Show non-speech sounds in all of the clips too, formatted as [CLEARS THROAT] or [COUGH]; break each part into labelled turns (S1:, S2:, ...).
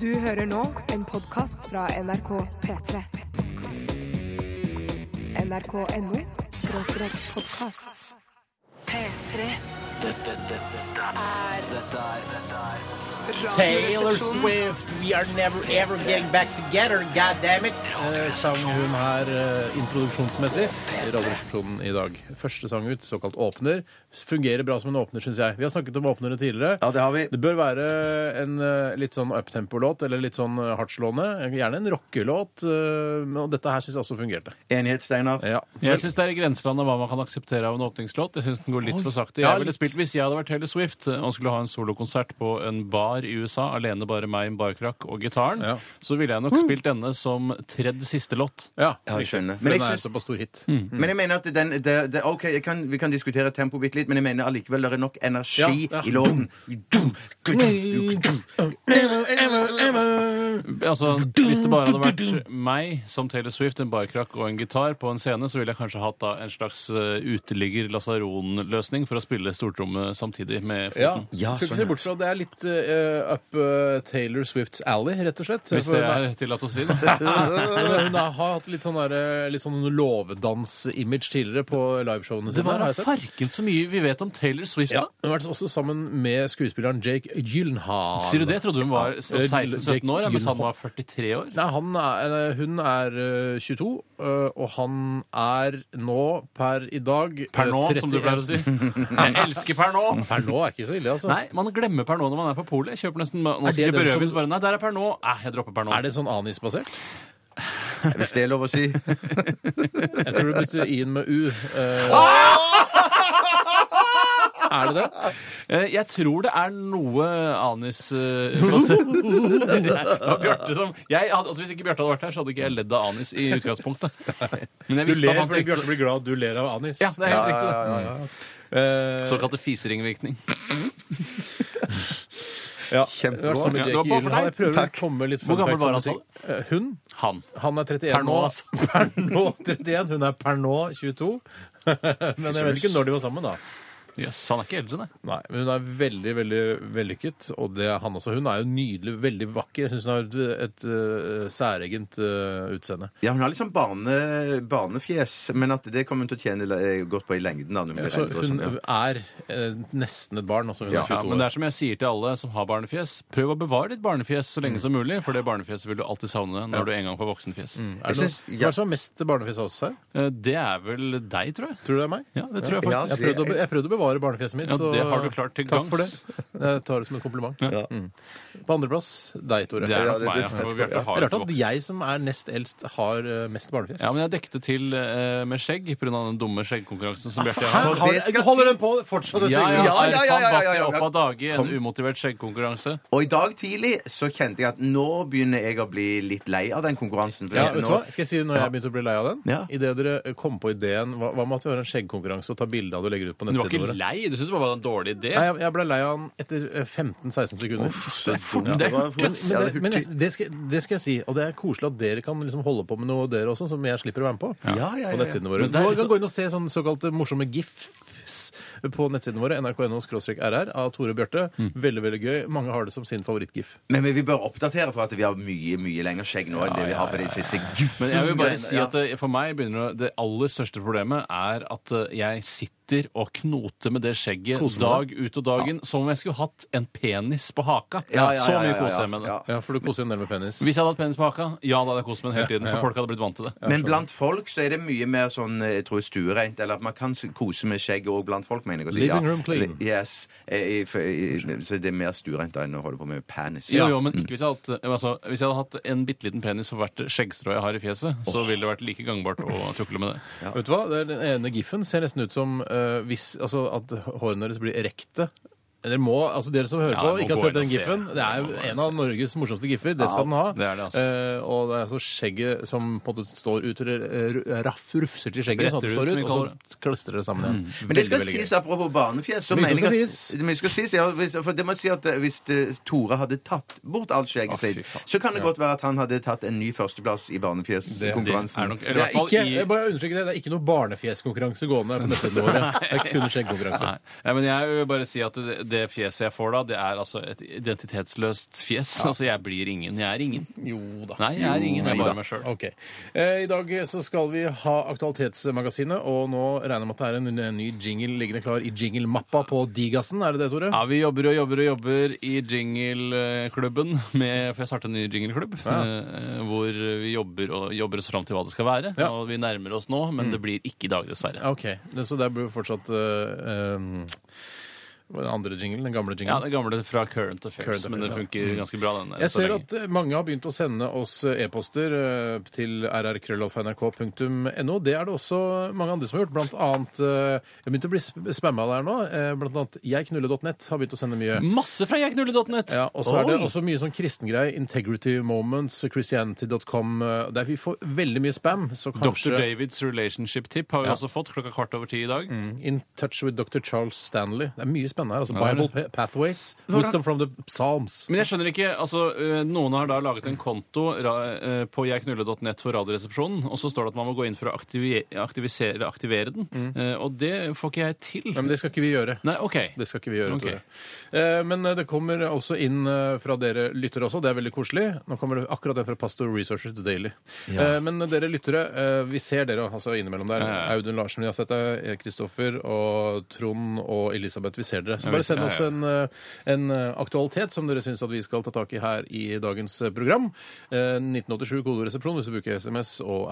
S1: Du hører nå en podkast fra NRK P3. NRK.no skråstrek podkast. P3
S2: Dette, dette,
S1: er
S2: dette er
S3: Taylor Swift, We Are Never Ever Getting Back Together, God damn it! Eh, sang hun her eh, introduksjonsmessig. Radioresepsjonen i dag. Første sang ut, såkalt åpner. Fungerer bra som en åpner, syns jeg. Vi har snakket om åpnere tidligere.
S4: Ja, det har vi.
S3: Det bør være en eh, litt sånn uptempo-låt, eller litt sånn eh, hardtslående. Gjerne en rockelåt. eh, men- Og dette her syns jeg også fungerte.
S4: Enighet, Steinar.
S3: Ja.
S5: Jeg syns det er i grenselandet hva man kan akseptere av en åpningslåt. Jeg synes den går litt for sakte.
S3: Ja,
S5: Jeg ville
S3: litt.
S5: spilt Hvis jeg hadde vært Taylor Swift og skulle ha en solokonsert på en bar i USA, alene bare meg, en barkrakk og gitaren,
S3: Ja.
S5: så ville jeg nok spilt denne som tredje siste låt.
S3: Ja,
S4: Ja, jeg skjønner.
S3: For
S4: Men jeg Mm.
S3: den er
S4: syns-
S3: såpass stor hit.
S4: Men jeg mener at den, det, det, ok, jeg kan, Vi kan diskutere tempo bitte litt, men jeg mener allikevel det er nok energi
S3: Ja, ja.
S4: i låten.
S5: Altså, Hvis det bare hadde vært meg som Taylor Swift, en barkrakk og en gitar på en scene, så ville jeg kanskje hatt da en slags eh, uteligger-lasaron-løsning for å spille stortromme samtidig med
S3: Ja.
S5: foten.
S4: Ja,
S3: Skal ikke
S4: sånn,
S3: se
S4: ja.
S3: bort fra at det er litt eh, up eh, Taylor Swifts alley, rett og slett.
S5: Hvis
S3: For
S5: det
S3: den
S5: er tillatt å
S3: [LAUGHS]
S5: si det.
S3: Hun har hatt litt sånn, der, litt sånn låvedans-image tidligere på liveshowene
S5: Det
S3: sine.
S5: var
S3: har
S5: da
S3: jeg sett.
S5: farken så mye vi vet om Taylor Swift,
S3: Ja,
S5: da.
S3: Hun har vært også sammen med skuespilleren Jake Gyllenhaal.
S5: Sier du det? Jeg trodde hun var så
S3: Eh,
S5: 16-17 år, ja, mens han
S3: Gyllenhaal.
S5: var 43 år.
S3: Nei, han er, eh, hun er eh, 22, eh, og han er nå, per i dag eh,
S5: Per nå, som du
S3: 31.
S5: pleier å si. [LAUGHS] Jeg elsker per nå!
S3: [LAUGHS] Per nå er ikke så ille, altså.
S5: Nei, man glemmer per nå når man er på polet. Jeg Kjøper nesten, nå
S3: Er
S5: skal jeg
S3: det
S5: kjøpe
S3: den
S5: rødvin,
S3: som-
S5: så bare Nei, der er per nå! Nei, jeg dropper per nå.
S3: Er det sånn anisbasert?
S4: Hvis det er lov å si.
S3: Jeg tror du bytter i-en med u. eh. er det det?
S5: [LAUGHS] Eh, Jeg tror det er noe anis eh, basert. [LAUGHS] Det var Bjarte som jeg hadde, altså Hvis ikke Bjarte hadde vært her, så hadde ikke jeg ledd av anis i utgangspunktet. Men jeg
S3: Du
S5: visste at
S3: ler
S5: han
S3: fordi
S5: tenkte
S3: Bjarte blir glad du ler av anis.
S5: Ja, det er helt riktig. det.
S3: Eh,
S5: Såkalte fiseringvirkning.
S3: Ja.
S4: Kjempebra.
S3: Det var sammen med
S5: Ja, det
S3: Jake
S5: var bare for
S3: Gyllenhaal. Jeg
S5: deg.
S3: prøver å komme litt
S5: Hvor
S3: fun
S5: gammel
S3: facts om
S5: var han, sa
S3: musikk. Eh, Hun?
S5: Han.
S3: Han er 31
S5: Per nå,
S3: nå.
S5: altså.
S3: [LAUGHS] Per nå 31. Hun er per nå 22. [LAUGHS] Men jeg vet ikke når de var sammen, da.
S5: Yes, han er ikke eldre, nei.
S3: Nei, men Hun er veldig veldig vellykket, og det er han også. Hun er jo nydelig, veldig vakker. Jeg syns hun har et, et eh, særegent eh, utseende.
S4: Ja, Hun har liksom barne, barnefjes, men at det kommer hun til å tjene le- godt på i lengden. da, når hun blir
S3: Så
S4: eldre og
S3: hun
S4: sånn, ja.
S3: er eh, nesten et barn, altså. Hun
S4: Ja,
S3: er 22
S5: Ja, men det
S3: år.
S5: er som jeg sier til alle som har barnefjes, prøv å bevare ditt barnefjes så lenge som mulig, for det barnefjeset vil du alltid savne når du en gang får voksenfjes.
S3: Er det
S4: Jeg
S3: noe,
S4: synes-
S3: Hva er det som er mest barnefjes av oss her?
S5: Eh, Det er vel deg, tror jeg.
S3: Tror du det er meg?
S5: Ja, det tror jeg
S4: Ja,
S5: faktisk.
S3: Jeg prøvde å, be- jeg prøvde å bevare barnefjeset mitt,
S5: Ja,
S3: så
S5: det har du klart til
S3: takk for det.
S5: gangs.
S3: Jeg tar det som en kompliment.
S5: Ja.
S3: Mm. På andreplass deg, Tore.
S5: Det er
S4: Ja,
S5: nok
S4: det-
S5: meg, ja.
S4: det-
S5: For Bjarte
S3: Det er
S5: har jo
S3: rart
S5: ikke
S3: at jeg som er nest eldst, har eh, mest barnefjes.
S5: Ja, men jeg dekte til eh, med skjegg pga. den dumme skjeggkonkurransen som Bjarte
S3: Hæ?
S5: har.
S4: For det
S3: Har-
S4: skal
S3: Holder den på fortsatt?
S5: Ja,
S4: Ja,
S5: ja,
S4: ja, ja, ja, ja, ja, ja.
S5: opp av dage i en umotivert skjeggkonkurranse.
S4: Og i dag tidlig så kjente jeg at nå begynner jeg å bli litt lei av den konkurransen. for
S3: Ja,
S4: at
S3: vet du hva?
S4: nå,
S3: Skal jeg si når jeg begynte å bli lei av den?
S4: Ja.
S3: I Idet dere kom på ideen Hva, hva med at vi har en skjeggkonkurranse og tar bilde av det og legger ut på
S5: Men du var
S3: nettsidene
S5: ikke
S3: våre?
S5: lei? Du syntes det bare var en dårlig idé?
S3: Nei, jeg, jeg ble lei av den etter eh, 15-16 sekunder.
S4: så dumt.
S5: det er
S4: var-
S3: Men,
S4: Ja, det
S3: men, det,
S4: er
S3: men jeg,
S4: hurtig.
S3: det, skal, det skal jeg si, og det er koselig at dere kan liksom holde på med noe dere også, som jeg slipper å være med på.
S4: Ja, ja, ja,
S3: På nettsidene våre.
S5: Men det er
S3: Nå
S5: litt
S3: kan
S5: så-
S3: gå inn og se sånne såkalte morsomme gifs på nettsidene våre, nrk.no-rr, av Tore og Bjarte. Veldig, veldig gøy. Mange har det som sin favorittgif.
S4: Men vi bør oppdatere for at vi har mye mye lenger skjegg nå enn det vi har på de siste
S5: Men jeg vil bare si
S4: Ja.
S5: at det, for meg begynner det, det aller største problemet er at eh, jeg sitter og knoter med det skjegget
S3: Koser med
S5: dag ut og dagen som om jeg skulle hatt en penis på haka.
S4: Ja, ja,
S5: Så
S4: ja,
S5: mye
S4: ja, ja,
S5: koser jeg med det.
S4: ja.
S3: Ja, for du koser en del med penis.
S5: Hvis jeg hadde hatt penis på haka, ja, da hadde jeg kost meg den hele tiden. For folk hadde blitt vant til det.
S4: Men blant folk så er det mye mer sånn jeg tror stuereint. Eller at man kan s- kose med skjegg òg blant folk, mener jeg. å si,
S3: Living room clean.
S4: Yes. Eh, i- for- i- Så det er mer stuereint da enn å holde på med penis.
S5: Jo, jo, men ikke hvis jeg hadde hatt, altså, hvis jeg hadde hatt en bitte liten penis for hvert skjeggstrå jeg har i fjeset, så ville det vært like gangbart å tukle med det.
S4: [LAUGHS]
S3: Vet du hva? Det er Den ene giffen ser nesten ut som eh, hvis, altså, at hårene deres blir erekte. Dere må, altså Dere som hører
S5: Ja,
S3: på,
S5: jeg må
S3: ikke har
S5: gå
S3: sett
S5: inn og
S3: den
S5: se.
S3: giffen. Det er
S5: Jeg må
S3: jo
S5: gå inn
S3: en
S5: og
S3: av Norges morsomste giffer. Det skal den ha.
S5: det er det, ass.
S3: Eh, og det er altså skjegget som på en måte står ut, eller eh, ru- raff- rufser til skjegget, sånn at det står ut,
S5: Bretter ut, som vi kaller Mm.
S3: og så klistrer det sammen igjen.
S4: Men det skal sies, apropos barnefjes så
S3: Mye som
S4: mener jeg
S3: skal
S4: at-
S3: sies.
S4: Det mye skal sies. Ja, hvis, for det må jeg si at eh, hvis eh, Tore hadde tatt bort alt skjegget
S5: fy
S4: sitt,
S5: faen.
S4: så kan det godt være at han hadde tatt en ny førsteplass i
S5: Det
S4: barnefjeskonkurransen.
S5: er nok,
S3: Det
S5: eller i
S3: er
S5: hvert fall
S3: ikke,
S5: i
S3: jeg bare understreker det, det er ikke
S5: [LAUGHS]
S3: noe barnefjeskonkurranse gående på nettsidene våre. Det er kun skjeggkonkurranse.
S5: Nei. Nei, men jeg vil bare si at det, det fjeset jeg får da, det er altså et identitetsløst fjes. Altså, jeg blir ingen. Jeg er ingen.
S3: Jo da.
S5: Nei, jeg er ingen. Jeg er
S3: da.
S5: bare meg sjøl.
S3: Ok. Eh, I dag så skal vi ha Aktualitetsmagasinet, og nå regner jeg med at det er en, en ny jingle liggende klar i jinglemappa på Digasen. Er det det, Tore?
S5: Ja, vi jobber og jobber og jobber i jingleklubben, med- for jeg startet en ny jingleklubb, eh, hvor vi jobber og jobber oss fram til hva det skal være.
S3: Ja. Mm.
S5: Og vi nærmer oss nå, men det blir ikke i dag, dessverre.
S3: Ok, det- Så der blir det fortsatt eh, um, hva er den andre jinglen, den gamle
S5: Ja,
S3: jinglen.
S5: det gamle fra Current Affairs,
S3: Current
S5: men det
S3: Affairs, ja. Mm.
S5: funker ganske bra. den eh,
S3: Jeg
S5: så
S3: ser
S5: lenge.
S3: at mange har begynt å sende oss e-poster eh, til rrkrøllalfa.nrk.no. Det er det også mange andre som har gjort. Blant annet eh, Jeg begynte å bli sp- spamma der nå. eh, Blant annet jegknulle.nett har begynt å sende mye.
S5: Masse fra jegknulle.net!
S3: Ja, og så er det
S5: Oi!
S3: også mye sånn kristengreier. Integrity Moments, Christianity.com eh, Der vi får veldig mye spam, så
S5: Dr.
S3: kanskje
S5: Davids relationship tip har vi også fått klokka kvart over ti i dag.
S3: In Touch with Dr. Charles Stanley. Det er mye spennende her. altså
S5: Ja, det er
S3: Bible pa- Pathways, Wisdom from the Psalms.
S5: Men jeg skjønner ikke, altså eh, Noen har da laget en konto ra, eh, på jegknulle.net for Radioresepsjonen, og så står det at man må gå inn for å aktive, aktivisere, eller aktivere den. Eh, og det får ikke jeg til.
S3: Mm. Ja, men det skal ikke vi gjøre.
S5: Nei, OK.
S3: Det skal ikke vi gjøre,
S5: Ok.
S3: Tore. Eh, Men eh, det kommer også inn eh, fra dere lyttere også. Det er veldig koselig. Nå kommer det akkurat den fra Pastor Researchers Daily. Eh, Men dere lyttere, eh, vi ser dere altså innimellom der.
S5: Ja, ja.
S3: Audun Larsen, vi har sett deg. eh, Kristoffer og Trond og Elisabeth, vi ser dere. Så
S5: Ja,
S3: bare
S5: vi ser-
S3: send
S5: ja,
S3: oss
S5: ja.
S3: en, eh, en eh, aktualitet som dere syns at vi skal ta tak i her i dagens eh, program. Eh, 1987 kodoresepsjon hvis du bruker SMS, og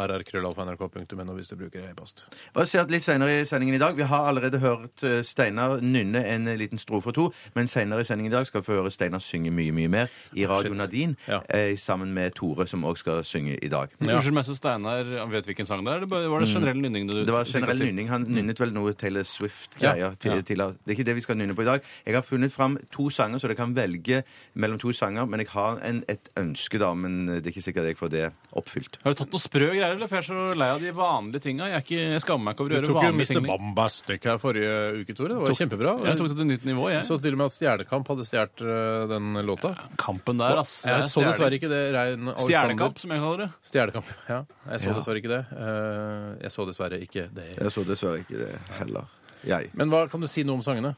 S3: rrkrøllalfa.nrk.no hvis du bruker e-post.
S4: Bare si at litt senere i sendingen i dag Vi har allerede hørt eh, Steinar nynne en eh, liten strofe og to, men senere i sendingen i dag skal vi få høre Steinar synge mye, mye mer i Radio
S3: Shit.
S4: Nadine
S3: Ja.
S4: eh, sammen med Tore, som òg skal synge i dag.
S5: Unnskyld meg, så Steinar han vet hvilken sang det er? Det bare-
S3: Mm.
S5: var det generell nynning du
S4: Det var
S5: siktet
S4: generell
S5: til?
S4: nynning. Han nynnet vel noe Taylor Swift-greier
S3: Ja,
S4: til-
S3: ja.
S4: tidligere. Det er ikke det vi skal nynne på i dag. Jeg har funnet fram to sanger, så dere kan velge mellom to sanger. Men jeg har en, et ønske, da, men det er ikke sikkert jeg får det oppfylt.
S5: Har du tatt noen sprø greier, eller? For jeg er så lei av de vanlige tinga. Jeg, er ikke- jeg skammer meg ikke over å
S3: Du
S5: gjøre
S3: tok jo
S5: vanlige
S3: Mr.
S5: ting.
S3: Bombastic her forrige uke, Tore. Det var
S5: Tok-
S3: jo kjempebra.
S5: Jeg tok det til nytt nivå, jeg.
S3: Så til og med at Stjernekamp hadde stjålet eh, den låta.
S5: Kampen der, ass. Det er
S3: jeg så
S5: stjerne-
S3: dessverre ikke det. Rein Alexander
S5: Stjernekamp, som jeg kaller det.
S3: Stjernekamp. Ja, jeg så
S4: Ja.
S3: dessverre ikke det. Eh, Jeg så dessverre ikke det.
S4: Jeg så dessverre ikke det heller. Jeg.
S3: Men hva kan du si noe om sangene?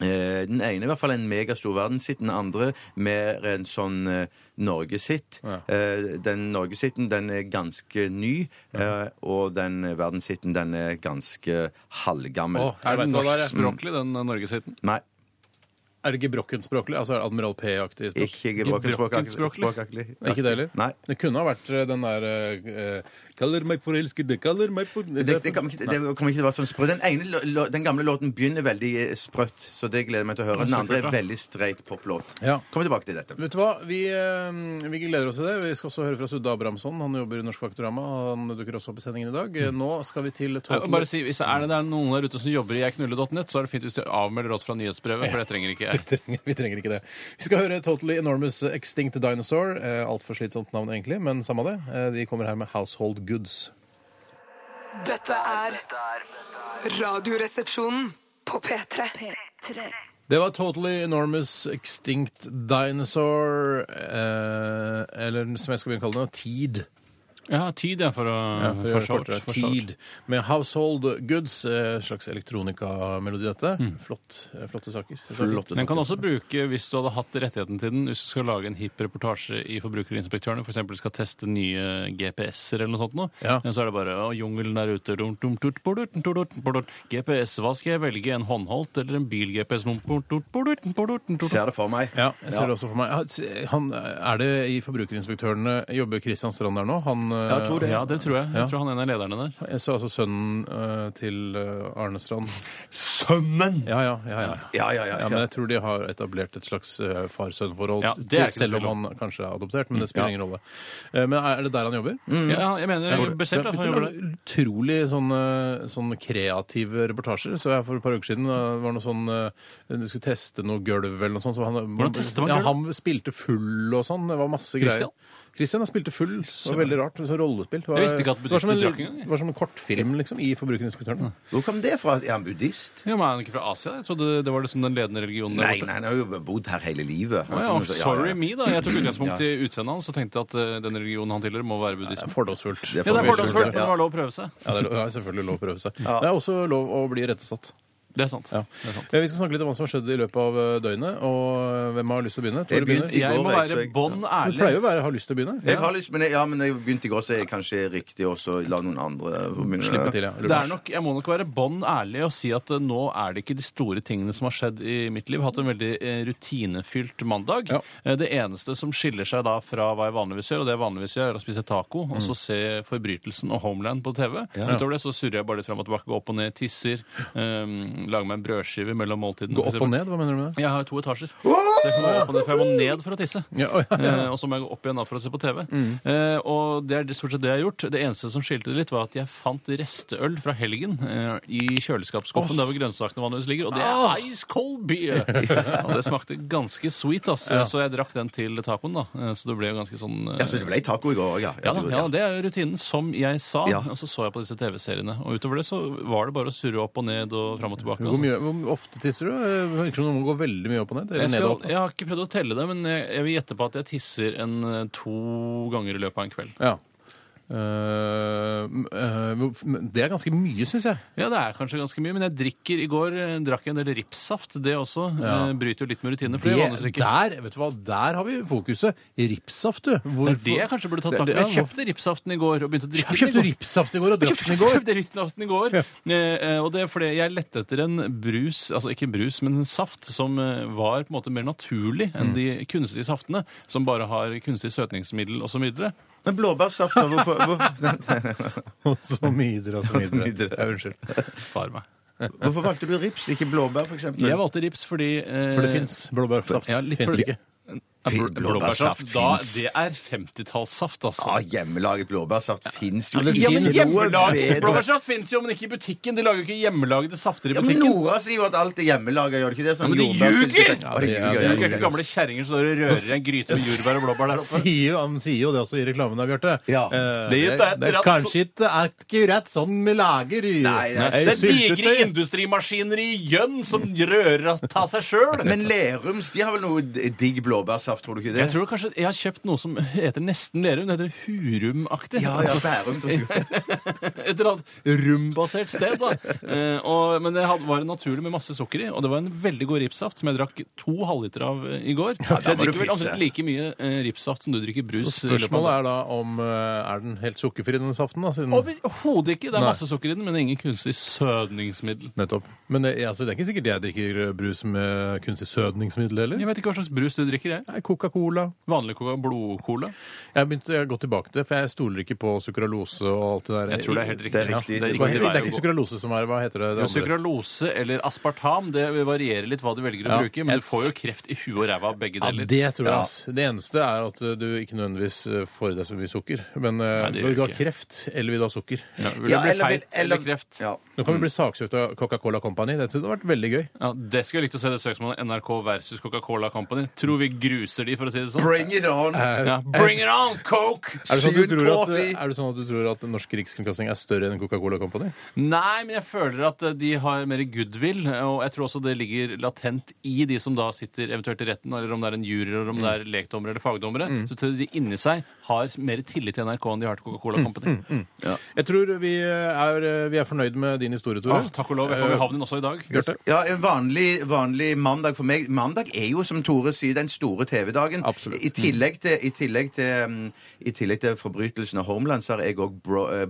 S4: Eh, Den ene i hvert fall en megastor verdenshit, den andre mer en sånn eh, norgeshit.
S3: Ja.
S4: Eh, Den norgeshiten den er ganske ny, eh, og den verdenshiten den er ganske halvgammel. Mm,
S3: Å,
S5: Er
S3: Jeg
S5: det
S3: vet hva det er, jeg.
S5: norskspråklig, den eh, norgeshiten?
S4: Nei,
S3: Er det gebrokken-språklig? Altså er det Admiral P-aktig språk?
S4: ikke gebrokkent
S5: Gebrokkent språklig?
S4: språkaktig.
S3: Ikke det heller?
S4: Nei.
S3: Det kunne ha vært eh, den der eh, eh, Kaller meg forelskede, kaller meg for
S4: Det, det, kommer ikke, det kommer ikke til å være sånn sprøtt. Den, ene, lå- lå- den gamle låten begynner veldig eh, sprøtt, så det gleder jeg meg til å høre. Den
S5: så
S4: andre er
S5: kult, da.
S4: veldig streit poplåt.
S3: Ja.
S4: Kom tilbake til dette.
S3: Vet du hva? Vi, eh, vi gleder oss til det. Vi skal også høre fra Sudde Abrahamsson. Han jobber i Norsk Faktorama. Han dukker også opp i sendingen i dag. Nå skal vi til
S5: Ja,
S3: tolvte
S5: Mm. Bare si, hvis det er, det er noen der ute som jobber i jegknulle.net, så er det fint hvis de avmelder oss fra nyhetsbrevet, for det trenger ikke jeg.
S3: trenger, [LAUGHS] vi trenger ikke det. Vi skal høre Totally Enormous Extinct Dinosaur. Eh, Altfor slitsomt navn, egentlig, men samme det. Eh, de kommer her med Household Goods.
S6: Dette er Radioresepsjonen på P3.
S3: Det var Totally Enormous Extinct Dinosaur, eh, eller som jeg skal begynne å kalle det, Teed.
S5: Ja, tid, jeg, for
S3: for
S5: å
S3: å
S5: for
S3: gjøre det
S5: short,
S3: kortere.
S5: for short.
S3: Teed med Household Goods. eh, slags elektronikamelodi, dette.
S5: Mm.
S3: Flott, eh, flotte saker.
S4: Flotte
S5: Den kan også bruke, hvis du hadde hatt rettigheten til den, hvis du skal lage en hipp reportasje i Forbrukerinspektørene, f.eks. eksempel skal teste nye GPS-er eller noe sånt, nå,
S3: Ja.
S5: så er det bare å, jungelen der ute dum, dum, tut, bodut, bodut, bodut. GPS, hva skal jeg velge? En håndholdt eller en bil-GPS? Dum, bodut, bodut, bodut, bodut.
S4: Ser det for meg.
S3: Ja, jeg ser det også for meg. Ja, Han, er det i Forbrukerinspektørene Jobber Christian Strand der nå? Han, eh,
S4: jeg tror det.
S5: Ja, det tror jeg.
S3: Ja.
S5: Jeg tror han er en av lederne der.
S3: Jeg så altså sønnen eh, til eh, Arne Strand.
S4: Sønnen!
S3: Ja, ja, ja, ja.
S4: Ja, ja, ja.
S3: Ja, men jeg tror de har etablert et slags eh, far-sønn-forhold,
S5: Ja,
S3: til-
S5: det er ikke
S3: selv
S5: noe tvil
S3: om
S5: om. Mm,
S3: han kanskje er adoptert, men det spiller ingen rolle. Eh, Men er det der han jobber?
S5: Ja, jeg mener jeg bestemt at han jobber der.
S3: Utrolig sånne, sånne kreative reportasjer. Så jeg for et par uker siden eh, var noe sånn eh, Du skulle teste noe gulv eller noe sånt. Så han,
S5: Hvordan tester man
S3: ja,
S5: gulv?
S3: han spilte full og sånn. Det var masse
S5: Christian?
S3: greier. Christian han spilte full. Det var veldig rart. Sånn rollespill. Det var,
S5: Jeg visste ikke at
S3: det var som en,
S5: buddhister drakk engang, jeg.
S3: det var som en kortfilm liksom, i Forbrukerinspektøren.
S4: Hvor kom det fra? Er han buddhist?
S5: Ja, men Er han ikke fra Asia? Jeg trodde det var liksom den ledende religionen. der
S4: Nei,
S5: borte.
S4: nei, han har jo bodd her hele livet.
S5: Å ja,
S4: Han-
S5: sorry
S4: ja, ja.
S5: me, da. Jeg tok utgangspunkt i utseendet hans og tenkte at eh, den religionen han tilhører, må være
S3: Det
S5: buddhisme.
S3: er Fordomsfullt.
S4: Det er
S5: Ja, det
S4: fordomsfullt,
S5: er fordomsfullt, men
S4: ja.
S5: det var lov å prøve seg.
S3: Ja, det er lo- ja, selvfølgelig lov å prøve seg. Det er også lov å bli rettesatt.
S5: Det er sant.
S3: Ja.
S5: Det er sant.
S3: Eh, Vi skal snakke litt om hva som har skjedd i løpet av eh, døgnet. Og eh, hvem har lyst til å
S4: Jeg
S3: begynne? Tore begynner.
S4: begynte i-
S5: Jeg
S4: går,
S5: må
S4: jeg, så
S5: være
S4: jeg-
S5: bånn
S3: Du
S5: ærlig.
S3: pleier jo å være, ha lyst til å begynne.
S4: Jeg har lyst, men jeg, ja, men jeg begynte i går, så jeg kanskje er riktig også la noen andre få begynne.
S3: Slippe til, ja.
S5: Det er nok, jeg må nok være bånn ærlig og si at eh, nå er det ikke de store tingene som har skjedd i mitt liv. Jeg har hatt en veldig eh, rutinefylt mandag.
S3: Ja.
S5: Eh, Det eneste som skiller seg da fra hva jeg vanligvis gjør, og det jeg vanligvis gjør, er å spise taco og
S3: Mm.
S5: så se Forbrytelsen og Homeland på TV. Utover det så surrer jeg bare litt fram og tilbake, går opp og ned, tisser, um, lager meg en brødskive mellom måltidene.
S3: Gå
S5: for
S3: opp og
S5: eksempel.
S3: ned, hva mener du med det?
S5: Jeg har jo to etasjer, så jeg kan gå opp og ned, for jeg må ned for å tisse.
S3: Ja, å,
S5: [LAUGHS]
S3: ja, Mm. ja.
S5: Eh, og så må jeg gå opp igjen da for å se på TV. Eh, og det er det- stort sett det jeg har gjort. Det eneste som skilte det litt, var at jeg fant resteøl fra helgen eh, i kjøleskapsskuffen der hvor grønnsakene vanligvis ligger, og det
S3: Ah!
S5: er ice
S3: [LAUGHS]
S5: cold beer! og det smakte ganske sweet, ass.
S3: Ja.
S5: Så jeg drakk den til tacoen, da. Eh, Så det ble jo ganske sånn eh,
S4: Ja, så det ble taco i går òg, ja.
S5: ja, da,
S4: det gjorde
S5: ja,
S4: det.
S5: det er jo rutinen, som jeg sa.
S4: Ja.
S5: Og så så jeg på disse TV-seriene. Og utover det så var det bare å surre opp og ned og fram og tilbake.
S3: Hvor,
S5: altså.
S3: mye, hvor ofte tisser du? Eh, Virker som noen går veldig mye opp og ned. Eller
S5: Jeg,
S3: ned og
S5: skal,
S3: opp. da.
S5: jeg har ikke prøvd å telle det, men jeg, jeg vil gjette på at jeg tisser en eh, to ganger i løpet av en kveld.
S3: Ja. Eh, m- eh, hvor- men det er ganske mye, syns jeg.
S5: Ja, det er kanskje ganske mye, men jeg drikker i går eh, drakk jeg en del ripssaft. Det også
S3: Ja.
S5: eh, bryter jo litt med rutinene. For det, er
S3: Det,
S5: vanligvis ikke.
S3: der, vet du hva, der har vi fokuset. Ripssaft, du.
S5: det
S3: Hvorfor?
S5: er det jeg kanskje burde tatt
S3: Det-
S5: tak
S3: det-
S5: i. Jeg
S3: ja,
S5: kjøpte ripssaften i går og begynte å drikke
S3: Kjøpte du
S5: den. i går.
S3: ripssaft i går og
S5: Jeg
S3: drakk den i
S5: kjøpte-
S3: går?
S5: kjøpte ripssaften i går. Eh, eh, og det er fordi jeg lette etter en brus, altså ikke en brus, men en saft som eh, var på en måte mer
S3: Mm.
S5: naturlig enn de kunstige saftene, som bare har kunstig søtningsmiddel osv.
S4: Men blåbærsaft da, hvorfor, hvor,
S3: [LAUGHS]
S4: [LAUGHS]
S3: Og så videre
S5: [LAUGHS]
S3: og så
S4: Og så
S3: videre.
S4: videre.
S3: Ja, unnskyld.
S5: Spar meg.
S4: hvorfor valgte du rips, ikke blåbær, for eksempel?
S5: Jeg valgte rips fordi eh,
S3: Mm. For det fins. Blåbærsaft
S5: Ja, litt
S3: fins
S5: for-
S3: ikke.
S5: ja, bl-
S4: Blåbærsaft
S5: Blåbærsaft. Da,
S4: finnes.
S5: det er 50-tallssaft, altså.
S3: Ah,
S4: Ja, hjemmelaget blåbærsaft fins jo
S3: Ja, det
S5: Ja, men
S3: finnes
S5: hjemmelag,
S4: bedre.
S5: Blåbærsaft finnes jo, men ikke i butikken. De lager jo ikke hjemmelagde safter i
S4: Ja, men
S5: butikken.
S4: Nora sier jo at alt er hjemmelaga, gjør det ikke det? Sånn
S5: men de
S4: jordbærsaft-
S5: ljuger!
S4: Ja, de
S3: Ja,
S5: Du
S4: ljuger,
S3: de
S4: ja,
S5: er
S4: de
S5: ikke
S4: ljuger.
S5: gamle kjerringer som står og rører i en gryte med jordbær og blåbær der oppe.
S3: Sier jo, han sier jo det også i reklamen der, Bjarte.
S4: Ja.
S3: Eh,
S5: Det er
S3: det, det er
S5: rett-
S3: kanskje ikke akkurat sånn vi lager i-
S4: Nei, nei.
S3: ei
S5: Det er digre
S3: syltetøy.
S5: industrimaskiner i gjønn som rører av ta seg sjøl.
S4: Men Lerums de har vel noe d- digg blåbærsaft, tror du ikke det?
S5: Jeg tror kanskje jeg har kjøpt noe som heter nesten Lerum. Det heter Hurum-aktig. Altså,
S4: Ja, ja, Bærum. tror jeg.
S5: Et eller annet rumbasert sted. da. Eh, og, men det hadde, var naturlig med masse sukker i, og det var en veldig god ripssaft som jeg drakk to halvliter av eh, i går. så
S4: da
S5: jeg
S4: må du
S5: drikker vel
S4: pisse.
S5: omtrent like mye eh, ripssaft som du drikker brus.
S3: Så
S5: i løpet av
S3: spørsmålet er da om eh, er den helt sukkerfri, den saften? da, siden...
S5: Overhodet ikke. Det er
S3: Mm. Nei.
S5: masse sukker i den, men ingen kunstig sødningsmiddel.
S3: Nettopp. Men eh, altså, det er ikke sikkert jeg drikker eh, brus med kunstig sødningsmiddel heller.
S5: Jeg vet ikke hva slags brus du drikker, jeg.
S3: Nei, Coca-Cola.
S5: Vanlig coca blodcola.
S3: Jeg har begynt å gå tilbake til det, for jeg stoler ikke på sukralose og alt det der.
S5: Jeg tror det er helt riktig.
S4: Det er riktig.
S5: Ja, det er
S3: Hva-
S5: riktig
S3: det er
S5: vei
S3: ikke
S5: å gå.
S3: sukralose som er, hva heter det? det
S5: Jo,
S3: andre?
S5: Sukralose eller aspartam, det varierer litt hva du velger å
S3: Ja,
S5: bruke, men
S3: et-
S5: du får jo kreft i huet og ræva av begge
S3: Ja,
S5: deler.
S3: det tror jeg. ass. Det eneste er at eh, du ikke nødvendigvis eh, får i deg så mye sukker. Men eh,
S5: Nei, det gjør
S3: vil du ha
S5: ikke.
S3: kreft, eller vil du ha sukker?
S5: Ja, Mm. vil du
S4: Ja,
S5: bli
S4: eller-
S5: feit
S4: eller-
S5: eller kreft?
S4: Ja.
S3: Nå kan vi bli saksøkt av Coca-Cola Company. Dette hadde vært veldig gøy.
S5: Ja, det skulle jeg likt å se det søksmålet NRK versus Coca-Cola Company. Tror vi gruser de, for å si det sånn.
S4: Bring it on!
S5: ja, bring it on, Coke!
S3: Er det, sånn at du
S4: Sug
S3: tror at,
S4: på, si.
S3: er det sånn at du tror at Norsk Rikskringkasting er større enn Coca-Cola Company?
S5: Nei, men jeg føler at eh, de har mer goodwill, eh, og jeg tror også det ligger latent i de som da sitter eventuelt i retten, eller om det er en jury, eller om det
S3: Mm.
S5: er lekdommere eller fagdommere. Så tror jeg de inni seg har mer tillit til NRK enn de har til
S3: Mm,
S5: Coca-Cola Company.
S3: Jeg tror vi er, vi er fornøyd med din historie, Tore. Eh,
S5: Åh, takk og lov, jeg kom i havnen også i dag.
S3: Bjarte.
S4: Ja, en vanlig, vanlig mandag for meg. Mandag er jo, som Tore sier, den store TV-dagen.
S3: Absolutt.
S4: I tillegg til, i tillegg til, um, i tillegg til forbrytelsen av Homeland, så har jeg òg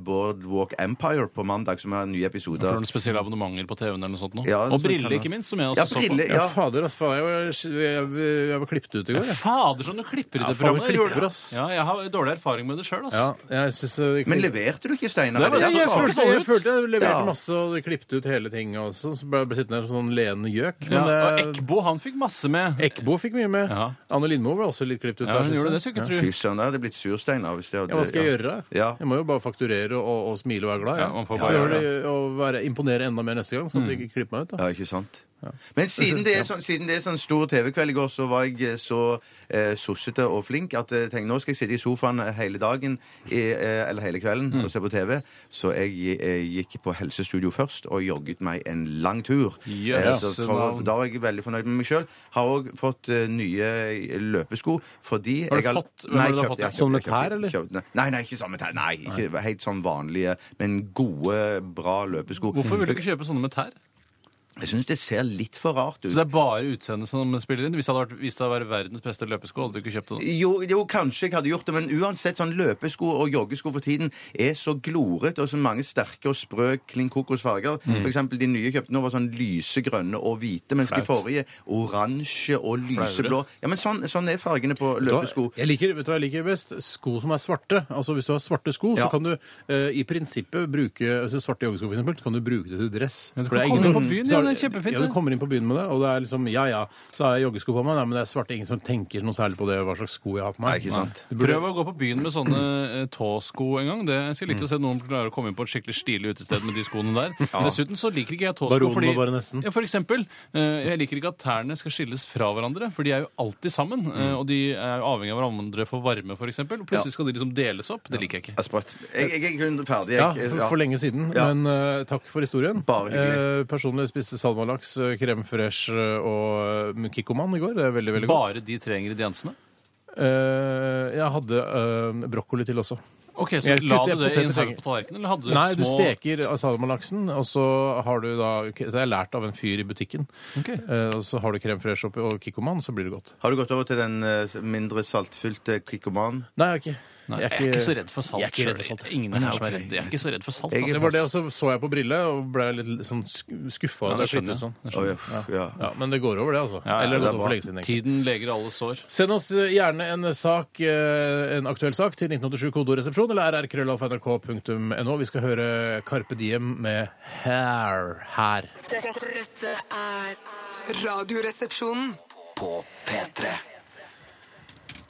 S4: Boardwalk Empire på mandag, som har nye
S5: Får
S4: episoder.
S5: du noen spesielle abonnementer på TV-en eller noe sånt nå?
S4: Ja,
S5: og
S4: så kan
S5: briller,
S4: jeg-
S5: ikke minst, som jeg
S4: Ja,
S5: også så på.
S4: briller.
S3: altså Ja,
S4: Ja.
S3: fader, ass. faen, Jeg var, jeg, jeg, jeg var klippet ut i går, jeg.
S5: Fader, som du klipper
S3: Ja,
S5: i
S3: faen,
S5: det programmet!
S3: du
S5: Jeg gjorde
S3: klipper,
S5: det.
S3: ass.
S5: Ja, jeg har dårlig erfaring med det sjøl, ass.
S3: Ja, jeg synes, eh,
S4: Men leverte du ikke, Steinar?
S3: Ja,
S5: Det var-
S4: Er det
S3: Altså, jeg,
S4: sånn?
S3: følte, jeg følte jeg leverte
S4: Ja.
S3: masse og klippet ut hele ting. Og så, så ble jeg sittende her som sånn lenende gjøk.
S5: Ja,
S3: Men
S5: og
S3: eh,
S5: Ekbo, han fikk masse med.
S3: Ekbo fikk mye med.
S5: Ja.
S3: Anne Lindmo ble også litt klippet ut.
S5: Ja,
S3: der,
S5: hun
S3: synes
S5: gjorde
S3: jeg.
S5: det, så ikke
S3: Ja.
S5: tru.
S4: Fy søren, jeg hadde blitt sur, Steinar. hvis det hadde-
S3: Ja, hva skal jeg gjøre?
S4: Ja.
S3: Jeg må jo bare fakturere og, og smile og være glad.
S5: Ja, man får
S3: Ja,
S5: bare
S3: gjøre
S5: gjøre Mm.
S3: det, og være, imponere enda mer neste gang, sånn at de ikke klipper meg ut. da.
S4: Ja, ikke sant? Men siden det, er sånn, siden det er sånn stor TV-kveld i går, så var jeg eh, så eh, sossete og flink at jeg tenkte nå skal jeg sitte i sofaen eh, hele dagen, i, eh, eller hele kvelden,
S5: Mm.
S4: og se på TV. Så jeg, eh, gikk på helsestudio først og jogget meg en lang tur. Eh, så
S5: Jøsse
S4: for,
S5: navn.
S4: da var jeg veldig fornøyd med meg sjøl. Har òg fått eh, nye løpesko fordi
S5: Har du
S4: jeg
S5: fått- hvem
S4: Nei,
S5: har du da
S4: kjøpte-
S5: fått?
S4: jeg kjøpte-
S3: Sånn med
S4: jeg kjøpte-
S3: tær, eller?
S4: kjøpte- Nei, nei, ikke sånn med tær. Nei, ikke helt sånn vanlige, men gode, bra løpesko.
S5: Hvorfor vil du ikke kjøpe sånne med tær?
S4: Jeg syns det ser litt for rart ut.
S5: Så det er bare utseendet som spiller inn? Hvis det hadde vært, hvis det hadde vært verdens beste løpesko, hadde du ikke kjøpt den?
S4: Jo, jo, kanskje jeg hadde gjort det, men uansett, sånn løpesko og joggesko for tiden er så glorete og så mange sterke og sprø klin kokos farger.
S3: Mm.
S4: For eksempel de nye jeg kjøpte nå var sånn lysegrønne og hvite, mens de
S5: Flaut.
S4: forrige oransje og lyseblå. Ja, men sånn, sånn er fargene på løpesko.
S3: Jeg liker, vet du hva jeg liker best? Sko som er svarte. Altså Hvis du har svarte sko,
S4: Ja.
S3: så kan du eh, i prinsippet bruke altså, svarte joggesko, for eksempel, så kan du bruke det til dress.
S5: Ja, du
S3: For det er
S5: kan
S3: ingen
S5: komme
S3: som-
S5: inn på byen,
S3: så er
S5: ja, det er
S3: det-
S5: kjempefint,
S3: Ja, du
S5: det.
S3: kommer inn på byen med det, og det er liksom ja ja, så har jeg joggesko på meg, nei, men det er svarte. Ingen som tenker noe særlig på det, hva slags sko jeg har på meg.
S4: Nei, ikke sant.
S3: Det burde-
S5: Prøv å gå på byen med sånne eh, tåsko en gang. Det jeg skulle likt å se noen klarer å komme inn på et skikkelig stilig utested med de
S3: [LAUGHS]
S5: skoene der. Dessuten så liker ikke jeg tåsko
S3: Baronen
S5: fordi
S3: og baronessen.
S5: ja, For eksempel. eh, Jeg liker ikke at tærne skal skilles fra hverandre, for de er jo alltid sammen. eh,
S3: Mm.
S5: Og de er jo avhengig av hverandre for varme, for eksempel. Og plutselig skal de liksom deles opp. Det liker jeg ikke.
S4: Ja, sprøtt. Jeg, jeg er i grunnen ferdig.
S3: Ja,
S4: Jeg,
S3: for, for lenge siden,
S4: Ja.
S3: men eh, takk for historien.
S4: Bare hyggelig.
S3: Eh, personlig spiste salmalaks, eh, crème fresh eh, og eh, Kikkoman i går. Det er veldig, veldig godt.
S5: Bare de tre ingrediensene?
S3: Eh, jeg hadde eh, brokkoli til også.
S5: Ok, Så
S3: Jeg
S5: la du
S3: kutter
S5: det i en
S3: poteter,
S5: haug
S3: tenker
S5: på tallerkenen, eller hadde du
S3: Nei, du
S5: små
S3: steker salmalaksen, og så har du da Det har jeg lært av en fyr i butikken.
S5: Ok.
S3: Eh, og så har du krem fresh oppi og Kikkoman, så blir det godt.
S4: Har du gått over til den eh, mindre saltfylte Kikkoman?
S3: Nei, jeg er ikke
S5: Nei, jeg er ikke så redd for salt.
S3: Jeg er ikke
S5: selv.
S3: redd for salt.
S5: Ingen
S3: Nei,
S5: her som er
S3: ok.
S5: redd. Jeg er ikke så redd for salt.
S4: Jeg er
S5: altså.
S3: Det var det, og så så jeg på Brille og ble litt sånn skuffa.
S5: Ja, det skjønner jeg.
S3: Sånn.
S4: Å,
S5: Det skjønner jeg.
S4: ja. Ja.
S3: Ja, men det går over, det, altså.
S5: Ja, ja,
S3: Eller det har
S5: det
S3: gått
S5: er
S4: bra.
S3: for lenge siden. egentlig.
S5: Tiden leger alle sår.
S3: Send oss eh, gjerne en sak, eh, en aktuell sak til 1987kodoresepsjon eller rrkrøllalfa.nrk.no. Vi skal høre Carpe Diem med Hair. Her.
S6: Dette, dette er Radioresepsjonen.
S2: På P3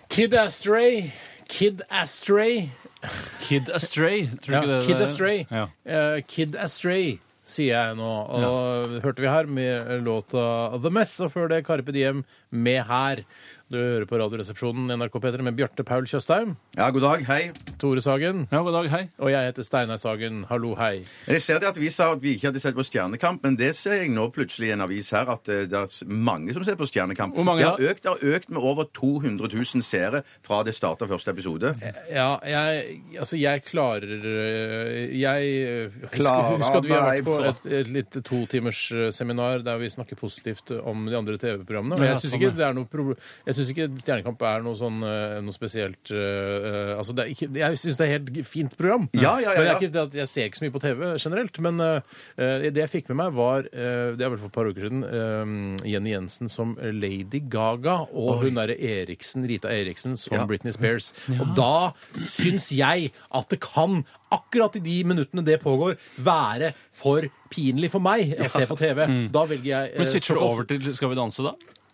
S3: Kid Astray. Kid Astray.
S5: Kid Astray, tror du
S3: Ja,
S5: ikke det?
S3: Kid
S5: det er?
S3: Astray.
S5: Ja.
S3: Eh, Kid Astray, sier jeg nå. Og hørte vi her med låta The Mess, og før det Carpe Diem med Her. Du hører på Radioresepsjonen NRK P3 med Bjarte Paul Tjøstheim,
S4: ja, god dag. Hei.
S3: Tore Sagen,
S5: ja, god dag, hei.
S3: og jeg heter Steinar Sagen. Hallo, hei.
S4: Jeg ser det at Vi sa at vi ikke hadde sett på Stjernekamp, men det ser jeg nå plutselig i en avis her at eh, det er s- mange som ser på Stjernekamp.
S5: Hvor mange
S4: det, har
S5: da?
S4: økt, det har økt med over 200 000 seere fra det starta første episode.
S5: Eh.
S3: Ja, jeg Altså, jeg klarer øh, Jeg øh, husker-
S4: Klarer
S3: Husker at vi har vært
S4: meg
S3: på
S4: bra.
S3: et, et lite totimers øh, seminar der vi snakker positivt om de andre TV-programmene. Og jeg
S5: Ja,
S3: syns
S5: sånn,
S3: ikke
S5: ja.
S3: det er noe proble- Jeg synes ikke Stjernekamp er noe sånn øh, noe spesielt øh, øh, Altså, det er ikke Jeg syns det er et helt fint program.
S4: Ja, ja, ja,
S3: Men det
S4: ja.
S3: er ikke det at jeg ser ikke så mye på TV generelt. Men øh, øh, det jeg fikk med meg, var øh, Det er vel for et par uker siden øh, Jenny Jensen som Lady Gaga og hun derre Eriksen, Rita Eriksen, som
S4: Ja.
S3: Britney Spears. Og da syns jeg at det kan, akkurat i de minuttene det pågår, være for pinlig for meg å se på TV. Da velger jeg eh,
S5: Mm. Men switcher du
S3: såkalt-
S5: over til Skal vi danse, da?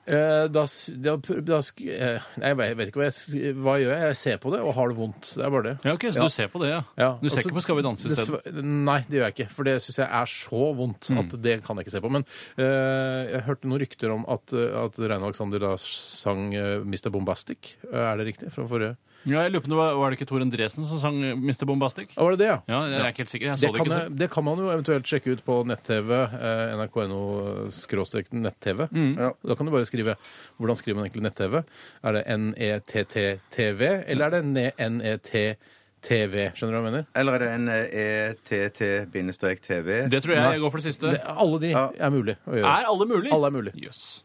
S3: Eh, da, s- da, pr- da sk- eh, Nei, jeg vet- jeg vet ikke hva jeg, s- hva jeg gjør. Jeg ser på det og har det vondt. Det er bare det.
S5: Ja, ok, Så du ser på det, ja.
S3: Ja,
S5: Du ser
S3: altså,
S5: ikke på Skal vi danse isteden?
S3: dessver- Nei, det gjør jeg ikke. For det syns jeg er så vondt at
S5: Mm.
S3: det kan jeg ikke se på. Men eh, jeg hørte noen rykter om at, eh, at Rein Alexander da sang eh, Mr. Bombastic. Eh, er det riktig? Fra forrige
S5: Ja, jeg lurer på om det var, var det ikke Tor Endresen som sang eh, Mr. Bombastic?
S3: Ja, Ah, var det det, ja?
S5: Ja, jeg er ikke helt sikker. Jeg så
S3: Det
S5: det,
S3: kan,
S5: ikke
S3: jeg,
S5: selv.
S3: det kan man jo eventuelt sjekke ut på nett-TV. Eh, NRK.no-nett-TV.
S5: Mm.
S4: Ja.
S3: Da kan du bare skrive Hvordan skriver man egentlig nett-TV? Er det E NETT-TV, eller er det E ne- NET-TV? Skjønner du hva jeg mener?
S4: Eller er det en eh, E ETT-TV?
S5: Det tror jeg jeg går for det siste.
S3: Det, alle de
S4: Ja.
S3: er mulig å gjøre.
S5: Er alle mulig?
S3: Alle er mulig.
S5: Jøss.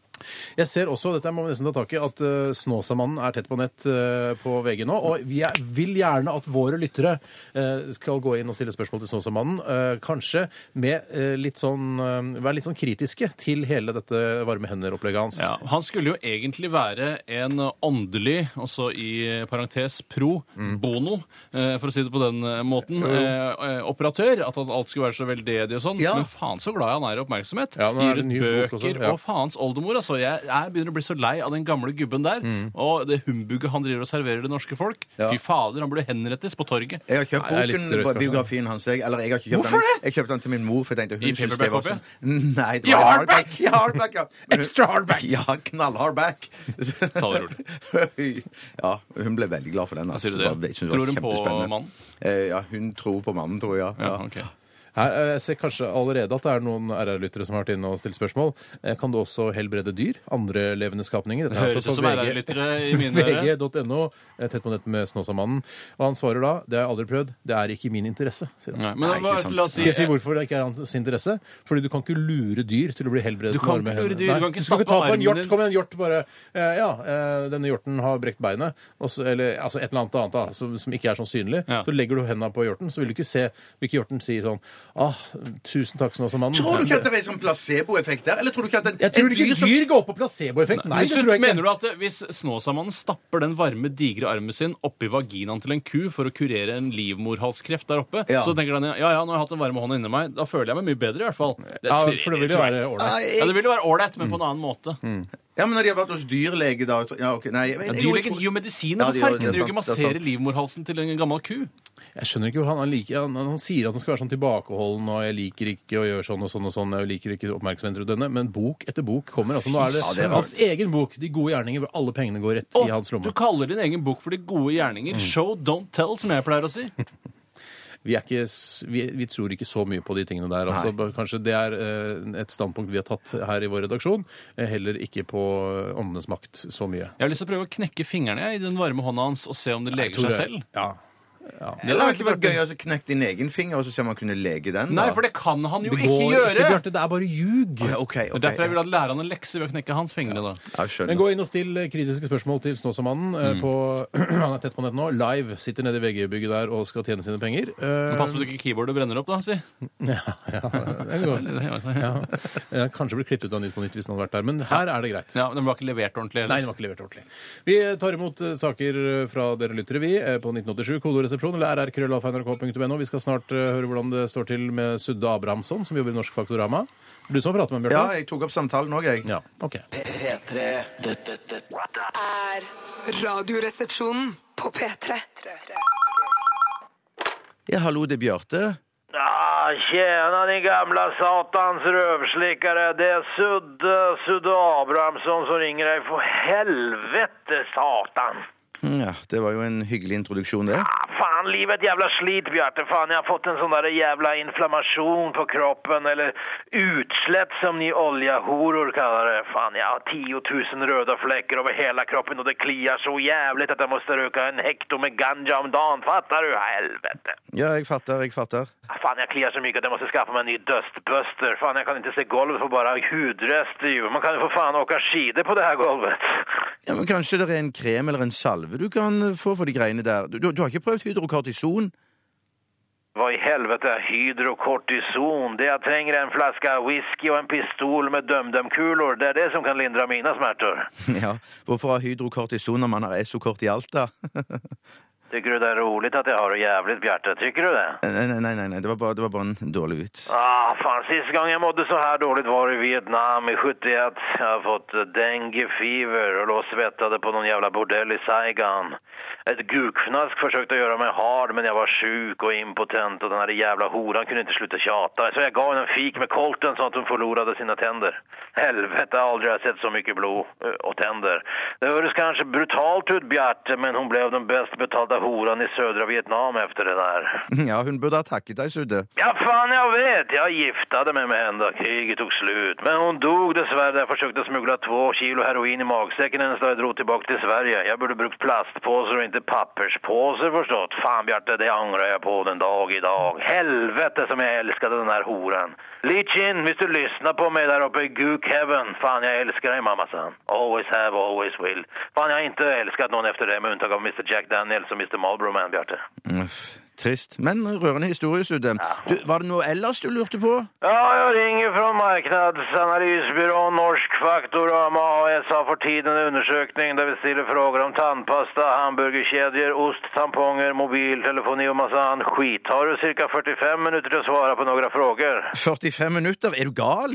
S3: Jeg ser også, dette må vi nesten ta tak i, at eh, Snåsamannen er tett på nett eh, på VG nå. Og vi er, vil gjerne at våre lyttere eh, skal gå inn og stille spørsmål til Snåsamannen. eh, kanskje med eh, litt sånn eh, Være litt sånn kritiske til hele dette varme hender-opplegget hans.
S5: Ja, han skulle jo egentlig være en åndelig, også i parentes pro,
S3: Mm.
S5: bono, eh, for å si det på den eh, måten, eh, eh, operatør. At alt skulle være så veldedig og sånn.
S4: Ja.
S5: Men faen så glad han er i oppmerksomhet.
S3: Ja, nå er det
S5: Gir ut
S3: ny bok
S5: bøker
S3: også, ja.
S5: og faens oldemor. Altså, jeg, jeg begynner å bli så lei av den gamle gubben der.
S3: Mm.
S5: Og det humbuget han driver og serverer det norske folk.
S4: Ja.
S5: Fy fader, han burde henrettes på torget.
S3: Eh,
S4: Jeg har kjøpt
S3: Nei, det er
S4: boken,
S3: litt drøyt, kanskje.
S4: biografien hans. Jeg, eller jeg har ikke kjøpt
S5: Hvorfor
S4: den. Jeg kjøpte den til min mor. for jeg tenkte
S5: I
S4: hun synes det var
S5: paperback-copy?
S4: sånn. Nei, det
S5: I
S4: var i
S5: hardback?
S4: hardback! I hardback, ja. Men hun-
S5: Extra hardback.
S4: [LAUGHS] Ja, knallhardback.
S5: [LAUGHS] Ta det rolig.
S4: [LAUGHS] Ja, hun ble veldig glad for den. Altså.
S5: sier du det?
S4: var- jeg synes det var
S5: Tror hun på
S4: kjempespennende.
S5: mannen?
S4: Eh, Ja, hun tror på mannen, tror jeg. Ja.
S5: Ja, ok.
S3: Her, eh, jeg ser kanskje allerede at det er noen RR-lyttere som har vært inne og stilt spørsmål. Eh, Kan du også helbrede dyr? Andre levende skapninger? Dette
S5: Det
S3: er
S5: høres
S3: altså på
S5: ut som
S3: VG.
S5: RR-lyttere i
S3: [LAUGHS]
S5: mine ører.
S3: VG.no, eh, tett på nett med Snåsamannen. Og han svarer da det har jeg aldri prøvd, det er ikke min interesse. sier han.
S5: Nei, Men hva-
S4: ikke sant.
S5: la oss
S3: Skal
S5: si
S3: jeg si hvorfor det ikke er hans interesse? Fordi du kan ikke lure dyr til å bli helbredet.
S5: Du kan
S3: med varme
S5: ikke lure
S3: hender.
S5: dyr, du
S3: Nei,
S5: kan ikke
S3: skal
S5: stappe
S3: ta på en
S5: armen
S3: hjort.
S5: din.
S3: Kom igjen, hjort, bare. eh, Ja, eh, denne hjorten har brekt beinet, og så- eller altså et eller annet annet da, som, som ikke er sånn synlig.
S5: Ja.
S3: Så legger du henda på hjorten, så vil du ikke se vil ikke hjorten si sånn ah, 'Tusen takk, Snåsamannen'.
S4: [LAUGHS] Tror du ikke at det er sånn placeboeffekt der? Eller tror du ikke at en,
S3: Jeg tror
S4: et
S3: ikke
S4: som-
S3: dyr går på placeboeffekt. Nei,
S5: Hvis
S3: det
S5: du-
S3: tror jeg ikke.
S5: Mener du at eh, hvis Snåsamannen stapper den varme, digre armen sin oppi vaginaen til en ku for å kurere en livmorhalskreft der oppe,
S4: Ja.
S5: så tenker han ja, ja, nå har jeg hatt den varme hånda inni meg, da føler jeg meg mye bedre i hvert fall. Det
S3: Ja,
S5: tror-
S3: for det vil jo
S5: tror jeg-
S3: være Mm. ålreit.
S4: Nei,
S5: Ja, det vil jo være ålreit, men på en annen måte.
S4: Ja, men når de har vært hos dyrlege, da tror- Ja, ok, nei jeg-
S5: Ja,
S4: jeg-
S5: Dyrlegen
S4: jeg-
S5: gir jo medisiner.
S4: Ja, de gjør det,
S5: Hvorfor kan
S4: det
S5: du
S4: er
S5: ikke
S4: sant, det er
S5: massere
S4: sant.
S5: livmorhalsen til en gammel ku?
S3: Jeg skjønner ikke, han, han, liker, han, han sier at han skal være sånn tilbakeholden og jeg liker ikke å gjøre sånn og sånn og sånn, jeg liker ikke oppmerksomhet rundt denne, men bok etter bok kommer. altså Nå er det,
S4: Ja, det er
S3: hans egen bok, De gode gjerninger, hvor alle pengene går rett
S5: Og
S3: i Mm. hans
S5: du
S3: lomme.
S5: kaller din egen bok for De gode gjerninger. Show, don't tell, som jeg pleier å si.
S3: Vi, er ikke, s- vi, vi tror ikke så mye på de tingene der. altså Bare Kanskje det er eh, et standpunkt vi har tatt her i vår redaksjon. eh, Heller ikke på eh, åndenes makt så mye.
S5: Jeg har lyst til å prøve å knekke fingrene jeg, i den varme hånda hans og se om det leger
S3: tror
S5: seg
S3: det.
S5: selv.
S4: Eller har det ikke vært gøy å så knekke din egen finger, og så ser man kunne lege den? da?
S5: Nei, for det kan han jo
S3: Det
S5: ikke
S3: går
S5: gjøre!
S3: ikke, Bjarte. Det er bare ljug.
S4: Ja, OK.
S5: Det
S4: ok.
S5: er derfor jeg vil at lære han en lekse ved å knekke hans fingre. da.
S4: Ja, jeg skjønner.
S3: Men gå inn og still eh, kritiske spørsmål til Snåsamannen. eh, på- [CLEARS THROAT] Han er tett på nett nå. Live. Sitter nede i VG-bygget der og skal tjene sine penger. Eh,
S5: Men Pass på
S4: Um,
S5: så ikke keyboardet brenner opp, da. si.
S3: [LAUGHS]
S5: altså.
S3: ja, det er godt.
S5: Ja,
S3: Ja. Eh, Kanskje blir klippet ut av Nytt på Nytt hvis den hadde vært der, men her er det greit.
S5: men Den var ikke levert
S3: Nei,
S5: ordentlig. Eller?
S3: den var ikke levert ordentlig. Vi tar imot eh, saker eh, fra dere lyttere, vi, eh, på 1987, kodoresepsjon eller rrkrøllalfa.nrk.no. Vi skal snart eh, høre hvordan det står til med Sudde Abrahamsson, som jobber i Norsk Faktorama. Du som prater med ham,
S4: Ja,
S3: Bjarte?
S4: jeg tok opp samtalen òg, jeg.
S3: Ja. ok.
S2: P3 Dette, dette, dette
S6: er Radioresepsjonen på P3.
S4: Ja, hallo, det er Bjarte.
S7: Ja, tjena din gamla satans rövslickare. Det är Sudde, Sudde Abrahamsson som ringer dig. För helvete satan!
S4: Mm, Ja, det var jo en hyggelig introduksjon, det.
S7: Ah, fan, livet jävla slit Bjarte. Fan, jag har fått en sån där jävla inflammation på kroppen. Eller utslätt som ni oljahoror kallar det. Fan, jag har 10 000 röda fläckar över hela kroppen och det kliar så jävligt att jag måste röka en hekto med ganja om dagen. Fattar du? Helvete!
S4: Ja, jeg fatter, jeg fatter.
S7: Ah, Fan, jag kliar så mycket att jag måste skaffa mig en ny dustbuster. Fan, jag kan inte se golvet på bara hudrester ju. Man kan ju för fan åka skidor på det här golvet.
S4: Ja, men Kanskje det er en krem eller en salve du kan eh, få for de greiene der. Du, du har ikke prøvd hydrokortison? [LAUGHS]
S7: Vad i helvete är hydrokortison? Det jag tränger är en flaska whisky och en pistol med dömdömkulor. Det är det som kan lindra mina smärtor.
S4: Ja, Hvorfor ha hydrokortison når man har esokort i Alta?
S7: Tycker du det är roligt att jag har det jävligt, Bjarte? Tycker du det?
S4: [LAUGHS] Nei, nei, nei, nei, nei. Det, var bare, det var bare en dårlig vits.
S7: Ah, fan, sista gången jag mådde så här dåligt var i Vietnam i 71. Jag har fått eh, dengue fever och låg och svettade på någon jävla bordell i Saigon. Ett gukfnask försökte göra mig hard men jag var sjuk och impotent och den här jävla horan kunde inte sluta tjata. Så jag gav henne en fik med kolten så att hon förlorade sina tänder. Helvete, aldrig har jag sett så mycket blod eh, och tänder. Det hördes kanske brutalt ut, Bjarte, men hon blev den bäst betalda horan i södra Vietnam efter det där.
S4: [LAUGHS] Ja, hun burde ha takket deg, Sudde.
S7: Ja, fan jag vet. Jag giftade mig med henne då kriget tog slut. Men hon dog dessvärre. Jag försökte smuggla två kilo heroin i magsäcken hennes då jag drog tillbaka till Sverige. Jag borde brukt plastpåsar och inte papperspåsar förstått. Fan Bjarte, det ångrar jag på den dag idag. Helvete som jag älskade den här horan. Leach in, om du lyssnar på mig där uppe i Gook Heaven. Fan jag älskar dig mamma san. Always have, always will. Fan jag har inte älskat någon efter dig med undantag av Mr Jack Daniels och Mr Marlboro Man Bjarte.
S4: Uff, Trist, men rørende historie, Sudde. Du, var det noe ellers du lurte på?
S7: Ja, jag ringer från marknadsanalysbyrån Norsk Faktorama AS har för tiden en undersökning där vi ställer frågor om tandpasta, hamburgerkedjor, ost, tamponger, mobiltelefoni och massa annan skit. Har du cirka 45 minuter till att svara på några frågor?
S4: 45 minutter? Er du gal?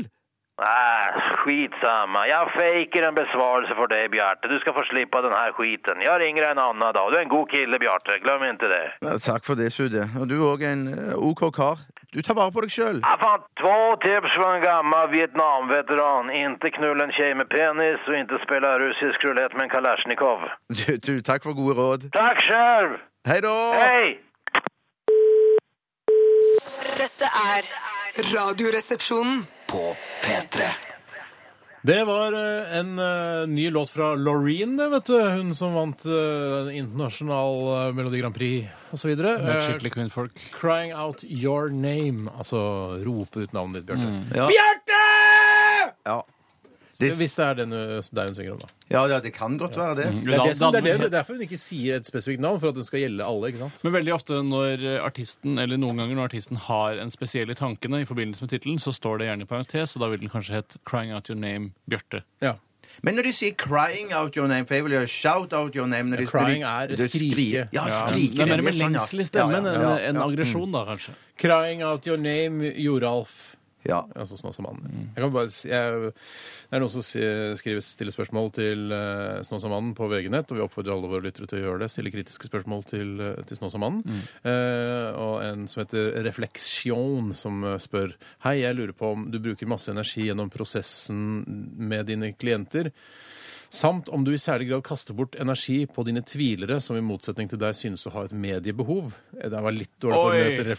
S7: Nej, skitsamma. Jag fejker en besvarelse för dig, Bjarte. Du ska få slippa den här skiten. Jag ringer en annan dag. Du är en god kille, Bjarte. Glöm inte det.
S4: Ja, takk for det, Sudde. Og du er òg en eh, OK kar. Du tar vare på deg sjøl.
S7: Ja, fan, två tips från en gammal Vietnamveteran. Inte knulla en tjej med penis och inte spela russisk roulette med en kalasjnikov.
S4: Du, du, takk for gode råd.
S7: Tack själv!
S4: Hei da!
S7: Hej!
S6: Dette er Radioresepsjonen.
S2: På P3
S3: Det var eh, en eh, ny låt fra Laureen, det, vet du. Hun som vant eh, internasjonal eh, Melodi Grand Prix osv.
S5: Det er skikkelig kvinnfolk.
S3: Eh, Crying out your name. Altså rope ut navnet ditt,
S5: Mm.
S3: Bjarte.
S4: Ja.
S3: Bjarte!
S4: Ja.
S3: Hvis det er den, eh, deg hun synger om, da.
S4: Ja, ja, det kan godt være
S5: Mm,
S4: det.
S3: Det er, det, som, det,
S5: Da-
S3: er det, det er derfor hun ikke sier et spesifikt navn, for at den skal gjelde alle. ikke sant?
S5: Men veldig ofte når artisten eller noen ganger når artisten har en spesiell i tankene i forbindelse med tittelen, så står det gjerne i parentes, og da vil den kanskje hett 'Crying Out Your Name Bjarte'.
S3: Ja.
S4: Men når de sier 'crying out your name', for jeg vil gjøre 'shout out your name' når de,
S3: Crying
S4: når de- de
S3: er skrike.
S4: skriker. Ja,
S5: Ja,
S4: skrike.
S5: det er mer
S4: de
S5: med
S4: sånn, ja.
S5: lengsel i stemmen
S4: Ja,
S5: enn
S4: ja, ja.
S5: enn aggresjon, da kanskje.
S3: Crying out your name, Joralf.
S4: Ja.
S3: Altså Snåsamannen. Jeg kan bare si, jeg, det er noen som si- skriver, stiller spørsmål til uh, Snåsamannen på VG-nett, og vi oppfordrer alle våre lyttere til å gjøre det. Stille kritiske spørsmål til, eh, til Snåsamannen. Eh, og en som heter Refleksjon, som eh, spør Hei, jeg lurer på om du bruker masse energi gjennom prosessen med dine klienter. Samt om du i særlig grad kaster bort energi på dine tvilere, som i motsetning til deg synes å ha et mediebehov. Eh, Det var litt dårlig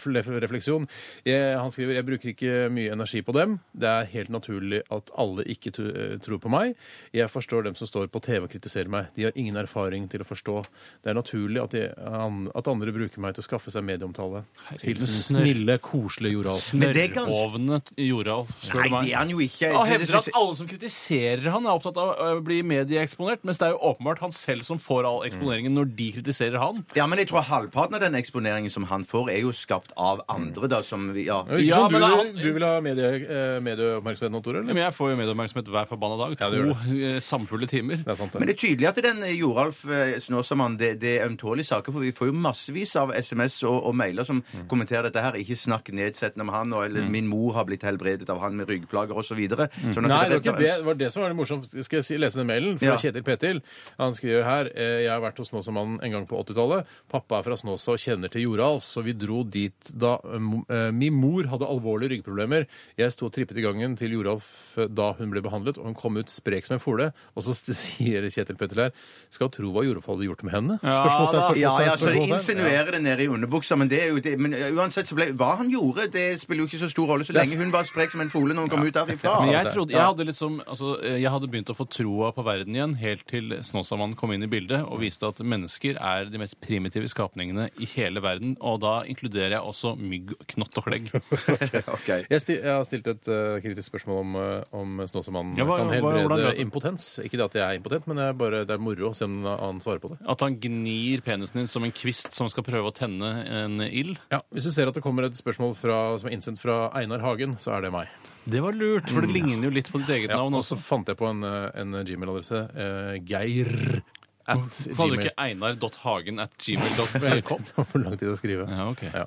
S3: formulert ref ref refleksjon. Jeg, han skriver jeg bruker ikke mye energi på dem. Det er helt naturlig at alle ikke tu- eh, tror på meg. Jeg forstår dem som står på TV og kritiserer meg. De har ingen erfaring til å forstå. Det er naturlig at, de, an, at andre bruker meg til å skaffe seg medieomtale. Hilsen
S5: snørr.
S3: snille, koselige Joralf.
S4: Mm. Men det er ganske-
S5: Snørrhovne Joralf, spør
S4: Nei,
S5: du meg.
S4: det er han jo ikke. Så
S5: Og
S4: det
S5: hevder at
S4: synes jeg-
S5: alle som kritiserer han, er opptatt av å bli medieeksponert, mens det er jo åpenbart han selv som får all eksponeringen når de kritiserer han.
S4: ja, men jeg tror halvparten av den eksponeringen som han får, er jo skapt av andre, da, som vi- Ja.
S3: Ikke
S5: Ja,
S3: som
S5: men
S3: du,
S5: han-
S3: du vil ha medie, eh, medieoppmerksomhet nå, Tore? eller?
S5: Men jeg får jo medieoppmerksomhet hver forbanna dag.
S3: Ja, det
S5: to
S3: gjør
S5: eh, samfulle timer.
S3: Det er sant, det.
S4: Men det er tydelig at den eh, Joralf eh, Snåsamann, det, det er ømtålige saker, for vi får jo massevis av SMS og, og mailer som
S3: Mm.
S4: kommenterer dette her. Ikke snakk nedsettende om han, og, eller 'min mor har blitt helbredet av han med ryggplager', osv. Sånn at
S3: Mm. Nei, det var
S4: det-
S3: ikke det. Det var det som var det morsomt. Skal jeg si, lese den mailen fra
S4: Ja.
S3: Kjetil Petil? Han skriver her eh, Jeg har vært hos Snåsamannen en gang på 80-tallet. Pappa er fra Snåsa og kjenner til Joralf, så vi dro dit da eh, mo- eh, min mor hadde alvorlige ryggproblemer. Jeg sto og trippet i gangen til Joralf eh, da hun ble behandlet, og hun kom ut sprek som en fole. Og så [LAUGHS] st- sier Kjetil Petil her Skal tro hva Joralf hadde gjort med henne?
S5: Ja,
S3: Spørsmålstegn,
S5: da.
S4: Ah, Ja, ja, så
S3: spørsmålstegn,
S4: det
S3: spørsmålstegn. Ja.
S4: insinuerer det nede i underbuksa, men det er jo det. Men uansett så ble Hva han gjorde, det spiller jo ikke så stor rolle så lenge hun var sprek som en fole når hun kom ut
S5: [LAUGHS]
S4: derifra.
S5: Men jeg, trodde, jeg, hadde liksom, altså, eh, jeg hadde begynt å få troa på verden igjen, helt til Snåsamannen kom inn i bildet og viste at mennesker er de mest primitive skapningene i hele verden. Og da inkluderer jeg også mygg, knott og klegg. [LAUGHS]
S4: [LAUGHS] Ok.
S3: Jeg, sti, jeg har stilt et eh, kritisk spørsmål om, eh, om Snåsamannen
S5: Ja, hva-
S3: kan
S5: hva- hvordan
S3: helbrede
S5: gjør det?
S3: impotens. Ikke det at jeg er impotent, men det er, bare, det er moro å se om han svarer på det.
S5: At han gnir penisen din som en kvist som skal prøve å tenne en ild.
S3: Ja, Hvis du ser at det kommer et spørsmål fra, som er innsendt fra Einar Hagen, så er det meg.
S5: Det var lurt, for det ligner jo litt på ditt eget
S3: Ja,
S5: navn
S3: og
S5: også.
S3: så fant jeg på en, eh, en Gmail-adresse. Eh, geir at
S5: Hvorfor hadde du
S3: gmail.
S5: ikke einar.hagen at
S3: [LAUGHS] Det
S5: gmail.com?
S3: var for lang tid å skrive.
S5: Ja, ok.
S3: Ja.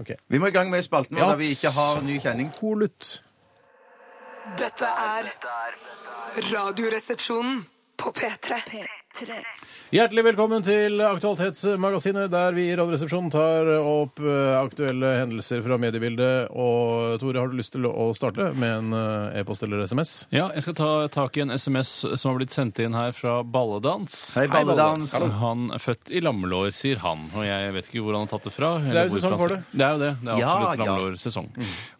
S3: Ok.
S4: Vi må i gang med spalten vår,
S3: Ja.
S4: da vi ikke har ny kjenning.
S3: Kolutt.
S6: Dette er Radioresepsjonen på P3.
S3: Hjertelig velkommen til Aktualitetsmagasinet, der vi i Radioresepsjonen tar opp eh, aktuelle hendelser fra mediebildet. Og Tore, har du lyst til å starte med en eh, e-post eller SMS?
S5: Ja, jeg skal ta tak i en SMS som har blitt sendt inn her fra Balledans.
S4: Hei, Balledans.
S5: Hallo. Han er født i lammelår, sier han. Og jeg vet ikke hvor han har tatt det fra.
S3: Det
S5: eller
S3: er jo
S5: hvor
S3: sesong
S5: fra han
S3: for
S5: ser-
S3: det. Mm.
S5: Det er jo det. Det er
S4: Ja,
S5: absolutt
S4: ja.
S5: lammelårsesong.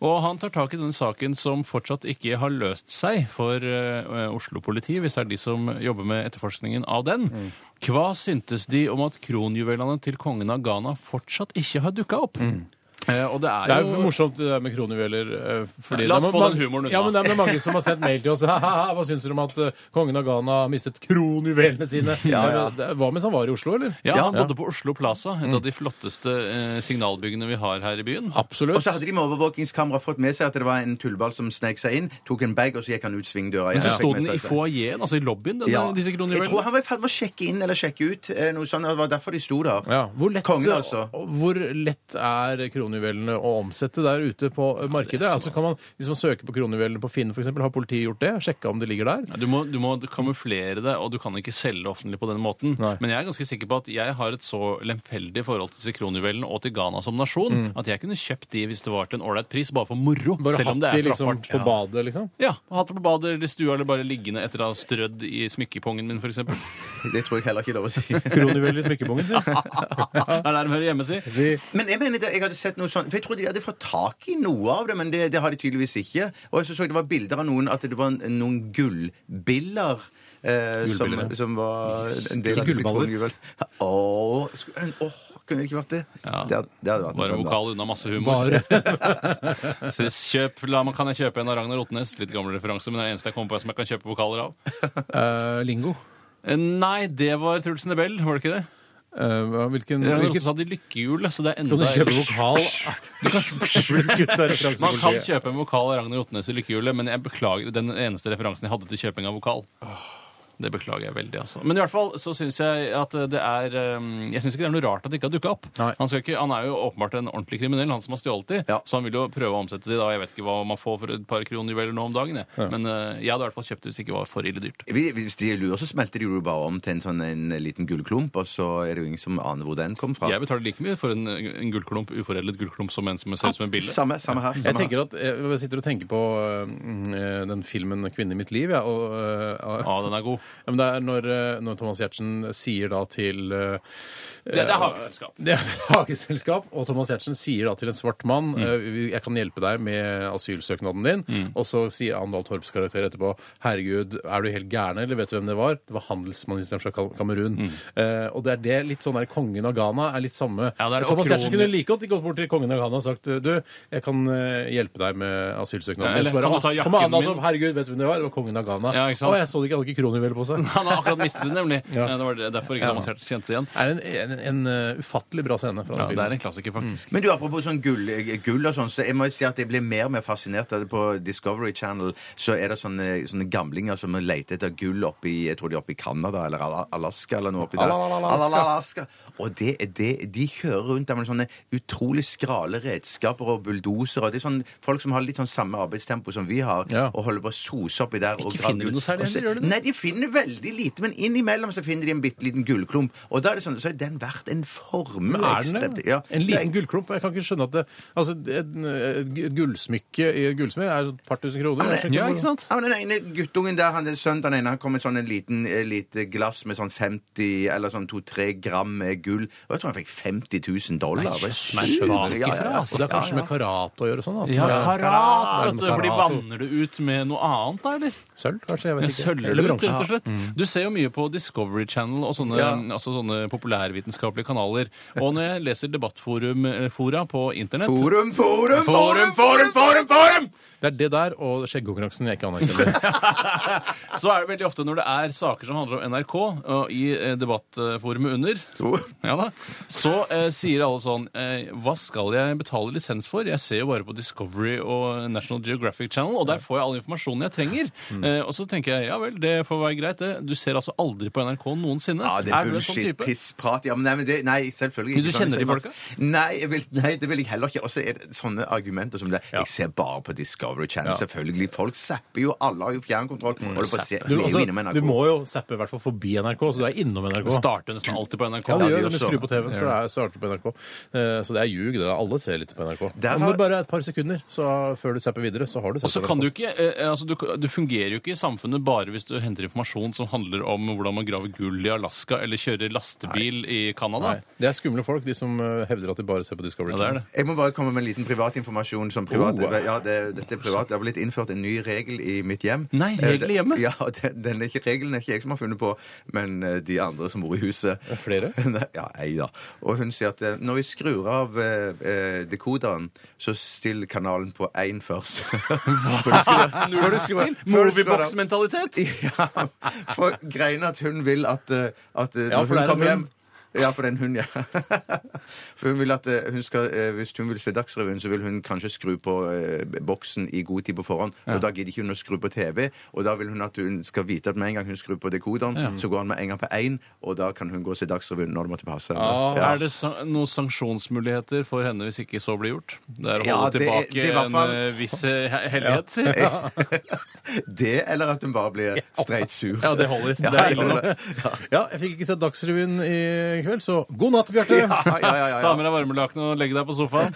S5: Og han tar tak i denne saken som fortsatt ikke har løst seg for eh, Oslo politi, hvis det er de som jobber med etterforskningen av den.
S3: Mm.
S5: Hva syntes de om at kronjuvelene til kongen av Ghana fortsatt ikke har dukka opp? Eh, og det er,
S3: Mm. Det er jo
S5: jo
S3: morsomt det der med kronjuveler. eh, Fordi
S5: La oss
S3: det er
S5: få
S3: man-
S5: den humoren unna.
S3: Ja, men det er mange som har sendt mail til oss. [LAUGHS] «Haha, Hva syns dere om at eh, kongen av Ghana har mistet kronjuvelene sine?
S5: [LAUGHS]
S4: Ja, ja.
S3: Nei, men det- Hva mens han var i Oslo, eller?
S5: Ja, han bodde på Oslo Plaza, et av de flotteste eh, signalbyggene vi har her i byen.
S4: Og
S3: Absolutt.
S4: så hadde de med overvåkingskamera fått med seg at det var en tullball som snek seg inn, tok en bag, og så gikk han ut svingdøra.
S5: Men så
S4: igjen.
S5: sto
S4: Fikk med
S5: den i
S4: seg-
S5: foajeen, altså i lobbyen, denne,
S4: Ja.
S5: disse
S4: Jeg tror
S5: kronjuvelene.
S4: han var i ferd med å sjekke inn eller sjekke ut. eh, Noe sånt, og det var derfor de sto der.
S3: Ja. Hvor, lett,
S4: Kongen, altså.
S3: og- hvor lett er kronjuvelene å omsette der ute på eh, markedet? altså, kan man, Hvis man søker på kronjuvelene på Finn, for eksempel, har politiet gjort det? Sjekka om de ligger der?
S5: Ja, Du må, du må kamuflere det, og du kan ikke selge offentlig på den måten.
S3: Nei.
S5: Men jeg er ganske sikker på at jeg har et så lemfeldig forhold til disse kronjuvelene og til Ghana som nasjon at jeg kunne kjøpt de hvis det var til en ålreit pris, bare for moro.
S3: Mm. Bare
S5: selv om
S3: hatt
S5: det
S3: de
S5: er
S3: liksom,
S5: straffbart.
S3: på badet, liksom?
S5: Ja, Hatt det på badet eller i stua eller bare liggende etter å ha strødd i smykkepongen min,
S3: [LAUGHS]
S5: f.eks.
S4: Det tror jeg heller ikke er lov å si.
S5: [LAUGHS]
S3: Kronjuveler i smykkebongen sin?
S5: Det er der de hører hjemme, si.
S4: Men jeg mener, det- jeg hadde sett noe noe sånt. For jeg trodde de hadde fått tak i noe av det, men det, det har de tydeligvis ikke. Og jeg så så jeg det var bilder av noen at det var en- noen gullbiller. Eh, som,
S3: Gullbiller, ja.
S4: som var en del av
S3: Ikke gullballer.
S4: disse kronjuvel- Åh, skulle- åh, kunne det ikke vært det?
S5: Ja.
S4: Det, hadde- det hadde vært
S5: Bare
S4: noe bra.
S5: vokal unna masse humor.
S3: Bare
S5: Så Kjøp, la meg, kan jeg kjøpe en av Ragnar Otnes? Litt gammel referanse, men det er den eneste jeg kommer på som jeg kan kjøpe vokaler av.
S3: eh, lingo.
S5: Eh, Nei, det var Truls Nebel, var det ikke det?
S3: Eh, hva- hvilken,
S5: Ragnar
S3: hvilken
S5: Otnes hadde lykkehjul, så det er
S3: Kan du
S5: enda
S3: kjøpe
S5: [LAUGHS]
S3: vokal? Du [LAUGHS] kan bli skutt av
S5: Man kan
S3: referansepolitiet.
S5: kjøpe en vokal av Ragnar Otnes i lykkehjulet, men jeg beklager den eneste referansen jeg hadde til kjøping av vokal. Det beklager jeg veldig, altså. Men i hvert fall så syns jeg at det er eh, Jeg syns ikke det er noe rart at det ikke har dukka opp.
S3: Nei.
S5: Han, skal ikke, han er jo åpenbart en ordentlig kriminell, han som har stjålet de.
S4: Ja.
S5: Så han vil jo prøve å omsette de, da. Jeg vet ikke hva man får for et par kronjuveler nå om dagen, jeg. Men eh, jeg hadde i hvert fall kjøpt det hvis det ikke var for ille dyrt.
S4: Vi- Hvis de lurer, så smelter de jo bare om til en sånn en liten gullklump, og så er det jo ingen som aner hvor den kom fra.
S5: Jeg betaler like mye for en, en gullklump, uforedlet gullklump som en som ser ut som en bille.
S4: Samme, samme her. Samme her.
S3: Jeg tenker at eh, jeg sitter og tenker på eh, den filmen 'Kvinne i mitt liv'. Ja, og, eh,
S5: Ja, den er god.
S3: ja, men det er når, eh, når Thomas Giertsen sier da til eh,
S5: Det, det er hageselskap.
S3: [LAUGHS] Det er et hageselskap, og Thomas Giertsen sier da til en svart mann
S5: Mm.
S3: eh, 'Jeg kan hjelpe deg med asylsøknaden din', og så sier Andal Torps karakter etterpå 'Herregud, er du helt gæren, eller vet du hvem det var?' Det var handelsministeren fra Kam- Kamerun.
S5: Mm.
S3: Eh, og det er det litt sånn der kongen av Ghana er litt samme.
S5: Ja, det er det, og
S3: Thomas Giertsen
S5: kronen-
S3: kunne like godt gått bort til kongen av Ghana og sagt 'Du, jeg kan eh, hjelpe deg med asylsøknaden'.
S5: Ja,
S3: din.»
S5: eller,
S3: Så bare,
S5: kan du
S3: «Å,
S5: ta jakken
S3: kommer Andal
S5: min?»
S3: Torp, 'Herregud, vet du hvem det var?' Det var kongen av Ghana.
S5: Ja, ikke sant?
S3: Å, jeg så det ikke, hadde ikke kronjuvel
S5: [LAUGHS]
S3: på seg.
S5: Han har akkurat mistet det, nemlig.
S3: Ja.
S5: Eh, Det var det- derfor ikke
S3: Ja.
S5: Thomas Hertz kjente igjen.
S3: Det er en, en, en eh, ufattelig bra scene fra den
S5: Ja, det er
S3: filmen.
S5: en klassiker, faktisk.
S4: Men du, apropos sånn gull, gull og sånn, så jeg må jo si at jeg ble mer og mer fascinert av det på Discovery Channel. Så er det sånne, sånne gamlinger som leter etter gull oppe i jeg tror de er oppe i Canada eller Ala- Alaska eller noe oppi der.
S3: Ala-la-la-la-Alaska.
S4: Ala-la-la-Alaska. Og det, er det, de kjører rundt der med sånne utrolig skrale redskaper og bulldosere. Det er sånn folk som har litt sånn samme arbeidstempo som vi har,
S3: Ja.
S4: og holder på å sose oppi der. og
S5: Ikke
S4: grave
S5: finner du
S4: gull.
S5: noe særlig
S4: Og så-
S5: heller, gjør du det?
S4: Nei, de finner veldig lite, men innimellom så finner de en bitte liten gullklump. Og da er det sånn, så er den verdt en formue.
S3: Men er den
S4: ekstremt-
S3: det?
S4: Ja.
S3: En liten gullklump? Jeg kan ikke skjønne at det Altså, et, et gullsmykke i et gullsmed er et par tusen kroner. Jeg skjønner
S5: Ja,
S3: hvor-
S5: ikke sant?
S4: Ja, men Den ene guttungen der, han er sønn, den ene, han kom med sånn en liten eh, lite glass med sånn 50 eller sånn 2-3 gram med gull. Og jeg tror han fikk 50 000 dollar.
S5: Nei,
S4: Bare
S5: skjønner
S4: skjønner.
S5: ikke
S4: Ja,
S5: fra,
S4: ja, ja.
S5: altså.
S3: Og det har kanskje
S4: Ja,
S3: med karat å gjøre sånn? At
S5: Mm. Ja,
S3: det er
S5: karat!
S3: karat,
S5: Vet du, for de
S3: karat.
S5: vanner det ut med noe annet, da, eller?
S3: Sølv, kanskje? Jeg vet ikke.
S5: Sølver
S3: Eller Mm.
S5: det ut,
S3: bronse.
S5: rett og slett. Du ser jo mye på Discovery Channel og sånne,
S4: Ja.
S5: altså sånne populærvitenskapelige kanaler. Og når jeg leser debattfora på internett
S4: Forum, forum,
S5: Forum, forum, forum, forum!
S3: Det er det der og skjeggkonkurransen jeg ikke
S5: [LAUGHS]
S3: anerkjenner.
S5: Så er det veldig ofte når det er saker som handler om NRK, og i eh, debattforumet under, [LAUGHS] ja da, så eh, sier alle sånn eh, Hva skal jeg betale lisens for? Jeg ser jo bare på Discovery og National Geographic Channel, og der får jeg all informasjonen jeg trenger. Eh, og så tenker jeg ja vel, det får være greit, det. Du ser altså aldri på NRK noensinne.
S4: Ja, det
S5: Er
S4: er
S5: du en sånn
S4: bullshit,
S5: type?
S4: pissprat. Ja, men nei, men det, nei, selvfølgelig
S5: Men du
S4: sånn.
S5: kjenner de folka?
S4: Nei, jeg vil, nei, det vil jeg heller ikke. Og så er det sånne argumenter som det. Jeg ser bare på Discovery Channel, selvfølgelig. Folk zapper jo, alle har jo fjernkontroll.
S5: Mm.
S4: Holder på å se-
S3: Du,
S4: Vi er jo inne med
S3: altså, du
S4: NRK.
S3: må jo zappe i hvert fall forbi NRK, så du er innom
S5: Det
S3: NRK.
S5: starter nesten alltid på NRK.
S3: Ja, det
S4: Ja,
S3: gjør
S4: det
S3: det. Du
S4: gjør
S3: skrur
S4: så.
S3: på TV-en, så er starter på NRK. Eh, Så det er ljug. det. Alle ser litt på NRK.
S4: Der
S3: Om
S4: har-
S3: det bare er et par sekunder så før du zapper videre, så har du
S5: Og så kan du ikke, eh, altså du, du fungerer jo ikke i samfunnet bare hvis du henter informasjon som handler om hvordan man graver gull i Alaska eller kjører lastebil i Canada.
S3: Nei. Det er skumle folk, de som eh, hevder at de bare ser på Discovery.
S5: Ja, det er det.
S4: Jeg må bare komme med en liten privatinformasjon som privat.
S3: Oh.
S4: Ja, det, dette er privat. Det har blitt innført en ny regel i mitt hjem.
S5: Nei,
S4: Eh,
S5: regel i hjemmet?
S4: Ja, [LAUGHS] den, den er ikke, regelen er ikke jeg som har funnet på, men eh, de andre som bor i huset.
S3: det flere?
S4: [LAUGHS] Nei, ja, ei da. Og hun sier at eh, når vi skrur av eh, eh, dekoderen, så still kanalen på én først. [LAUGHS] For du
S3: [LAUGHS]
S4: skrur- for du skrur- for du skrur av-
S5: Moviebox-mentalitet!
S4: [LAUGHS] Ja, for greien er at hun vil at, eh, at eh,
S3: Ja,
S4: når
S3: for det er
S4: hun
S3: en
S4: kommer hjem
S3: hund.
S4: ja, for det er en hund, ja. For hun vil at eh, hun skal, eh, Hvis hun vil se Dagsrevyen, så vil hun kanskje skru på eh, boksen i god tid på forhånd. Og da gidder ikke hun å skru på TV, og da vil hun at hun skal vite at med en gang hun skrur på dekoderen, så går han med en gang på én, og da kan hun gå og se Dagsrevyen når det måtte passe.
S3: Ah,
S4: Ja.
S5: Er det sa- noen sanksjonsmuligheter for henne hvis ikke så blir gjort? Det er å holde
S4: Ja, det-
S5: tilbake
S4: det er i hvert fall-
S5: en eh, viss eh, he- hellighet, sier jeg.
S4: Det, eller at hun bare blir streit sur.
S5: Ja, det holder. Det
S4: Ja,
S5: er ille nok.
S3: Ja, jeg fikk ikke sett Dagsrevyen i
S5: [LAUGHS]
S3: kveld, så god natt, Bjarte!
S4: [LAUGHS] Ja, ja, ja, ja,
S5: Ta
S4: ja.
S5: med deg varmelakenet og legg deg på sofaen.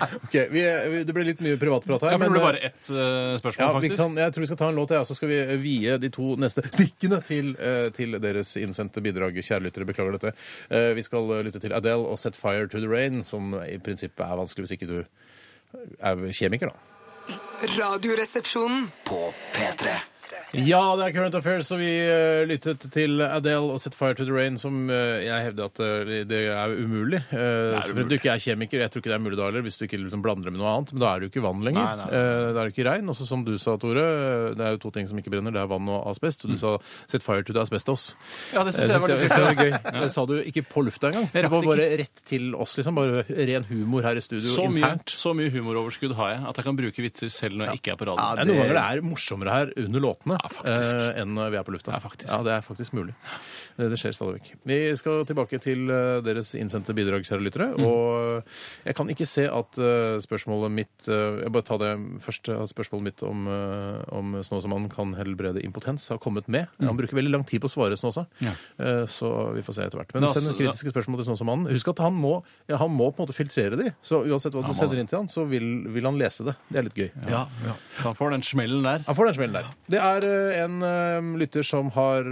S3: Ok, vi, vi, Det ble litt mye privatprat her.
S5: Ja, for det
S3: men,
S5: ble bare ett eh, spørsmål,
S3: ja, vi
S5: faktisk.
S3: kan, jeg tror vi skal ta en låt, ja, så skal vi eh, vie de to neste stikkene til, eh, til deres innsendte bidrag. Kjære lyttere, beklager dette. Eh, Vi skal eh, lytte til Adele og Set Fire to the Rain, som i prinsippet er vanskelig hvis ikke du er kjemiker, da.
S6: Radioresepsjonen.
S2: På P3.
S3: Ja, det er Current Affairs, og vi eh, lyttet til Adele og Set Fire to the Rain, som eh, jeg hevder at eh, det er umulig. Eh, Selvfølgelig du ikke er kjemiker, jeg tror ikke det er mulig da heller, hvis du ikke liksom blander det med noe annet, men da er det jo ikke vann lenger.
S5: Nei, nei, nei.
S3: Eh, Det er jo ikke regn. Også som du sa, Tore, eh, det er jo to ting som ikke brenner, det er vann og asbest. Og du sa Set Fire to the Asbestos. Eh,
S5: Ja, Mm. det
S3: Det
S5: synes jeg var
S3: synes
S5: litt
S3: jeg var gøy. Det sa du ikke på lufta engang.
S5: Jeg
S3: Det
S5: rakk
S3: var
S5: det
S3: bare rett til oss, liksom. Bare ren humor her i studio
S5: så mye,
S3: internt.
S5: så mye humoroverskudd har jeg at jeg kan bruke vitser selv når jeg ikke er på radio.
S3: Det er noen ganger det er morsommere her under låtene
S5: Ja, faktisk.
S3: eh, enn når vi er på lufta.
S5: Ja, faktisk.
S3: Ja, det er faktisk mulig. Eh, Det, det skjer stadig vekk. Vi skal tilbake til eh, deres innsendte bidrag, kjære lyttere.
S5: Mm.
S3: Og eh, jeg kan ikke se at eh, spørsmålet mitt eh, Jeg bare tar det først. eh, At spørsmålet mitt om, eh, om Snåsamannen kan helbrede impotens har kommet med. Han bruker veldig lang tid på å svare, Snåsa.
S5: Mm. Ja.
S3: Eh, Så vi får se etter hvert. Men
S5: Da-
S3: send kritiske spørsmål til Snåsamannen. Husk at han må, ja, han må på en måte filtrere de. Så uansett hva du
S5: Han må
S3: sender
S5: det.
S3: inn til han, så vil, vil han lese det. Det er litt gøy.
S5: Ja, Så han får den smellen der.
S3: Han får den smellen der. Det er eh, en eh, lytter som har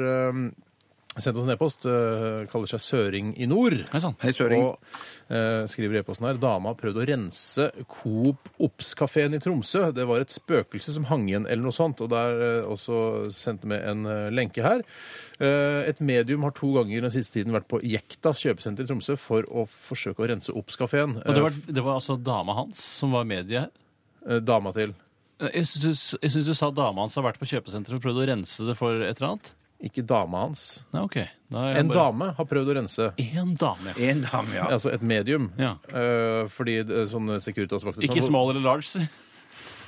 S3: eh, sendt oss en e-post. eh, kaller seg Søring i nord.
S5: Nei sann.
S4: Hei, Søring.
S3: Og eh, skriver i e-posten her dama har prøvd å rense Coop Ops-kafeen i Tromsø. Det var et spøkelse som hang igjen, eller noe sånt. Og det er eh, også sendt med en eh, lenke her. Eh, et medium har to ganger den siste tiden vært på Jektas kjøpesenter i Tromsø for å forsøke å rense Ops-kafeen.
S5: Og det var, det var altså dama hans som var medie her.
S3: Eh, dama til.
S5: Eh, Jeg syns du, jeg syns du sa dama hans har vært på kjøpesenteret og prøvd å rense det for et eller annet.
S3: Ikke dama hans.
S5: Nei, ok. Da er jeg
S3: En
S5: bare-
S3: dame har prøvd å rense.
S5: En dame. ja.
S4: En dame, ja.
S3: Altså et medium.
S5: Ja.
S3: Eh, fordi det, sånn Securitas-vakter
S5: Ikke
S3: sånn-
S5: small eller large, si.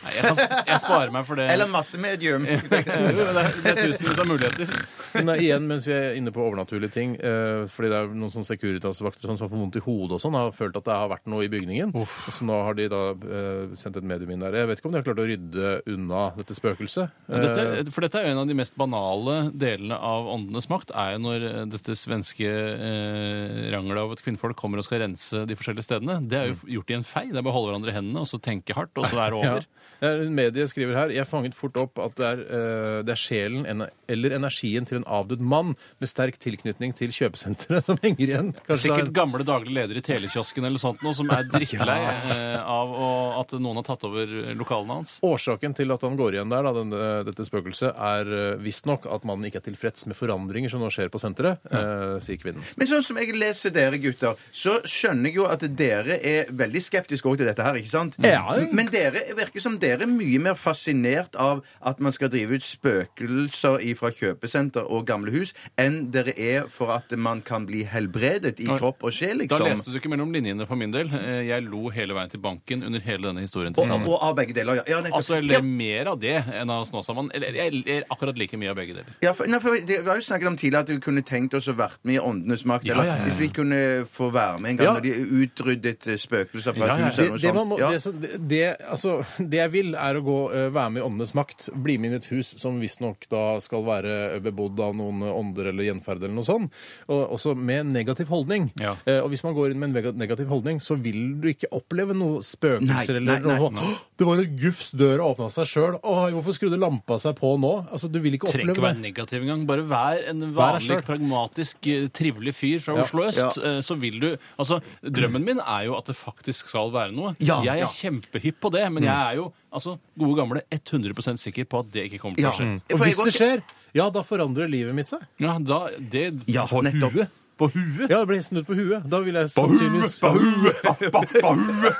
S5: Nei, jeg, kan, jeg sparer meg for det.
S4: Eller massemedium.
S5: det, er, det er tusenvis av muligheter.
S3: Men da, igjen, mens vi er inne på overnaturlige ting eh, Fordi det er noen sånne Securitas-vakter sånn, som har fått vondt i hodet og sånn, har følt at det har vært noe i bygningen. Så nå har de da eh, sendt et medium inn der. Jeg vet ikke om de har klart å rydde unna dette spøkelset.
S5: Men
S3: Eh,
S5: Dette, for dette er jo en av de mest banale delene av åndenes makt, er jo når eh, dette svenske eh, ranglet av et kvinnfolk kommer og skal rense de forskjellige stedene. Det er jo f- gjort i en fei. Det er bare å holde hverandre i hendene og så tenke hardt, og så er
S3: ja.
S5: det over.
S3: Eh, Mediet skriver her Jeg fanget fort opp at det er, eh, det er sjelen en, eller energien til en avdød mann med sterk tilknytning til kjøpesenteret [LAUGHS] som henger igjen. Kanskje det er-
S5: Sikkert gamle daglige ledere i telekiosken eller sånt noe, som er drittlei eh, av å, at noen har tatt over lokalene hans.
S3: Årsaken til at han går igjen der, da, denne, dette spøkelset, er eh, visstnok at mannen ikke er tilfreds med forandringer som nå skjer på senteret, eh, sier kvinnen.
S4: Men sånn som jeg leser dere, gutter, så skjønner jeg jo at dere er veldig skeptiske også til dette her, ikke sant?
S3: Ja.
S4: Men dere virker som dere er mye mer fascinert av at man skal drive ut spøkelser fra kjøpesenter og gamle hus, enn dere er for at man kan bli helbredet i
S5: Oi.
S4: kropp og sjel,
S5: Da
S3: sånn.
S4: liksom.
S5: leste du ikke mellom linjene for min del. Eh, Jeg lo hele veien til banken under hele denne historien til
S4: Og,
S5: Snåsamannen.
S4: og av begge deler, ja. ja nettopp.
S5: sånn. Altså, jeg
S4: Ja,
S5: ler mer av det enn av Snåsamannen. Eller jeg ler akkurat like mye av begge deler.
S4: Ja, for, nei, for det, Vi har jo snakket om tidligere at du kunne tenkt oss å vært med i Åndenes makt.
S5: Ja,
S4: eller
S5: ja, ja, ja.
S4: Hvis vi kunne få være med en gang
S3: Ja.
S4: når de utryddet eh, spøkelser fra
S5: Ja,
S4: et
S5: ja, ja.
S4: hus
S3: Det,
S4: eller noe
S3: det, man
S4: sånt.
S3: må,
S4: Ja.
S3: det, som, det, det, altså, det jeg vil, er å gå, eh, være med i Åndenes makt, bli med inn i et hus som visstnok da skal være bebodd av noen eh, ånder eller gjenferd eller noe sånt, og, også med negativ holdning.
S5: Ja.
S3: Eh, og hvis man går inn med en vega- negativ holdning, så vil du ikke oppleve noe spøkelser
S4: Nei,
S3: eller
S4: nei,
S3: noe.
S4: nei.
S3: «Åh, Det var en gufs dør og åpna seg sjøl. Hvorfor skrudde lampa seg på nå? Altså, du vil ikke
S5: Trenger ikke
S3: oppleve det.
S5: være negativ engang. Bare vær en
S3: Vær deg
S5: vanlig,
S3: selv.
S5: pragmatisk, eh, trivelig fyr fra
S3: Ja,
S5: Oslo øst. eh, Så vil du Altså, drømmen min er jo at det faktisk skal være noe.
S4: Ja,
S5: jeg
S4: ja.
S5: er kjempehypp på det, men jeg
S3: Mm.
S5: er jo altså, gode gamle 100 sikker på at det ikke kommer til
S4: Ja.
S5: å skje.
S3: Og
S4: For jeg
S3: hvis det
S4: går-
S3: skjer, ja, da forandrer livet mitt seg.
S5: Ja, da Det
S4: Ja,
S5: på
S4: nettopp.
S5: huet. På huet.
S3: Ja, det blir snudd på huet. Da vil jeg sannsynligvis
S5: [LAUGHS]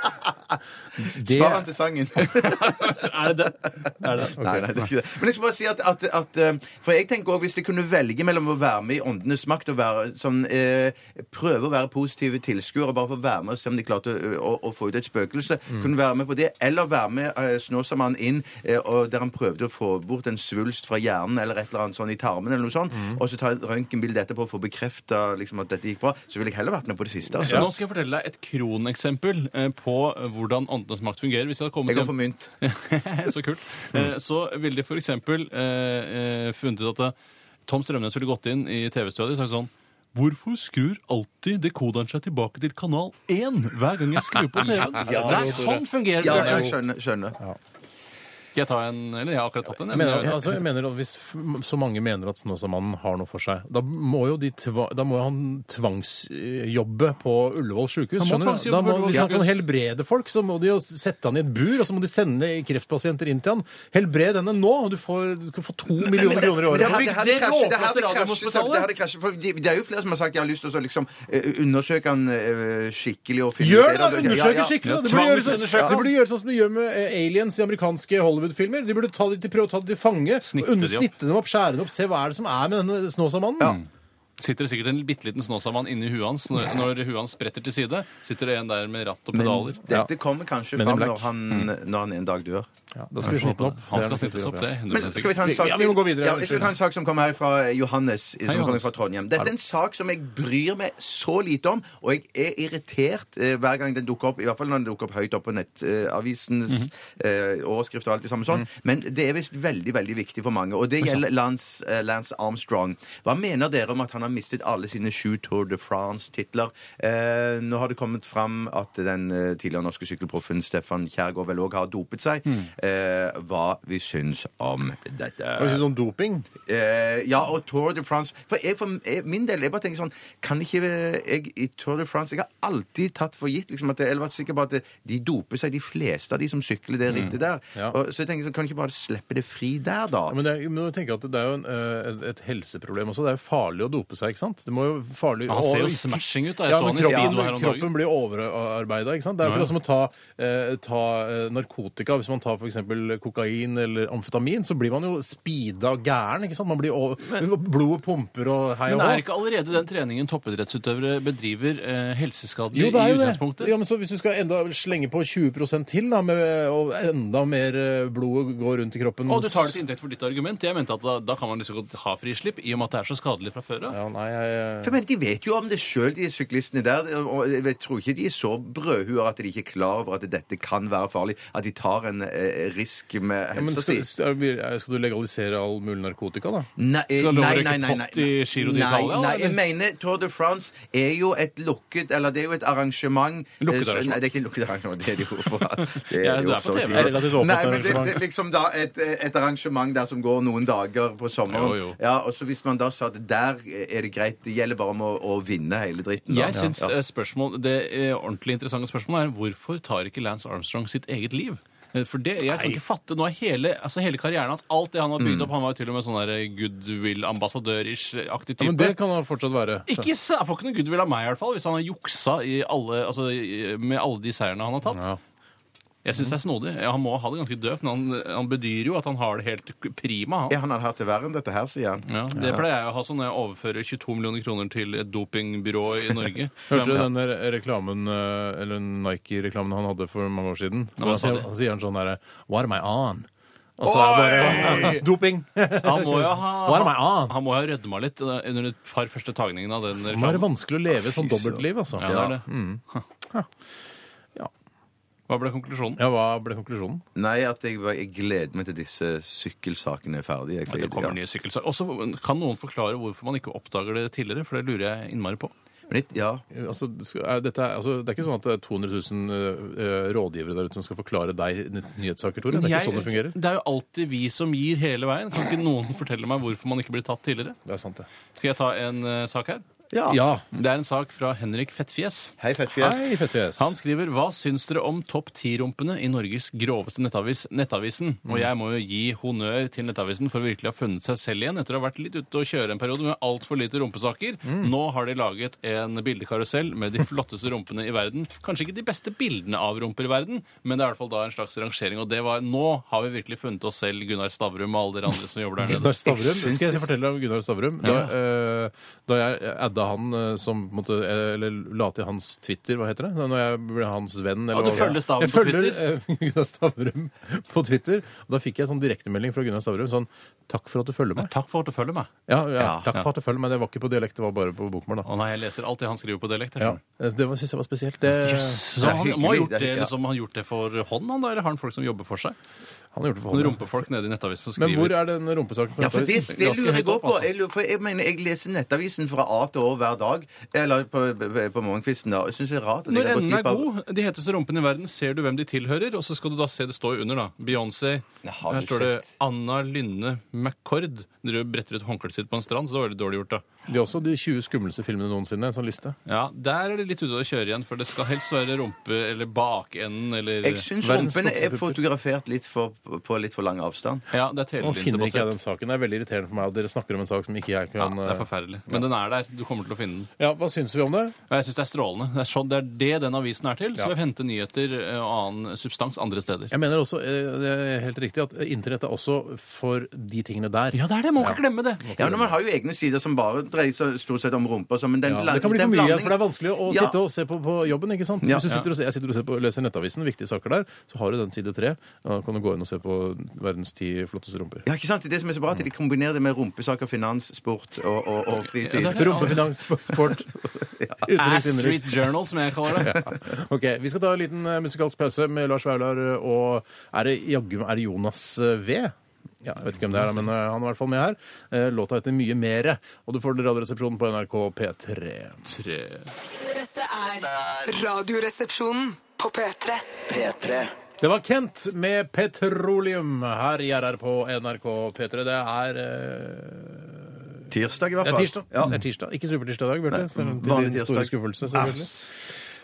S3: det,
S4: Spar den til sangen.
S5: Er det det? Er det det?
S4: Nei, nei, det er ikke det. Men jeg skal bare si at, at, at eh, For jeg tenker også hvis jeg kunne velge mellom å være med i Åndenes makt og være sånn eh, Prøve å være positive tilskuere, bare for å være med og se om de klarte å, å, å få ut et spøkelse, kunne være med på det, eller være med eh, Snåsamannen inn eh, og der han prøvde å få bort en svulst fra hjernen eller et eller annet sånn i tarmen, eller noe sånt, og så ta et røntgenbilde etterpå for å bekrefte liksom, at dette gikk bra, så ville jeg heller vært med på det siste.
S5: Så
S4: Altså.
S5: nå skal jeg fortelle deg et kroneksempel eh, på hvordan åndenes makt fungerer. Hvis jeg hadde kommet
S4: Jeg
S5: hjem
S4: går for mynt.
S5: [LAUGHS] så kult. Eh, Så ville de for eksempel eh, eh, funnet ut at eh, Tom Strømnes ville gått inn i TV-studioet og sagt sånn Hvorfor skrur alltid dekoderen seg tilbake til kanal 1 hver gang jeg skrur på [LAUGHS] TV-en? det er sånn fungerer
S4: Ja,
S5: det.
S4: jeg skjønner. skjønner.
S5: Skal jeg ta en Eller jeg har akkurat tatt en.
S3: Jeg
S5: jeg, men eh,
S3: mener,
S5: jeg-
S3: altså, jeg mener at Hvis f- så mange mener at Snåsamannen har noe for seg, da må jo, de tva, da må jo han tvangsjobbe på Ullevål sjukehus.
S5: Han må
S3: skjønner du?
S5: tvangsjobbe
S3: Da må,
S5: på Ullevål
S3: hvis han kan
S5: sykehus.
S3: helbrede folk, så må de jo sette han i et bur, og så må de sende kreftpasienter inn til han. Helbred denne nå! Du, får, du kan få to millioner kroner i
S4: Men
S3: året.
S4: her-
S5: Det
S4: her
S5: råkete
S4: krasjer- det her
S5: Radiumhospitalet.
S4: krasjer- det her krasjer, for de- Det er jo flere som har sagt jeg har lyst til å liksom, eh, undersøke han eh, skikkelig. Og finne
S3: Gjør
S4: ut
S3: det, da!
S4: av
S3: Undersøk
S4: Ja, ja.
S3: det skikkelig. da. Det
S5: Ja,
S3: burde gjøres sånn,
S5: tvangsundersøk
S3: det burde gjøres sånn som de gjør med eh, aliens i amerikanske Hollywood-filmer. De burde ta de til, prøve å ta de til fange,
S5: Snitte
S3: under-
S5: de opp.
S3: snitte dem opp, skjære dem opp, se hva er det som er med denne Snåsamannen.
S5: sitter det sikkert en bitte liten snåsamann inni huet hans. Når, når huet hans spretter til side, sitter det en der med ratt og pedaler.
S4: Dette kommer kanskje
S3: Men in
S4: fram når
S3: black. Mm.
S4: han, når han en dag dør.
S3: Ja, da skal vi snitte den opp.
S5: Han
S3: Det er
S5: skal
S3: nok
S5: snittes
S3: viktig,
S5: opp, det. er
S4: Men
S5: 100%
S4: skal vi
S5: sikkert.
S4: ta en sak
S3: Ja,
S4: til?
S3: vi må gå videre,
S4: Ja, jeg skal ta en sak som kommer her fra eh, Johannes, som kommer
S5: Johannes.
S4: fra Trondheim. Dette er en sak som jeg bryr meg så lite om, og jeg er irritert eh, hver gang den dukker opp, i hvert fall når den dukker opp høyt opp på nettavisens eh, overskrift og alt det samme sånn. Men det er visst veldig, veldig viktig for mange, og det gjelder Lance, eh, Lance Armstrong. Hva mener dere om at han har mistet alle sine sju Tour de France-titler? Eh, nå har det kommet fram at den eh, tidligere norske sykkelproffen Stefan Kjærgaard vel òg har dopet seg. Eh, hva vi syns om dette?
S3: Hva synes du om doping?
S4: Eh, ja, og Tour de France For, jeg, for jeg, min del, jeg bare tenker sånn Kan ikke jeg i Tour de France Jeg har alltid tatt for gitt liksom, at jeg, Eller vært sikker på at de doper seg, de fleste av de som sykler det rittet der.
S3: Mm. Ja.
S4: Og, så jeg tenker sånn, kan du ikke bare slippe det fri der, da?
S3: Ja, men det, er- men jeg tenker at det er jo en, eh, et helseproblem også. Det er jo farlig å dope seg, ikke sant? Det må jo farlig...
S5: Han ser jo
S3: og-
S5: smashing ut, da. Jeg
S3: Ja,
S5: så
S3: men
S5: han i
S3: kroppen,
S5: speedo her om
S3: kroppen
S5: dagen.
S3: blir overarbeida, ikke sant? Det er
S5: Ja,
S3: vel
S5: ja.
S3: som å ta, eh, ta eh, narkotika. Hvis man tar for eksempel kokain eller amfetamin, så blir man jo speeda gæren, ikke sant? Man blir over... Blodet pumper og hei og
S5: Men
S3: hå.
S5: er ikke allerede den treningen toppidrettsutøvere bedriver, eh, helseskadelig
S3: Jo, det er
S5: i
S3: jo det.
S5: utgangspunktet?
S3: Ja, men så hvis du skal enda slenge på 20 til, da, med, og enda mer eh, blod går rundt i kroppen
S5: Og du tar det til inntekt for ditt argument. Jeg mente at da, da kan man liksom godt ha frislipp, i og med at det er så skadelig fra før av.
S3: Ja, nei, jeg...
S4: For jeg mener, De vet jo om det sjøl, de syklistene der. Og jeg vet- tror ikke de er så brødhuer at de ikke er klar over at dette kan være farlig. At de tar en eh, risk med
S3: Ja, men
S4: helsa
S3: skal, eh,
S4: si.
S3: skal du legalisere all mulig narkotika, da?
S4: Nei, eh,
S5: Skal du
S4: nei,
S5: overrekke
S4: nei, nei, nei.
S5: pott i Giro d'Italia,
S4: Nei, nei,
S5: eller?
S4: jeg mener Tour de France er jo et lukket Eller det er jo et arrangement
S5: Lukket
S4: Eh, så-
S5: arrangement.
S4: Nei, det er ikke et lukket arrangement. Det er det jo for
S5: [LAUGHS] Ja, det er på
S4: så
S5: TV.
S4: tidlig.
S5: Det er
S3: relativt åpent
S4: Nei, men det,
S3: arrangement.
S4: det er liksom da et, et arrangement der som går noen dager på sommeren.
S5: Jo, jo.
S4: Ja, og så Hvis man da sa at der er det greit, det gjelder bare om å, å vinne hele dritten. da.
S5: Jeg synes
S4: ja.
S5: eh, spørsmål, Det eh, ordentlig interessante spørsmålet er hvorfor tar ikke Lance Armstrong sitt eget liv? Eh, For det, Jeg kan ikke fatte nå er hele, altså hele karrieren hans, alt det han har
S3: Mm.
S5: bygd opp Han var jo til og med sånn der, eh, goodwill-ambassadør-ish-aktig
S3: Ja,
S5: type.
S3: men det kan han fortsatt være.
S5: Ikke se, Jeg får ikke noe goodwill av meg, i hvert fall, hvis han har juksa i alle, altså, i- med alle de seirene han har tatt.
S3: Ja.
S5: Jeg syns det er snodig. Ja, han må ha det ganske døvt, men han, han bedyrer jo at han har det helt prima.
S4: Ja,
S5: han.
S4: han hadde hatt det verre enn dette her, sier han.
S5: Ja, det pleier jeg å ha sånn når jeg overfører 22 millioner kroner til et dopingbyrå
S3: [LAUGHS]
S5: i Norge.
S3: Hørte du den der reklamen, eh, eller Nike-reklamen han hadde for mange år siden?
S5: hva
S3: Da
S5: sa
S3: sier,
S5: de?
S3: han sier han sånn derre What am I on? Og så er det bare [LAUGHS]
S5: [LAUGHS]
S3: Doping!
S5: Han må jo
S3: Hva er det
S5: ha,
S3: meg av?
S5: han må jo ha rødma litt eh, under et par første tagningene av den
S3: Det må være
S5: reklamen.
S3: vanskelig å leve et sånt dobbeltliv, altså.
S5: Ja, det er det.
S3: Ja.
S5: Hva ble konklusjonen?
S3: Ja, hva ble konklusjonen?
S4: Nei, at jeg, var- jeg gleder meg til disse sykkelsakene er ferdige.
S5: At det kommer nye sykkelsaker. Også, kan noen forklare hvorfor man ikke oppdager det tidligere? For det lurer jeg innmari på.
S4: Men litt- ja.
S3: Altså, det skal- er, dette er, altså, det er ikke sånn at det er 200 000 eh, rådgivere der ute som skal forklare deg nytt- nyhetssaker, Tore. Det er ikke sånn det fungerer.
S5: det er jo alltid vi som gir hele veien. Kan ikke noen fortelle meg hvorfor man ikke blir tatt tidligere?
S3: Det er sant, det.
S5: Skal jeg ta en eh, sak her?
S4: ja.
S3: Ja.
S5: Det er en sak fra Henrik Fettfjes.
S4: Hei, fettfjes.
S3: Hei, fettfjes.
S5: Han skriver Hva syns dere om topp ti-rumpene i Norges groveste nettavis, Nettavisen? Og jeg må jo gi honnør til Nettavisen for å virkelig ha funnet seg selv igjen etter å ha vært litt ute og kjøre en periode med altfor lite rumpesaker. Nå har de laget en bildekarusell med de flotteste rumpene i verden. Kanskje ikke de beste bildene av rumper i verden, men det er i hvert fall da en slags rangering. Og det var Nå har vi virkelig funnet oss selv, Gunnar Stavrum og alle dere andre som jobber der nede.
S3: Gunnar Stavrum, skal jeg fortelle deg om Gunnar Stavrum? Da, eh, da jeg adda han eh, som på en måte, eh, Eller la til hans Twitter, hva heter det? Da- Når jeg ble hans venn. Eller
S5: Ja, du
S3: hva-
S5: følger Stavrum
S3: jeg
S5: på
S3: følger, eh, [LAUGHS] Gunnar Stavrum på Twitter. Og da fikk jeg sånn direktemelding fra Gunnar Stavrum sånn Takk for at du følger meg.
S5: Takk for at du følger meg.
S3: Ja, ja, takk
S5: ja.
S3: for at du følger meg. Det var ikke på dialekt, det var bare på bokmål. da.
S5: Å nei, jeg leser alltid han skriver på dialekt. jeg
S3: Ja, Eh,
S5: skjønner.
S3: Det var- synes jeg var spesielt. Det,
S5: Jøss. Så han
S4: hyggelig,
S5: må ha
S4: det
S5: gjort det,
S4: er hyggelig, ja.
S5: liksom, han har gjort det for hånd, han da? Eller har han folk som jobber for seg?
S3: Han har gjort det for
S5: Noen
S3: hånda.
S5: rumpefolk nede i Nettavisen som
S3: Men
S5: skriver
S3: hvor er den rumpesaken? på
S4: Ja, for det,
S3: Nettavisen?
S4: det
S5: Ganske
S4: lurer jeg
S5: høyt
S4: også
S5: opp,
S4: på.
S5: altså.
S4: Jeg, lurer, for jeg mener, jeg leser Nettavisen fra A til Å hver dag. Eller på, på- på morgenkvisten, da. Jeg syns det er rart at jeg
S5: Når
S4: har gått
S5: enden er
S4: glipp av
S5: god, de heteste rumpene i verden, ser du hvem de tilhører, og så skal du da se det står under, da. Beyoncé.
S4: Nei, har
S5: Her
S4: du
S5: står det
S4: sett?
S5: Anna Lynne McCord. Dere bretter ut håndkleet sitt på en strand, så det var veldig dårlig gjort, da.
S3: De er også de 20 skumleste filmene noensinne. En sånn liste.
S5: Ja, Der er det litt ute å kjøre igjen, for det skal helst være rumpe eller bakenden eller
S4: Jeg syns
S3: Verdens
S4: rumpene er
S3: flotteste pupper.
S4: fotografert litt for, på litt for lang avstand.
S5: Ja, det er
S3: Nå finner ikke jeg
S5: telelinsebasert.
S3: den saken. Det er veldig irriterende for meg at dere snakker om en sak som ikke jeg
S5: sånn, eh, Ja,
S3: kan
S5: det er forferdelig. Men den er der. Du kommer til å finne den.
S3: eh, ja, Hva syns vi om det?
S5: Og jeg syns det er strålende. Det er, sånn, det er det den avisen er til. Så vi henter nyheter eh, og annen substans andre steder.
S3: Jeg mener også, eh, det er helt riktig, at internett er også for de tingene der.
S5: Ja, det er det! Må ikke glemme det!
S4: Ja, men Man har jo egne sider som bare dreier seg stort sett om rumpa. så- Men den,
S3: Ja,
S4: blan-
S3: det kan bli
S4: den
S3: for mye,
S4: blandingen-
S3: for det er vanskelig å
S4: Ja.
S3: sitte og se på på jobben. ikke sant?
S4: Ja.
S3: Hvis du sitter og, ser- jeg sitter og ser på, leser Nettavisen, viktige saker der, så har du den side tre. Da kan du gå inn og se på verdens ti flotteste rumper.
S4: Ja, ikke sant? Det er Det som er så bra, at de kombinerer det med rumpesaker, finans, sport og, og, og fritid.
S5: Ja, det er-
S3: Rumpefinans, sport, utenriks,
S5: Ass Street
S3: innenriks.
S5: Journal, som jeg kaller
S3: [LAUGHS]
S5: det.
S3: Ok, Vi skal ta en liten eh, musikalsk pause med Lars Vaular eh, og er det jaggu meg- er det Jonas eh, V? Ja, jeg vet ikke hvem det er, men eh, han er i hvert fall med her. Eh, Låta heter Mye mere, og du får den i Radioresepsjonen på NRK P3.
S5: Tre.
S6: Dette er Radioresepsjonen på P3.
S2: P3.
S3: Det var Kent med 'Petroleum' her i RR på NRK P3. Det er eh,
S4: Tirsdag, i hvert
S3: Det
S4: fall.
S3: er tirsdag.
S4: Ja.
S3: Det er tirsdag. Ikke supertirsdag i dag, Bjarte.
S4: Nei,
S3: selv om det er
S4: vanlig
S3: Din store
S4: tirsdag.
S3: skuffelse, selvfølgelig.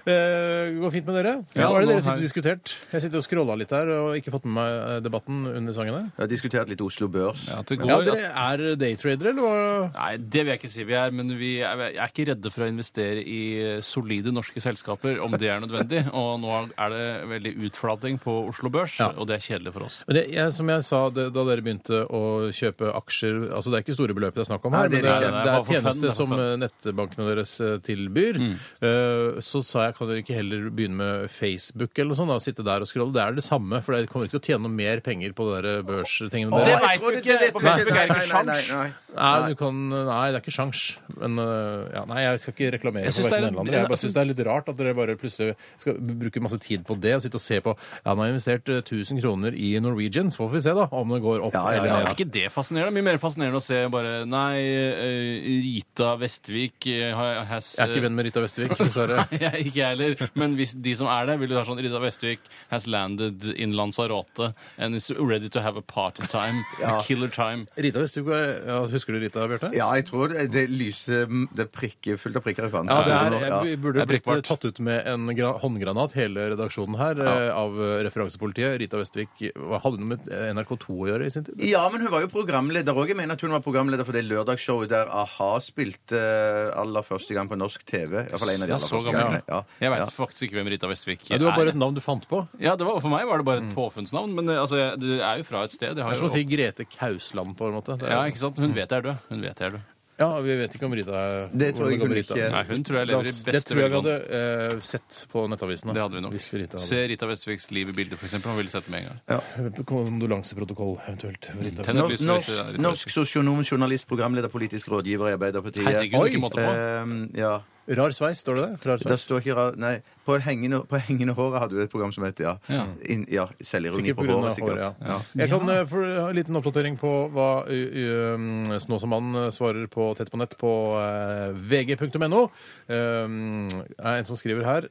S3: Eh, går fint med dere?
S5: Ja,
S3: Hva er det
S5: nå
S3: dere sitter
S5: har-
S3: og diskutert? Jeg sitter og scrolla litt her og ikke fått med meg eh, debatten under sangene.
S4: Jeg har diskutert litt Oslo Børs.
S5: Ja, til
S3: Ja,
S5: går,
S3: dere er daytradere, eller hva?
S5: Nei, det vil jeg ikke si vi er, men vi er, jeg er ikke redde for å investere i solide norske selskaper om det er nødvendig. Og nå er det veldig utflating på Oslo Børs, og det er kjedelig for oss.
S3: Men det, jeg, som jeg sa det, da dere begynte å kjøpe aksjer altså Det er ikke store beløp det er snakk om
S4: Nei,
S3: her,
S4: det
S3: men det
S4: er
S3: er,
S5: ikke det.
S3: det
S5: Bare
S3: er
S5: for fun,
S3: tjeneste
S5: det er for
S3: som
S5: fun.
S3: eh, nettbankene deres eh, tilbyr. Eh, så sa jeg kan dere ikke heller begynne med Facebook eller noe sånt? da, Sitte der og scrolle. Det er det samme, for dere kommer ikke til å tjene noe mer penger på det der børstingene
S5: Det
S3: deres.
S5: vet du ikke. På Facebook er det ikke
S4: Nei, nei,
S5: sjans.
S4: nei, nei.
S3: Nei, du kan, nei, det er ikke sjans. Men øh, ja, nei, jeg skal ikke reklamere
S5: Jeg
S3: for
S5: synes det
S3: hverken
S5: er
S3: den eller andre. Jeg bare
S5: en-
S3: syns det er litt rart at dere bare plutselig skal bruke masse tid på det og sitte og se på Ja, nå har jeg investert øh, 1000 kroner i Norwegian, så får vi se da om det går opp
S4: Ja, ja, ja.
S5: Ja,
S3: eller
S5: er
S3: ned.
S5: ikke det fascinerende? Mye mer fascinerende å se bare Nei, eh, Rita Vestvik eh, har- has
S3: Jeg er ikke venn med Rita Vestvik, dessverre.
S5: [LAUGHS] Jeg er ikke jeg heller, men hvis de som er der, vil jo ha sånn Rita Vestvik has landed in Lanzarote and is ready to have a party time. A killer time.
S3: Rita Vestvik, var- ja, Husker du Rita, Bjarte?
S4: Ja, jeg tror det, det lyser Det prikker fullt av prikker i vannet.
S3: Ja, det er, jeg
S4: Ja.
S3: burde
S5: Det er
S3: blitt eh,
S5: blikkbart.
S3: tatt ut med en gra- håndgranat, hele redaksjonen her, øh, av øh, referansepolitiet. Rita Vestvik hva- hadde noe med NRK2 å gjøre i sin tid.
S4: Ja, men hun var jo programleder òg. Jeg mener at hun var programleder for det lørdagsshowet der a-ha spilte eh, aller første gang på norsk TV. I hvert fall en av de
S5: Ja,
S4: aller
S5: så
S4: første
S5: gammel.
S4: gangene. Ja, ja.
S5: Jeg veit faktisk ikke hvem Rita Vestvik
S3: Ja,
S5: er.
S3: du har bare et navn du fant på.
S5: Ja, det var, For meg var det bare et påfunnsnavn, men eh, altså, jeg- det er jo fra et sted. Jeg har
S3: Det er som å
S5: jo-
S3: si Grete Kausland, på en måte. Det er
S5: ja,
S3: jo-
S5: ikke sant? Hun vet jeg er død. Hun vet jeg er død.
S3: Ja, vi vet ikke om Rita er
S4: Det tror jeg
S3: hvordan
S4: hun
S3: Rita
S4: ikke-
S3: er.
S5: Nei, hun tror jeg lever i beste
S3: Det tror jeg vi
S5: velgående.
S3: hadde eh, sett på nettavisene.
S5: Det hadde vi nok.
S3: Hvis Rita
S5: Se
S3: hadde.
S5: Rita Vestviks liv i bildet, f.eks. Hun ville sett det med en gang.
S3: [LAUGHS] Kondolanseprotokoll eventuelt. for Rita.
S5: tennis.
S4: Norsk,
S5: Norsk-
S4: norsk, norsk sosionom, journalist, programleder, politisk rådgiver i Arbeiderpartiet.
S5: Herregud,
S3: Oi,
S5: ikke måte på.
S4: Ehm, ja.
S3: Rar sveis, står det det? Rar
S4: Der
S3: sveis.
S4: står ikke ra- Nei, på hengende, på hengende håret hadde du et program som het ja.
S5: Ja.
S4: In, ja selvironi
S3: Sikkert
S4: på
S3: pga.
S4: håret.
S3: håret.
S4: sikkert.
S3: håret ja.
S5: Ja.
S3: Jeg kan eh, få en liten oppdatering på hva uh, Snå som mann eh, svarer på Tett på nett på eh, vg.no. Um, er en som skriver her.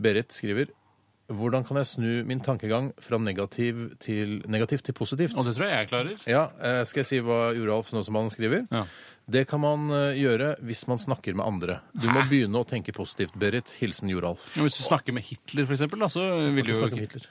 S3: Berit skriver Hvordan kan jeg snu min tankegang fra negativ til, negativt til positivt?
S5: Og det tror jeg jeg klarer.
S3: Ja, eh, skal jeg si hva Joralf Snåsamannen skriver?
S5: Ja.
S3: Det kan man eh, gjøre hvis man snakker med andre. Du må begynne å tenke positivt, Berit. Hilsen Joralf.
S5: Men hvis du snakker med Hitler, f.eks., så vil du jo
S3: Snakke
S5: ikke
S3: med Hitler.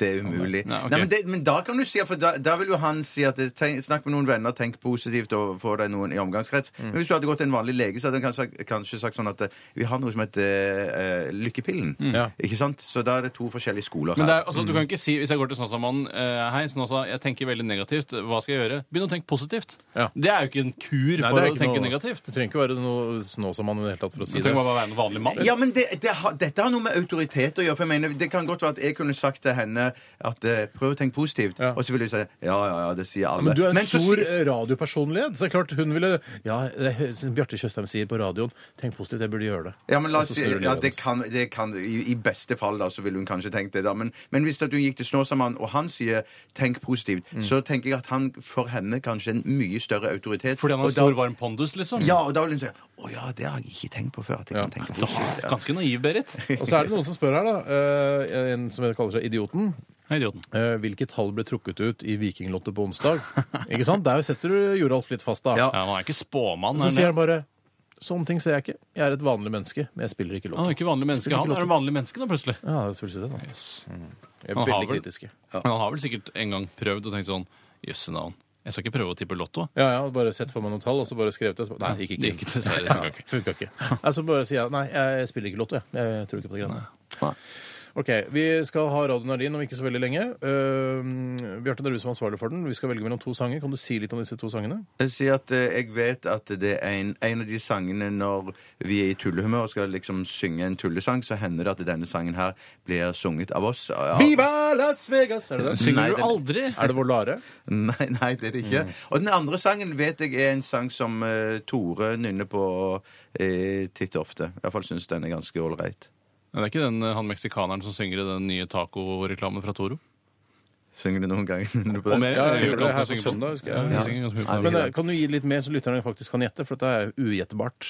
S4: Det er umulig.
S5: Nei, ok.
S4: Nei, men, det, men da kan du si For da, da vil jo han si at tenk, Snakk med noen venner, tenk positivt og få deg noen i omgangskrets.
S3: Mm.
S4: Men hvis du hadde gått til en vanlig lege, så hadde han kanskje, kanskje sagt sånn at eh, vi har noe som heter eh, Lykkepillen.
S3: Mm. Ja.
S4: Ikke sant? Så da er det to forskjellige skoler
S5: Men det er,
S4: her.
S5: altså, du
S3: Mm.
S5: kan ikke si, Hvis jeg går til Snåsamannen uh, Hei, Snåsa, jeg tenker veldig negativt. Hva skal jeg gjøre? Begynn å tenke positivt.
S3: Ja.
S5: Det er jo ikke en kur
S3: Nei,
S5: for
S3: det er
S5: å
S3: ikke
S5: tenke
S3: noe-
S5: negativt.
S3: Det trenger ikke være noe Snåsamann i det hele tatt for å
S5: Du
S3: si det.
S5: trenger bare være en vanlig mann.
S4: Ja, men det, det har, Dette har noe med autoritet å gjøre. For jeg mener, Det kan godt være at jeg kunne sagt til henne at eh, prøv å tenke positivt.
S3: Ja.
S4: Og så vil du si ja, ja, ja, det sier alle.
S3: Men du er en
S4: så
S3: stor
S4: si-
S3: eh, radiopersonlighet. Så det er klart hun ville Ja, det er- som Bjarte Tjøstheim sier på radioen, tenk positivt, jeg burde gjøre det.
S4: ja, men la
S3: Og
S4: oss
S3: så
S4: si,
S3: snur hun
S4: ja,
S3: livet
S4: det
S3: hennes.
S4: kan, det kan i, I beste fall da, så ville hun kanskje tenkt det. da Men, men hvis at hun gikk til Snåsamannen, og han sier 'tenk positivt', så tenker jeg at han for henne kanskje en mye større autoritet.
S5: Fordi han
S4: Og
S5: har
S4: da-
S5: stor, varm pondus, liksom?
S4: Ja, og da vil hun si 'Å ja, det har jeg ikke tenkt på før'. At jeg kan tenke positivt ja.
S5: Ganske naiv,
S3: [LAUGHS]
S5: Berit.
S3: Og så er det noen som spør her, da. eh, En som kaller seg Idioten.
S5: Hei, idioten.
S3: eh, Hvilke tall ble trukket ut i Vikinglotto på
S4: [LAUGHS]
S3: onsdag? Ikke sant? Der setter du Joralf litt fast, da.
S4: Ja.
S5: Ja, han er ikke spåmann.
S3: Så
S5: er
S3: sier
S5: han
S3: han bare Sånne ting ser jeg ikke. Jeg er et vanlig menneske, men jeg spiller ikke
S5: det? han
S3: lotto.
S5: er ikke vanlig menneske. Han er en vanlig menneske da, plutselig.
S3: Ja, det er selvfølgelig det, da. Mm. Jeg er
S5: Han har
S3: veldig
S5: vel-
S3: kritiske.
S5: Men han har vel sikkert en gang prøvd og tenkt sånn Jøsse navn. Jeg skal ikke prøve å tippe Lotto.
S3: Ja, ja, bare sett for meg noen tall, og så bare skrevet det. så bare- Nei, det gikk ikke.
S5: Det gikk dessverre. Det gikk ikke.
S3: Funka ikke. Altså bare sier jeg nei, jeg spiller ikke lotto, jeg. Jeg tror ikke på det greiene.
S5: Nei.
S3: Ok, Vi skal ha Radio Nardin om ikke så veldig lenge. Uh, Bjarte, det er du som er ansvarlig for den. Vi skal velge mellom to sanger. Kan du si litt om disse to sangene?
S4: Jeg sier at eh, jeg vet at det er en, en av de sangene når vi er i tullehumør og skal liksom synge en tullesang, så hender det at denne sangen her blir sunget av oss. Ja.
S3: Viva Las Vegas! Er det det?
S4: Nei,
S5: Synger du
S4: den-
S5: aldri?
S3: Er det Volare?
S4: [LAUGHS] Nei, nei, det er det
S3: Mm.
S4: ikke. Og den andre sangen vet jeg er en sang som eh, Tore nynner på eh, titt og ofte. I hvert fall syns den er ganske ålreit.
S5: Nei, Det er ikke den eh, han meksikaneren som synger i den nye tacoreklamen fra Toro?
S4: Synger du noen gang [LAUGHS] nynner på
S5: Om
S4: den?
S5: jeg,
S3: Ja, jeg
S5: jeg
S3: gjorde
S5: gjør
S3: det her
S5: alltid å
S3: på
S5: synge
S3: søndag,
S5: den.
S3: husker jeg.
S5: Ja,
S4: Ja.
S5: jeg synger ganske mye på
S4: Nei,
S5: den.
S4: det
S3: Men eh, Kan du gi litt mer, så lytterne faktisk kan gjette? For dette er ugjettbart.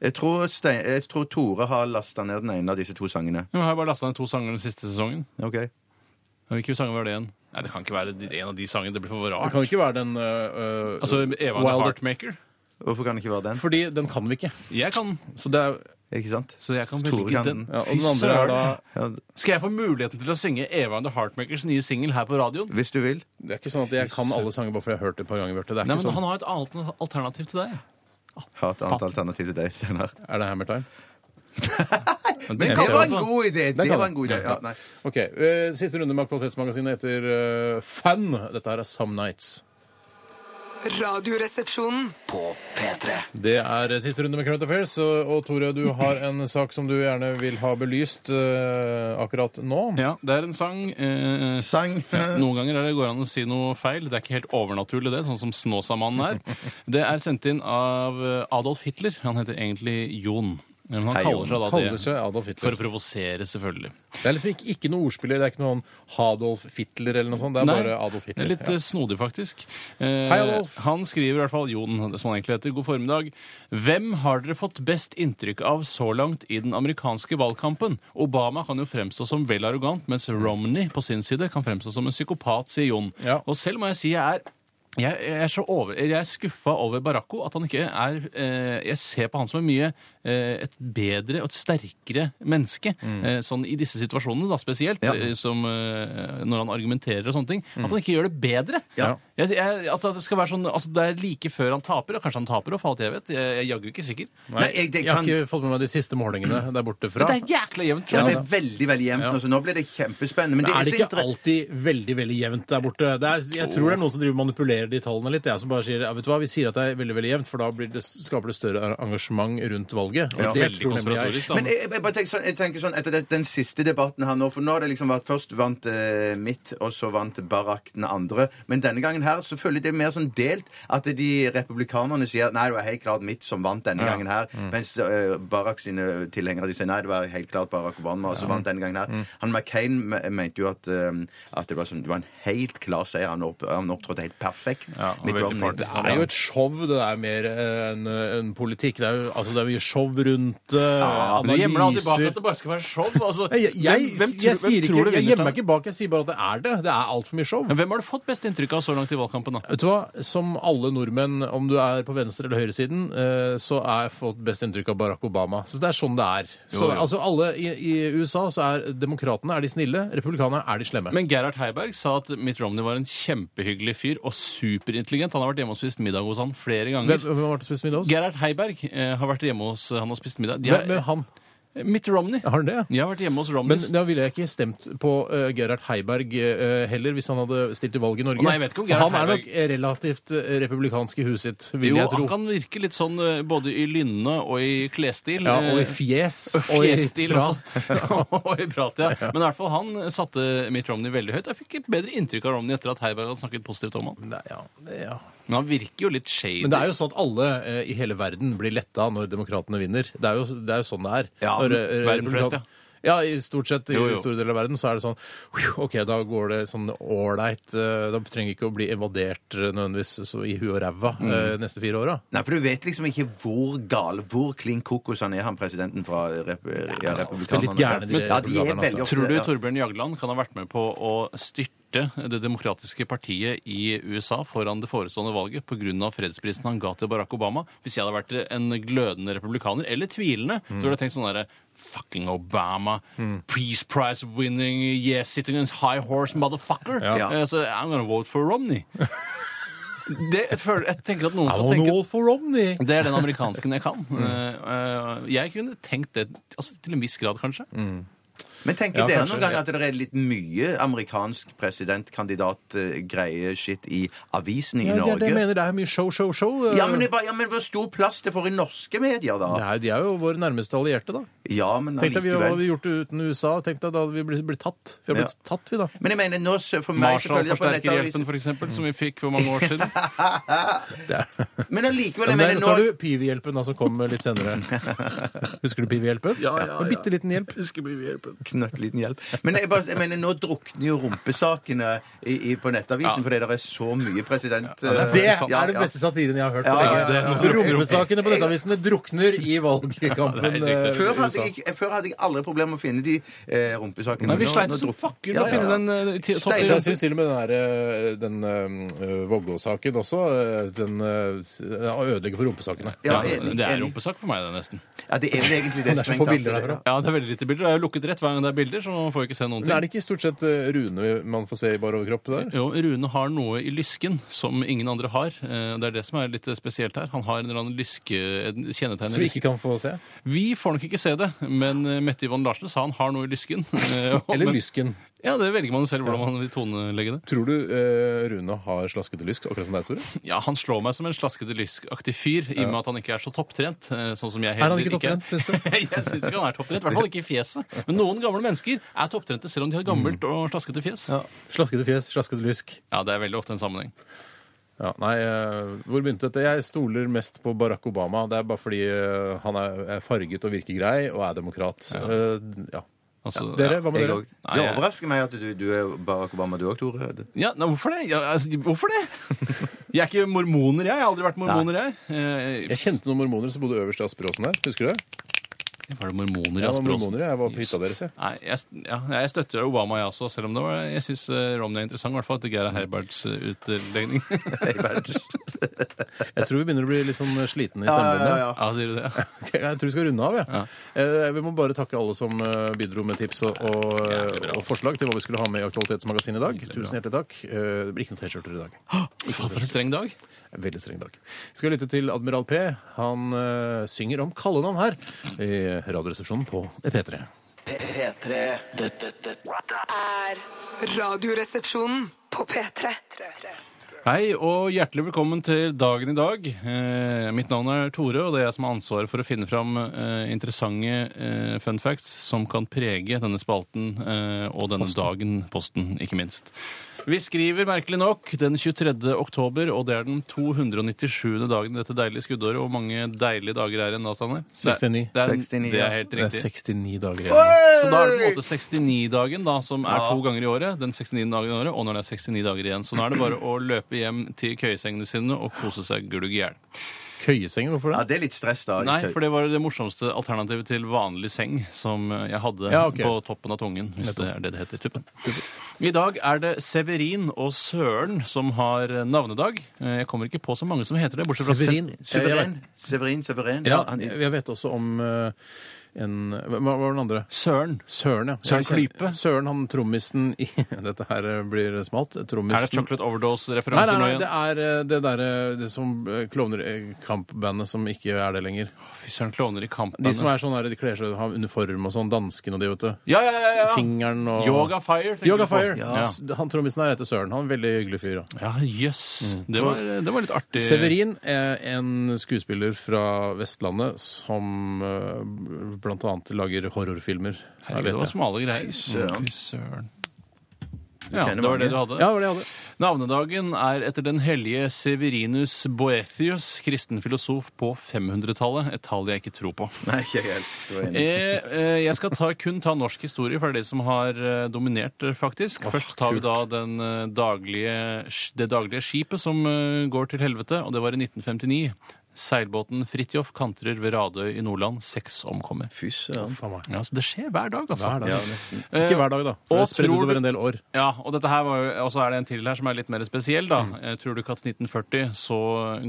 S4: Jeg tror, Stein, jeg tror Tore har lasta ned den ene av disse to sangene.
S5: Ja, men Jeg har bare lasta ned to sanger den siste sesongen.
S4: Ok.
S5: Ja, Hvilke sanger var det igjen? Nei, Det kan ikke være de- en av de sangene. Det blir for
S3: Det
S5: rart.
S3: kan jo ikke være den uh, uh,
S5: Altså, Eva the
S3: Wild-
S5: Heartmaker.
S4: Hvorfor kan det ikke være den?
S3: Fordi den kan vi ikke.
S5: Jeg kan,
S3: Så det er,
S4: Ikke sant?
S5: så jeg kan
S4: Tore
S5: velge
S4: kan
S5: den.
S4: den.
S3: ja, og
S5: Fy
S3: den andre er da
S5: søren.
S4: Ja,
S5: Skal jeg få muligheten til å synge Eva and the Heartmakers nye singel her på radioen?
S4: hvis du vil.
S3: Det er ikke sånn at jeg kan alle sanger bare fordi jeg har hørt det et par ganger. Bjarte. Det er,
S5: Nei,
S3: ikke
S5: men Han
S3: sånn.
S5: har et annet alternativ til deg.
S4: Ha et annet alternativ til deg senere.
S3: er det Hammer Time?
S5: Men
S3: kan
S5: det
S4: Det
S3: jeg
S4: var
S3: også.
S4: en god idé! Det
S3: kan
S4: var en
S3: jeg.
S4: god idé. Ja, nei.
S3: Ok, eh, Siste runde med Kvalitetsmagasinet heter eh, Fan. Dette her er Some Nights.
S6: Radioresepsjonen.
S2: På P3.
S3: Det er eh, siste runde med Current Affairs. Og og Tore, du har en [LAUGHS] sak som du gjerne vil ha belyst eh, akkurat nå.
S5: Ja, det er en sang. Eh,
S4: Sang.
S5: Ja, noen ganger er det går an å si noe feil. Det er ikke helt overnaturlig, det, sånn som Snåsamannen er. Det er sendt inn av eh, Adolf Hitler. Han heter egentlig Jon. Men han
S4: Hei, Jon.
S5: kaller seg da
S3: Kaller
S5: det.
S3: seg Adolf
S5: For å
S3: Hitler.
S5: provosere, selvfølgelig.
S3: Det er liksom ikke, ikke noe ordspiller. Det er ikke noen Hadolf Hitler eller noe sånt. Det er bare Adolf
S5: det
S3: Hitler.
S5: er litt eh, snodig, faktisk. Eh,
S3: Hei, Adolf.
S5: Han skriver i hvert fall Jon, som han egentlig heter, god formiddag. Hvem har dere fått best inntrykk av så langt i den amerikanske valgkampen? Obama kan jo fremstå som vel arrogant, mens Romney på sin side kan fremstå som en psykopat, sier Jon.
S3: Ja.
S5: Og selv må jeg si jeg er jeg, jeg er så over, jeg er skuffa over Baracco. At han ikke er eh, Jeg ser på han som en mye eh, et bedre og et sterkere menneske.
S3: Mm.
S5: Eh, sånn i disse situasjonene, da spesielt. Eh, som eh, når han argumenterer og sånne ting. At han ikke gjør det bedre.
S3: Mm. Ja.
S5: Jeg, jeg, altså, at det skal være sånn altså, Det er like før han taper, og kanskje han taper og faller til jeg vet. Jeg jeg er jaggu ikke sikker.
S3: Nei,
S4: Nei, jeg- det
S3: Jeg har
S4: kan-
S3: ikke fått med meg de siste målingene der borte fra.
S5: Det er jækla jevnt.
S4: Ja,
S5: skjønner
S4: det
S5: du.
S4: er veldig, veldig jevnt.
S3: Ja.
S4: nå, så nå blir det kjempespennende. Men
S3: Men
S4: det
S3: er
S4: er
S3: det
S4: så
S3: ikke
S4: inter-
S3: alltid veldig veldig jevnt der borte? Det er, jeg tror det er noen som driver og manipulerer de tallene litt. Jeg som bare sier ja, vet du hva, vi sier at det er veldig veldig jevnt, for da blir det, skaper det større engasjement rundt valget. Og
S4: Ja.
S3: det
S5: Veldig
S3: tror nemlig jeg.
S5: konspiratorisk. da.
S4: Men jeg, jeg, bare tenker sånn, jeg tenker sånn etter det, den siste debatten her nå For nå har det liksom vært først vant eh, mitt, og så vant Barack den andre. Men denne gangen her så føler jeg det er mer sånn delt at de republikanerne sier nei, det var helt klart mitt som vant denne gangen her.
S5: Mm.
S4: Mens eh, Barack sine tilhengere de sier nei, det var helt klart Barack Obama som vant denne gangen her.
S5: Mm.
S4: Han McCain me- mente jo at, eh, at det, var sånn, det var en helt klar seier. Han, opp, han opptrådte helt perfekt.
S5: Ja, og
S4: Mitt
S5: veldig
S4: Romney.
S5: partisk.
S3: Det er jo et show, det der mer enn enn politikk. Det er jo altså, det er mye show rundt uh,
S5: Du gjemmer deg alltid bak at
S3: analyser
S5: det bare skal være show. Altså,
S3: Nei, jeg, jeg,
S5: Hvem- hvem tror-
S3: jeg,
S5: hvem
S3: sier ikke,
S5: tror du
S3: jeg
S5: vinner,
S3: gjemmer
S5: Tom?
S3: meg ikke bak, jeg sier bare at det er det. Det er altfor mye show.
S5: Men Hvem har du fått best inntrykk av så langt i valgkampen? da?
S3: Vet du hva? Som alle nordmenn, om du er på venstre- eller høyresiden, eh, så har jeg fått best inntrykk av Barack Obama. Så det er sånn det er. Så,
S5: Jo, jo.
S3: Altså, alle i, i USA så er demokratene er de snille, republikanerne er de slemme.
S5: Men Gerhard Heiberg sa at Mitt Romney var en kjempehyggelig fyr og superintelligent. Han har vært hjemme og spist middag hos han flere
S3: Hvem
S5: ganger.
S3: hvem har vært og spist middag hos?
S5: Gerhard Heiberg eh, har vært hjemme hos han og spist middag. De
S3: Hvem-
S5: er,
S3: hvem- Han.
S5: Mitt Romney.
S3: Har han det?
S5: Jeg har vært hjemme hos
S3: Men
S5: Romneys.
S3: da ville jeg ikke stemt på eh, Gerhard Heiberg eh, heller, hvis han hadde stilt til valg i Norge.
S5: Å, nei, jeg vet ikke om
S3: For
S5: Gerhard
S3: han er
S5: Heiberg-
S3: nok eh, relativt eh, republikansk i huet sitt, vil
S5: Jo,
S3: jeg tro.
S5: han kan virke litt sånn eh, både i lynne og i klesstil.
S3: Ja, og i
S5: Eh,
S3: fjes.
S5: og i fjestil og
S3: prat.
S5: sånt. [LAUGHS] og i prat, ja. Men i hvert fall han eh, satte Mitt Romney veldig høyt. Jeg fikk et bedre inntrykk av Romney etter at Heiberg hadde snakket positivt om han.
S3: Nei, ja, det, ja.
S5: Men han virker jo litt shady.
S3: Men det er jo sånn at alle eh, i hele verden blir letta når demokratene vinner. Det er jo, det er jo sånn det er.
S4: Ja,
S3: når,
S5: verden flest,
S3: republikan- ja, i stort sett i
S5: Jo, jo.
S3: store deler av verden så er det sånn «Whew, OK, da går det sånn ålreit. eh, Da trenger vi ikke å bli evadert eh, nødvendigvis så i huet og ræva eh, neste fire åra.
S4: Nei, for du vet liksom ikke hvor gal, hvor klin kokos han er, han presidenten fra rep ja,
S3: ofte
S4: republikanerne.
S3: litt gærne,
S4: ja,
S3: de
S4: de er
S3: republikanerne,
S4: veldig
S3: altså.
S4: ofte,
S5: Tror du
S4: ja.
S5: Torbjørn Jagland kan ha vært med på å styrte Det demokratiske partiet i USA foran det forestående valget pga. fredsprisen han ga til Barack Obama? Hvis jeg hadde vært en glødende republikaner, eller tvilende, så ville jeg tenkt sånn derre Fucking Obama. Peace Prize winning. Yes, sitting on his high horse, motherfucker.
S4: Ja.
S5: Eh, Så I'm gonna vote for Romney. Det, jeg, føler, jeg tenker at noen
S3: I
S5: kan
S3: don't
S5: tenke
S3: know for Romney!
S5: det er den amerikansken jeg kan. Eh, eh, Jeg kunne tenkt det altså, til en viss grad, kanskje.
S4: Men tenker
S3: Ja,
S4: dere
S3: kanskje,
S4: noen gang
S3: ja.
S4: at det er litt mye amerikansk presidentkandidat-greie-shit i avisen i
S3: Ja, det er
S4: Norge?
S3: det jeg mener. Det er mye show, show, show. eh.
S4: Ja, men, det er bare- ja, men hvor stor plass det får i norske medier,
S3: Det
S4: da?
S3: er, de er jo våre nærmeste allierte, da.
S4: Ja, men
S3: Tenk deg vi, hva
S4: allikevel.
S3: vi gjort uten USA. Tenk deg da hadde vi blitt, blitt tatt. Vi har blitt tatt, vi, da.
S4: Men jeg mener, nå, s- for meg så følger det på
S5: Marshall-forsterkerhjelpen,
S4: nettavisen
S5: for eksempel, som vi fikk for mange år siden.
S4: Men allikevel,
S3: Ja,
S4: jeg
S3: men
S4: mener
S3: der, så har
S4: nå
S3: du Pivi-hjelpen, da, som kom litt senere. Husker du Pivi-hjelpen? Ja, ja, En bitte liten hjelp.
S4: Knøttliten hjelp. Men jeg, bare, jeg mener, nå drukner jo rumpesakene i, i, på nettavisen, fordi det er så mye president... eh,
S3: Det
S4: ja,
S3: er den
S4: ja.
S3: beste satiren jeg har hørt. på
S4: Ja, ja,
S3: lenge.
S4: ja, ja.
S3: Rumpesakene på nettavisene drukner i
S4: [LAUGHS]
S3: valgkampen. eh,
S4: Før
S3: i
S4: hadde,
S3: USA.
S4: jeg, ikke- før hadde jeg aldri problemer med å finne de eh, rumpesakene.
S5: Nei, vi
S4: Nå-
S5: sleit
S4: nå
S5: oss som
S4: drukner-
S5: pakker med å
S4: Ja, ja, ja.
S5: finne den eh, ti- topp
S3: Så
S5: ti-
S3: jeg syns til og med den, her, eh, den eh, Vågå-saken også eh, Den eh, s- ødelegger for rumpesakene.
S5: Ja,
S4: Ja, enig,
S5: det er
S4: enig.
S5: rumpesak for meg, det, nesten.
S4: Ja, det er vel egentlig det.
S3: Det er så
S4: strengt
S3: få
S4: tatt,
S3: bilder
S4: så det-
S3: derfra.
S5: Ja, det er veldig lite bilder. Det er jo lukket rett hver gang det er bilder, så man får jo ikke se noen
S3: Men er det
S5: ting.
S3: ikke stort sett eh, Rune man får se i bar overkropp der?
S5: Jo, Rune har noe i lysken som ingen andre har. Eh, Det er det som er litt spesielt her. Han har en eller annen lyske, en kjennetegn. i
S3: Som vi ikke kan få se?
S5: lysken. Vi får nok ikke se det, men eh, Mette Yvonne Larsen sa han har noe i lysken. Eh, og-
S3: Eller
S5: men-
S3: lysken?
S5: Ja, det velger man jo selv hvordan man vil tonelegge det.
S3: Tror du eh, Rune har slaskete lysk, akkurat som deg, Tore?
S5: Ja, Han slår meg som en slaskete lyskaktig fyr, i og med at han ikke er så topptrent. eh, Sånn som jeg
S3: Er han
S5: heller
S3: ikke topptrent, syns du?
S5: er. [LAUGHS] jeg syns ikke han er topptrent. I hvert fall ikke i fjeset. Men noen gamle mennesker er topptrente selv om de har gammelt og slaskete fjes. Ja.
S3: Slaskete fjes, slaskete lysk.
S5: det er veldig ofte en sammenheng.
S3: Ja, nei, eh, hvor begynte dette? Jeg stoler mest på Barack Obama. Det er bare fordi eh, han er er farget og virker grei og er demokrat. Ja. ja.
S5: Altså,
S3: Dere,
S5: ja.
S3: hva med
S4: Jeg
S3: dere?
S4: òg.
S5: Nei,
S4: Det
S5: jeg-
S4: overrasker meg at du, du er Barack Obama, du òg, Tore. Det-
S5: Ja, nei, hvorfor det? Ja, altså, hvorfor det? Jeg er ikke mormoner, jeg. Jeg har aldri vært mormoner, jeg. Eh,
S3: Jeg kjente noen mormoner som bodde øverst i Asperåsen der. Husker du det?
S5: Var det
S3: Jeg
S5: mormoner i
S3: var
S5: Asperåsen?
S3: mormoner, jeg var på hytta deres. Jeg.
S5: Nei, jeg, ja, jeg støtter Obama, jeg også, selv om det var, jeg syns Romney er interessant. I hvert fall etter Geir Herberts eh,
S3: [LAUGHS]
S5: utlegning. [LAUGHS]
S3: jeg tror vi begynner å bli litt sånn slitne i stemmen.
S4: ja.
S5: ja, sier
S3: [LAUGHS]
S5: du det? Ja.
S3: Ok, Jeg tror vi skal runde av, jeg. Eh, Vi må bare takke alle som eh, bidro med tips og, og,
S5: Jævlig bra.
S3: og forslag til hva vi skulle ha med i Aktualitetsmagasinet i dag. Tusen hjertelig takk. Eh, Det blir ikke noen T-skjorter i dag.
S5: Faen, for en streng dag.
S3: Veldig streng dag. Vi skal lytte til Admiral P. Han eh, synger om kallenavn her i Radioresepsjonen på P3.
S2: P3 Dette, dette
S6: Er radioresepsjonen på P3.
S5: Hei og hjertelig velkommen til dagen i dag. Eh, mitt navn er Tore, og det er jeg som har ansvaret for å finne fram eh, interessante eh, fun facts som kan prege denne spalten eh, og denne dagen, posten, ikke minst. Vi skriver merkelig nok den 23. oktober, og det er den 297. dagen i dette deilige skuddåret. Hvor mange deilige dager er det igjen da, Stanley? Det er-
S3: 69.
S4: 69,
S5: Det er, det
S4: ja.
S5: er helt
S3: Det er
S5: riktig.
S3: 69 dager igjen.
S5: Så da er det på en måte 69-dagen, da, som er to ganger i året. Den 69 dagen i året, og når det er 69 dager igjen. Så nå er det bare å løpe hjem til køyesengene sine og kose seg glugg i hjel.
S3: Køyesengen, hvorfor
S4: Ja,
S3: det?
S4: det er litt stress, da.
S5: Nei, for det var det morsomste alternativet til vanlig seng som jeg hadde
S3: Ja, ok.
S5: på toppen av tungen, hvis det er det det heter. Tuppen. I dag er det Severin og Søren som har navnedag. Eh, Jeg kommer ikke på så mange som heter det, bortsett fra
S3: Severin.
S4: Severin. Severin, Severin.
S3: Ja,
S4: Han-
S3: jeg vet også om eh, en Hva hva var den andre?
S5: Søren.
S3: Søren, ja.
S5: Søren
S3: Jeg kjenner-
S5: Klype.
S3: Søren, han trommisen i [LAUGHS] Dette her eh, blir smalt. Trommisen
S5: Er det Chocolate
S3: Nei,
S5: Overdose-referanser
S3: nei,
S5: nå
S3: nei, det
S5: igjen?
S3: er eh, det derre det som eh, klovner eh, kampbandet som ikke er det lenger.
S5: Fy søren, klovner i kampen. altså.
S3: De som er sånn der, de kler seg har uniform og sånn. Dansken og de, vet du.
S5: Ja, ja, ja, ja.
S3: Fingeren og
S5: Yoga Fire. tenker
S3: Yoga
S5: du på?
S3: Fire.
S5: Ja.
S3: S- Han trommisen her heter Søren. Han er en veldig hyggelig fyr. Da.
S5: Ja, jøss. Det, var, det var litt artig.
S3: Severin er en skuespiller fra Vestlandet som eh, blant annet lager horrorfilmer. Jeg vet
S5: Herregud, det var
S3: det.
S5: smale greier.
S4: søren.
S5: Fy søren. Ja,
S4: kjenner
S5: det var det
S4: mange.
S5: du hadde.
S3: Ja, det var det jeg hadde.
S5: Navnedagen er etter den hellige Severinus Boethius, kristen filosof på 500-tallet. Et tall jeg ikke tror på.
S4: Nei, ikke helt. Det var enig.
S5: Eh, eh, jeg skal ta, kun ta norsk historie, for det er det som har eh, dominert, eh, faktisk. Først tar vi da den, eh, daglige, sk- det daglige skipet som eh, går til helvete, og det var i 1959. Seilbåten Fridtjof kantrer ved Radøy i Nordland. Seks omkommer.
S4: Fy søren.
S3: Faen meg.
S5: Ja, så det skjer hver dag, altså.
S3: Hver dag.
S4: Ja, nesten.
S5: Eh,
S3: Ikke hver dag, da. For
S5: og
S3: det er spredd
S5: tror du-
S3: utover en del år.
S5: Ja, og dette her var jo, og så er det en til her som er litt mer spesiell, da.
S3: Mm.
S5: Eh, Tror du ikke at 1940 så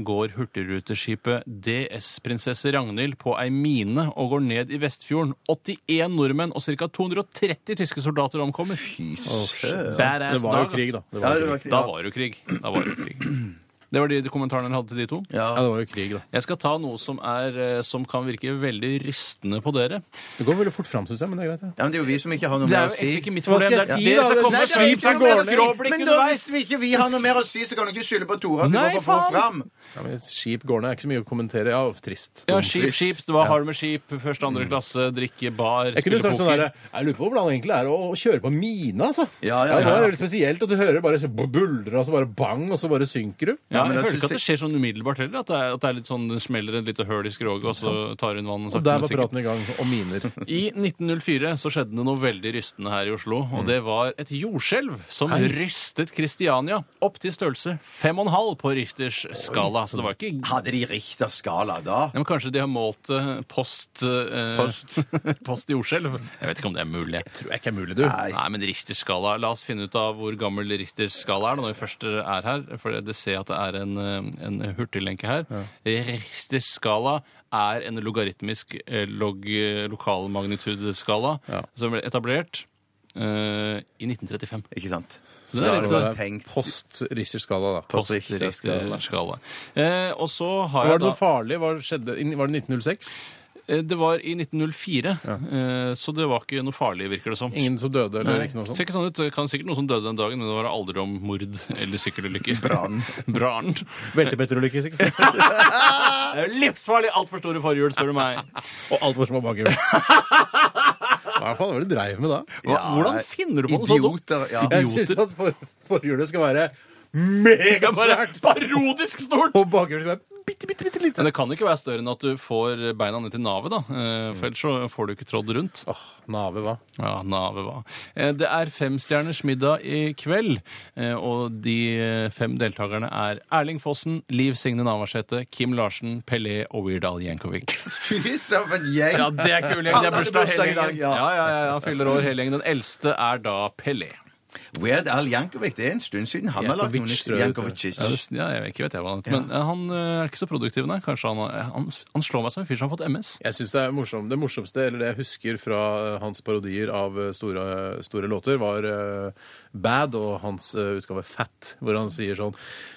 S5: går hurtigruteskipet DS Prinsesse Ragnhild på ei mine og går ned i Vestfjorden? 81 nordmenn og ca. 230 tyske soldater omkommer.
S4: Fy søren.
S5: Badass
S3: Det var jo
S5: dag,
S3: krig, da.
S5: ass.
S3: Det
S4: Ja,
S3: var,
S4: det
S3: jo
S4: var
S3: krig.
S4: ikke-
S5: Da var det jo krig. Da var det jo krig. Det var de kommentarene jeg hadde til de to.
S4: Ja.
S3: Ja, det var jo krig, da.
S5: Jeg skal ta noe som, er, eh, som kan virke veldig rystende på dere.
S3: Det går veldig fort fram, syns jeg, men det er greit. Ja.
S4: ja, men det er jo vi som ikke har noe
S5: Det
S4: mer
S5: er
S4: å
S5: jo
S4: si.
S5: egentlig ikke mitt
S3: Hva
S5: problem.
S3: skal jeg
S5: det er
S3: si,
S5: dere
S3: da?
S5: som
S3: Nei,
S5: kommer
S3: det er jo
S5: skip
S3: ikke
S5: som
S3: noe mer
S5: går
S3: å
S5: ned!
S3: si.
S5: Skråblikk
S4: Men da,
S5: underveis.
S4: hvis vi ikke vi har noe mer å si, så kan du ikke skylde på Tore at du
S5: Nei,
S4: går for fort
S5: faen.
S4: fram.
S3: men skip går ned. Er ikke så mye å kommentere. Ja, trist.
S5: Ja,
S3: Dumt.
S5: skip, skip, det var Har du med skip, første, andre klasse, drikke, bar,
S3: Mm. Jeg kunne
S5: spille
S3: sagt sånn
S5: poker.
S3: der, jeg lurer på hvordan det egentlig er å, å kjøre på mine, altså.
S4: Ja, ja,
S3: Det var
S4: ja.
S3: veldig spesielt, og du hører bare så buldre, og så bare bang, og så bare synker du.
S5: Ja,
S4: Ja, men jeg
S5: jeg føler ikke
S4: synes
S5: at det skjer sånn umiddelbart heller. At det er, at det er litt sånn, det smeller et lite høl i skroget, og så tar hun vann.
S3: Og
S5: sakte,
S3: der
S5: men
S3: var
S5: sikkert.
S3: praten i gang om miner.
S5: I 1904 så skjedde det noe veldig rystende her i Oslo.
S3: Mm.
S5: Og det var et jordskjelv som rystet Kristiania opp til størrelse 5,5 på Richters skala. Så det var ikke
S4: Hadde de Richters skala da?
S5: ja, men Kanskje de har målt eh, post, eh, [LAUGHS] post. jordskjelv? Jeg vet ikke om det er mulig.
S3: Tror jeg ikke er mulig, du.
S4: Nei.
S5: Nei, men Richters skala La oss finne ut av hvor gammel Richters skala er da, når vi først er her. For det ser jeg at det er en, eh, en hurtiglenke her. Richters skala er en logaritmisk eh, log, lokalmagnitudeskala
S3: Ja.
S5: som ble etablert eh, i 1935.
S4: Ikke sant?
S5: Så
S4: Så da
S5: det er
S4: har
S5: litt sånn
S4: det
S3: Det
S4: vært
S3: var
S4: tenkt
S3: Post Richter-skala, da.
S4: Post Richter skala.
S5: Richter-skala. Eh, og så har
S3: Var
S5: jeg
S3: det
S5: da
S3: noe farlig? Hva skjedde? I- Var det 1906?
S5: eh, Det var i 1904, eh, så det var ikke noe farlig, virker det som.
S3: Ingen som døde, eller
S5: Nei,
S3: ikke noe
S5: Ser
S3: sånt?
S5: ikke sånn ut. Det kan sikkert noen som døde den dagen, men det var aldri om mord eller sykkelulykker. Brann. [LAUGHS] Brann.
S3: Veltebetterulykke,
S5: [LAUGHS]
S3: sikkert.
S5: Det er jo livsfarlig! Altfor store forhjul, spør du meg.
S3: Og alt var små
S5: [LAUGHS]
S3: bakhjul. Hva faen var det du dreiv med da?
S5: Hva, hvordan finner du på noe så dumt?
S4: Idioter, ja.
S3: Jeg syns at for, forhjulet skal være megasvært,
S5: parodisk stort!
S3: og bakhjulet skal være bitte, bitte, bitte lite.
S5: [LAUGHS] Men det kan ikke være større enn at du får beina ned til navet, da. Eh, For ellers så får du ikke trådd rundt.
S3: Åh, Nave, hva?
S5: Ja, navet hva. Eh, Det er Femstjerners middag i kveld, eh, og de fem deltakerne er Erling Fossen, Liv Signe Navarsete, Kim Larsen, Pelé og Weird Al Jankovic.
S4: [LAUGHS] Fy søren, for en gjeng!
S5: Ja, det er kul
S4: Alle
S5: gjeng. Det er
S4: hadde
S5: bursdag hele
S4: bursdag i dag,
S5: gjengen. Ja,
S4: ja.
S5: ja, ja, ja, fyller år hele gjengen. Den eldste er da Pelé.
S4: Weird Al Jankovic, det er en stund siden han har lagt noen
S3: Jankovic, tror jeg,
S4: Jankovic.
S5: Ja, det, ja, jeg vet ikke vet jeg hva han heter, men eh, han eh, er ikke så produktiv, nei. Kanskje han, har- eh, han, han slår meg som en fyr som har fått MS.
S3: Jeg synes det er morsom, Det morsomste, eller det jeg husker fra eh, hans parodier av eh, store, store låter, var eh, Bad og hans eh, utgave Fat, hvor han sier sånn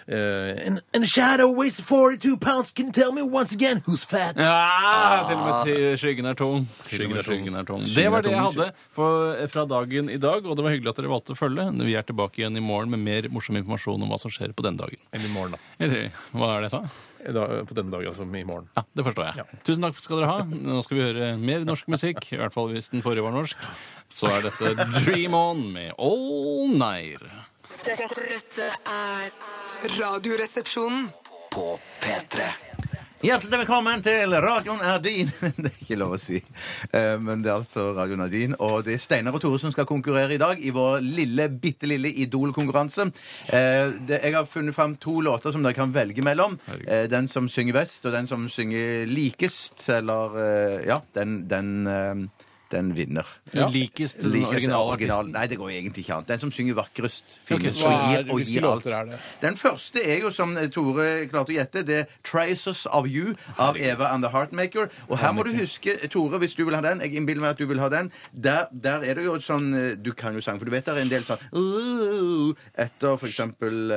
S3: eh, and, and a shadow weighs 42 pounds, can you tell me once again who's fat?
S5: Ja, til og med ty- skyggen er tung. Ah, Til og med
S3: Skyggen
S5: skyggen er tung. Det
S3: Skyggen er
S5: var det jeg
S3: tung.
S5: hadde for, eh, fra dagen i dag, og det var hyggelig at dere valgte å følge. Vi er tilbake igjen i morgen med mer morsom informasjon om hva som skjer på denne dagen. [LAUGHS]
S3: Eller i morgen, da.
S5: Eller hva er det jeg sa?
S3: I dag- På denne dagen, altså. I morgen.
S5: Ja, Det forstår jeg. Tusen takk skal dere ha. Nå skal vi høre mer norsk musikk. I hvert fall hvis den forrige var norsk. Så er dette Dream On med All Night.
S6: Dette, dette er Radioresepsjonen.
S2: På P3.
S4: Hjertelig velkommen til Radioen er din. [LAUGHS] Det er ikke lov å si, Eh, men det er altså Radioen er din. Og det er Steinar og Tore som skal konkurrere i dag i vår lille, bitte lille Idol-konkurranse. Eh, det- Jeg har funnet fram to låter som dere kan velge mellom. Eh, Den som synger best, og den som synger likest, eller eh, Ja, den, den eh, den vinner.
S5: Ja. Likest den
S4: Likest
S5: originale
S4: original.
S5: artisten.
S4: Nei, det går egentlig ikke annet. Den som synger vakrest.
S5: Ok,
S4: finnes
S5: så
S4: og
S3: er-
S4: gir, og
S3: hvilke
S4: gir alt.
S3: låter er det?
S4: Den første er jo, som Tore klarte å gjette, det er 'Traces of You' av Eva and the Heartmaker. Og her må du huske, Tore, hvis du vil ha den Jeg innbiller meg at du vil ha den. Der, der er det jo sånn eh, Du kan jo sang, for du vet det er en del sånn «Ooh», Etter for eksempel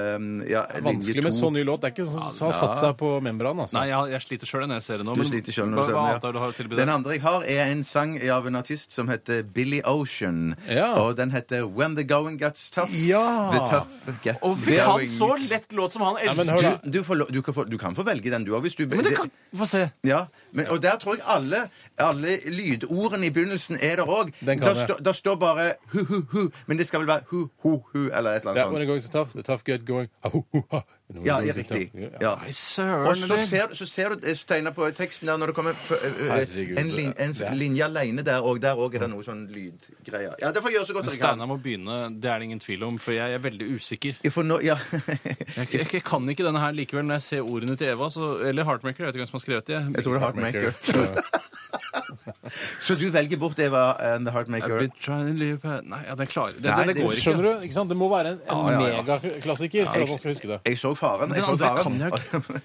S4: eh, ja,
S3: Vanskelig med så ny låt. Det er ikke sånn som har satt seg på membran. Altså.
S5: Nei, jeg, jeg sliter sjøl når jeg ser det nå.
S4: Du
S5: men
S4: sliter selv
S5: hva-
S4: når du ser
S5: Hva annet har du har å
S4: den.
S5: tilby
S4: ja. Den
S5: der?
S4: andre jeg har, er en sang av en artist som heter Billy Ocean.
S3: Ja.
S4: Og den heter When the Going Gets Tough.
S3: Ja.
S4: The Tough Gets
S5: Og fikk han
S4: Going.
S5: så lett låt som han
S3: Nei,
S5: elsker?
S3: men hør da.
S4: Du, du, får, lov- du, kan få, du kan få velge den du òg, hvis du
S5: Men det kan, Få se.
S4: Ja, men, og der tror jeg alle, alle lydordene i begynnelsen er der òg.
S3: Den
S4: Der,
S3: kan jeg.
S4: stå- der står bare hu-hu-hu, men det skal vel være hu-hu-hu eller et eller
S3: That when it
S4: annet sånt.
S3: goes tough, the tough get going. Ah, ho, ho, ha. And when
S4: Ja,
S3: it
S4: ja,
S3: goes
S4: riktig.
S3: tough, ja.
S4: Ja.
S5: Nei, søren.
S4: Og så
S5: eller?
S4: ser, så ser du, eh, Steinar, på teksten der når det kommer f- eh,
S3: Herregud,
S4: eh, en, lin, en
S3: det er-
S4: linje alene der òg. Der òg er det noe sånn lydgreier. Ja, det får jeg gjøre så godt
S5: Men
S4: jeg kan.
S5: Steinar må begynne, det er det ingen tvil om, for jeg er veldig usikker.
S4: Ja, for nå, ja. [LAUGHS]
S5: Jeg, jeg, jeg kan ikke denne her likevel når jeg ser ordene til Eva, så, eller Heartmaker. Jeg vet ikke hvem som har skrevet det.
S4: Jeg tror det er Heartmaker.
S3: Ja.
S4: Så du velger bort Eva and the
S5: I've
S4: Heartmaker.
S5: been trying to live a- Nei, ja, den klarer det,
S4: Nei,
S5: det, det
S4: det
S5: går ikke.
S3: Skjønner du? Ikke sant? Det må være en, en
S4: Ja, ja, ja.
S3: megaklassiker for
S4: jeg-
S3: at man skal huske det.
S4: Jeg så faren. Jeg
S5: Den
S4: så
S5: andre
S4: faren.
S5: kan jeg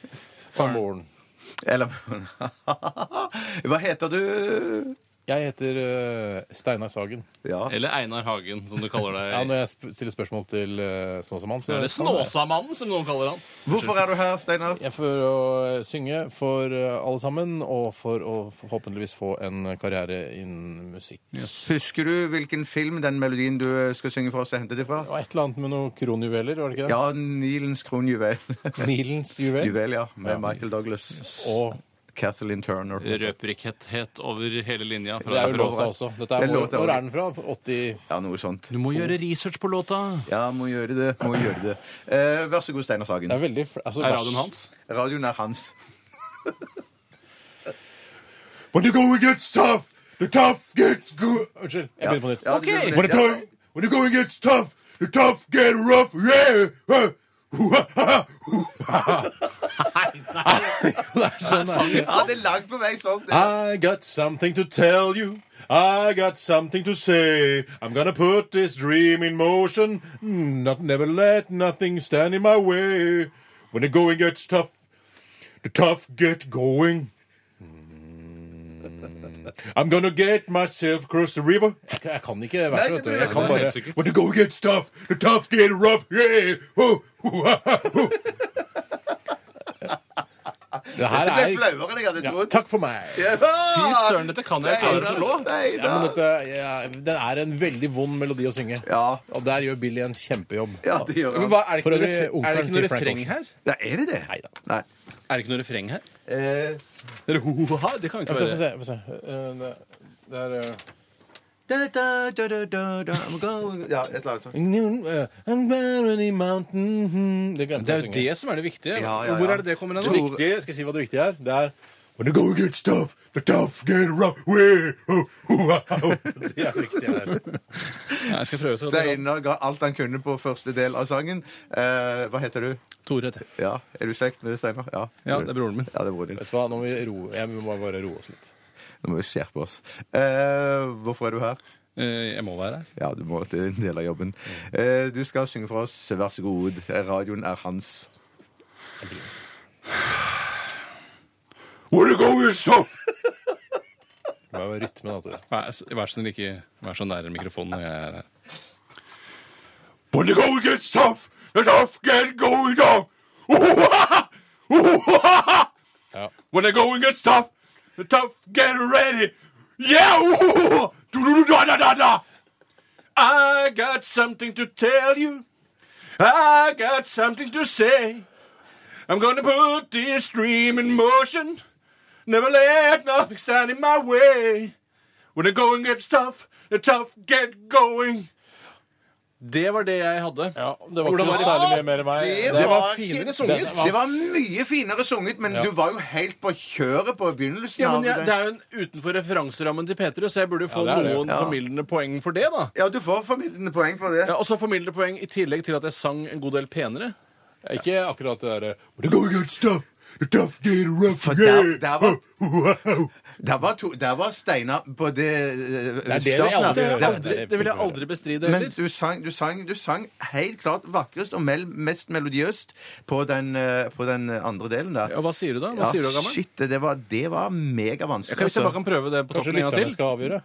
S3: Van Born.
S4: [LAUGHS] Eller [LAUGHS] Hva heter du?
S3: Jeg heter eh, Steinar Sagen.
S4: Ja.
S5: Eller Einar Hagen, som du kaller [LAUGHS] deg.
S3: Ja, når jeg sp stiller spørsmål til uh, Snåsamann, så
S5: Eller Snåsamannen, som noen kaller han.
S4: Hvorfor er du her, Steinar?
S3: Jeg For å synge for eh, alle sammen, og for å forhåpentligvis få en karriere innen musikk.
S4: Husker du hvilken film den melodien du eh, skal synge for oss, er hentet ifra?
S3: Og et eller annet med noen kronjuveler, var det ikke det?
S4: Ja, Nilens kronjuvel. [LAUGHS]
S3: Nilens juvel.
S4: Juvel, ja. Med Michael Douglas og
S3: Og
S4: Kathleen Turner.
S5: Røperikkhet over hele linja. Fra
S3: det er jo
S5: fra-
S3: låta også. Dette
S4: Det
S3: er
S4: er
S3: hvor,
S4: låta
S3: hvor
S4: også.
S3: er den fra? 80
S4: Ja, noe sånt.
S5: Du må gjøre research på låta.
S4: Ja, må gjøre det. Må gjøre det. Eh, vær så god, Steinar Sagen.
S3: Det er veldig fl- altså,
S5: Er
S3: vers-
S5: radioen hans?
S4: Radioen er hans.
S3: When the going gets tough, the tough gets good Unnskyld. Jeg begynner på nytt.
S4: Ja, du begynner på
S3: When
S4: nytt,
S3: the,
S4: ja.
S3: going, when the going gets tough, the tough get rough. Yeah! [LAUGHS] huh. Hua-ha-ha, hua-ha-ha. Det er sånn, det er.
S4: Ja, det er langt på vei sånn. det.
S3: I got something to tell you. I got something to say. I'm gonna put this dream in motion. Not never let nothing stand in my way. When the going gets tough, the tough get going. Mm. I'm gonna get myself across the river. Jeg kan
S4: Nei,
S3: ikke
S4: vet du. det- Jeg kan
S5: bare- helt sikkert.
S3: When the going gets tough, the tough get rough. Yeah. Ho, ho, [LAUGHS] ha, ha, ho. Det her
S4: Det ble flauere enn jeg hadde trodd.
S3: Takk for meg.
S4: Ja,
S5: Fy søren, dette kan jeg klare å slå.
S3: Ja, men
S4: Steinar!
S3: dette, ja, det er en veldig vond melodi å synge.
S4: Ja.
S3: Og der gjør Billy en kjempejobb.
S4: Ja, det gjør han.
S5: Men hva, er det
S3: For
S5: ikke noe,
S3: øvrig,
S5: refre- er det
S3: onkelen
S5: ikke noe
S3: til Frank
S5: refreng
S3: Ocean.
S5: her?
S4: Ja, er det det?
S3: Neida.
S4: Nei.
S5: Er det ikke noe refreng her?
S4: Eh,
S5: Eller ho-ha? Det kan jo ikke
S3: Vent, da, Få
S5: være
S3: se. Få se. Eh, det- Det er eh,
S4: da, da, da, da, da, da, I'm going- Ja, et eller annet sånt.
S3: eh, I'm very mountain hmm. Det glemte
S5: Det er
S3: jeg å
S5: jo
S3: synge.
S5: det som er det viktige.
S4: Ja, ja, ja.
S5: Hvor er det det kommer
S3: Det
S5: hen? da?
S3: viktige, skal jeg si hva det viktige er? Det er When the go get tough, the tough get rough way. Ho, ho, ha, ho. [LAUGHS] Det er det viktige her.
S5: Nei, Jeg skal prøve så godt jeg kan.
S4: Steinar ga alt han kunne på første del av sangen. Eh, hva heter du?
S5: Tore heter jeg.
S4: Ja, Er du slekt med Steinar? Ja.
S5: Ja, det er broren min.
S4: Ja, det er broren din.
S3: Vet du hva, nå må vi roe Jeg må bare roe oss litt.
S4: Nå må vi skjerpe oss. Eh, hvorfor er du her?
S5: Eh, Jeg må være her.
S4: Ja, du må, det er en del av jobben. Eh, du skal synge for oss. Vær så god. Radioen er hans.
S3: When the go get tough Det var rytmen, da, Tore.
S5: Vær vær så snill, ikke vær så nær mikrofonen når jeg er her.
S3: When the going gets tough, the tough get
S8: [LAUGHS]
S3: going on. Ja. When the going gets tough, the tough get ready. Yeah! Da-da-da-da-da! I got something to tell you. I got something to say. I'm gonna put this dream in motion. Never let nothing stand in my way. When the going gets tough, the tough get going.
S5: Det var det jeg hadde.
S8: Ja, det var
S5: Hvordan
S8: ikke noe
S5: var det?
S8: særlig mer med meg.
S5: Det var finere sunget.
S4: Det var, mye finere sunget, men du var jo helt på kjøret på begynnelsen.
S5: Ja, men
S4: av
S5: jeg,
S4: det.
S5: Det er jo en utenfor referanserammen til P3, så jeg burde jo få
S8: det er det.
S5: noen formildende poeng for det. da
S4: ja, du får formidlende poeng for det.
S5: ja, Og så formildende poeng i tillegg til at jeg sang en god del penere.
S8: Ikke akkurat det derre When the going gets tough,
S4: Tough day, rough
S8: For
S4: day.
S8: der- der var-
S4: Der var, to- der var Steinar på det eh,
S3: Det er det vi aldri hører.
S4: det,
S3: Det vil jeg aldri bestride
S4: Men
S3: heller.
S4: du sang, du, sang, du sang helt klart vakrest og mel mest melodiøst på den, eh, på den andre delen der.
S5: Ja, hva sier du da? Hva
S4: Ja,
S5: sier du, gammel?
S4: Shit, det var, det var altså. megavanskelig.
S5: Kan, hvis
S3: altså.
S5: jeg bare kan prøve det på
S3: Kanskje
S5: toppen en gang
S3: lytterne
S5: til?
S3: skal avgjøre?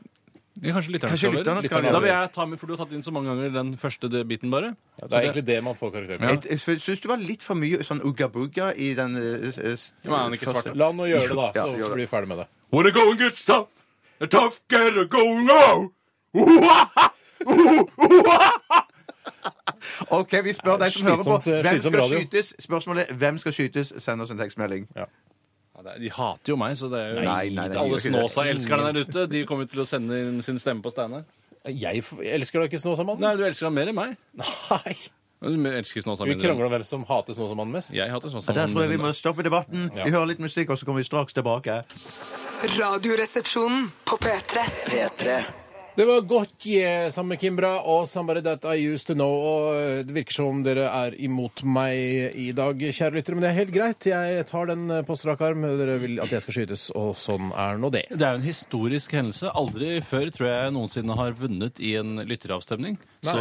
S5: Ja, Kanskje lytterne
S4: Kanskje
S5: skal
S4: lytterne skal
S5: avgjøre. Da
S4: avgjøre.
S5: vil jeg ta med, for du har tatt inn så mange ganger den første de- biten, bare.
S3: Ja, det er egentlig det man får karakter
S4: Jeg,
S3: med.
S4: jeg syns du var litt for mye sånn ugga-bugga i den eh, s- s-
S5: var han ikke svart,
S4: første-
S3: La han nå gjøre det, da,
S4: Ja, gjør
S3: så
S4: det.
S3: blir vi ferdig med det.
S5: Wanna go and get stuff? The tough get a go now! Uhaha!
S4: OK, vi spør deg som hører på.
S3: Slitsomt, eh,
S4: Hvem
S3: slitsom
S4: skal
S3: radio.
S4: skytes? Spørsmålet er, hvem skal skytes? Send oss en tekstmelding.
S5: Ja, det er- De hater jo meg, så det er jo
S4: Nei, nei, nei, de
S5: Alle
S4: gjør ikke det.
S5: Snåsa-elskerne der ute de kommer til å sende inn sin stemme på Steinar.
S3: Jeg f- elsker da ikke Snåsamannen.
S5: Nei, du elsker han mer enn meg.
S3: Nei.
S5: Men Du elsker Snåsa
S3: Vi
S5: mindre.
S3: krangler om hvem som hater Snåsamannen mest.
S5: Jeg hater Snåsa.
S4: Ja, Der tror jeg vi
S5: mindre.
S4: må stoppe debatten. Vi hører litt musikk, og så kommer vi straks tilbake.
S6: Radioresepsjonen på P3.
S2: P3.
S3: Det var godt, yeah, sammen med Kimbra og 'Somebody That I Used To Know'. Og eh, det virker som dere er imot meg i dag, kjære lyttere, men det er helt greit. Jeg tar den eh, på strak arm. Dere vil at jeg skal skytes, og sånn er nå det.
S5: Det er jo en historisk hendelse. Aldri før tror jeg noensinne har vunnet i en lytteravstemning. Så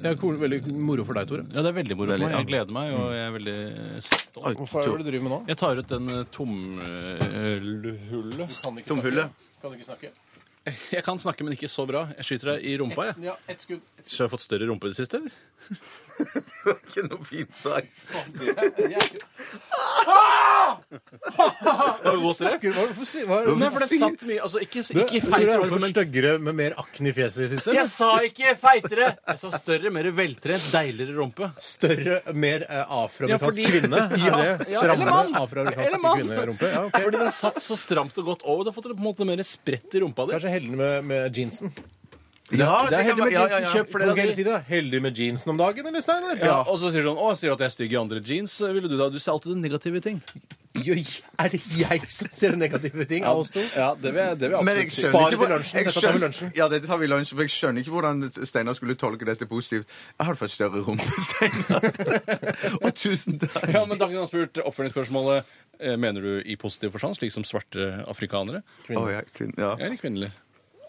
S3: Det er cool, veldig moro for deg, Tore.
S5: ja, det er veldig moro for meg. Jeg gleder meg, og jeg er veldig stolt.
S3: Hva er det du driver med nå?
S5: Jeg tar ut den eh, tomhullet.
S4: [LAUGHS] Tomhullet.
S3: Kan du ikke snakke?
S5: Jeg kan snakke, men ikke så bra. Jeg skyter deg i rumpa, jeg.
S3: Ja, ett skudd.
S5: Så jeg har fått større rumpe i det siste, eller?
S4: Ikke noe fint sagt.
S5: Var det godt, eller?
S3: Hvorfor si- hva er
S5: Nei,
S3: det?
S5: for det satt mye Altså, ikke,
S3: Du,
S5: ikke
S3: Tore,
S5: feit
S3: har du
S5: rumpe,
S3: blitt
S5: men
S3: styggere med mer akne i fjeset i det siste?
S5: Jeg sa ikke feitere! Jeg sa større, mer veltrent, deiligere rumpe.
S3: Større, mer eh, afroamerikansk
S5: Ja, fordi-
S3: kvinne?
S5: Ja,
S3: Er det
S5: ja, eller
S3: strammere
S5: mann. Eller
S3: afroamerikansk
S5: mann.
S3: kvinnerumpe? Ja, ok.
S5: Fordi den satt så stramt og godt over. Du har fått på en måte mer spredt i rumpa di.
S3: Kanskje heldig med, med jeansen.
S4: Ja,
S5: Det er
S4: kan
S5: heldig
S4: være-
S5: med
S4: ja, ja,
S5: jeansen.
S4: ja.
S5: Kjøp flere
S3: Kan ikke
S5: av
S3: heller si
S5: de.
S3: det, da? Heldig med jeansen om dagen, eller, Steinar?
S5: Ja, og så sier du sånn, å, sier du at jeg er stygg i andre jeans? Ville du da? Du sa alltid den negative ting.
S3: Jøy, er det jeg som ser negative ting av oss to?
S5: Ja, det vil jeg, det vil jeg
S4: Men jeg
S5: absolutt si.
S4: skjønner
S3: Spar
S4: ikke
S3: til
S4: hvor-
S3: lunsjen.
S4: jeg
S3: Dette tar vi
S4: skjønner-
S3: lunsjen.
S4: Ja, dette tar vi lunsjen, for jeg skjønner ikke hvordan Steinar skulle tolke dette positivt. Jeg har fått større rom til Steinar. [LAUGHS] Og tusen takk.
S5: Ja, men da kunne han spurt oppfølgingsspørsmålet eh, Mener du i positiv forstand, slik som svarte afrikanere?
S4: Å, ja, kun- ja.
S5: Eller kvinnelige?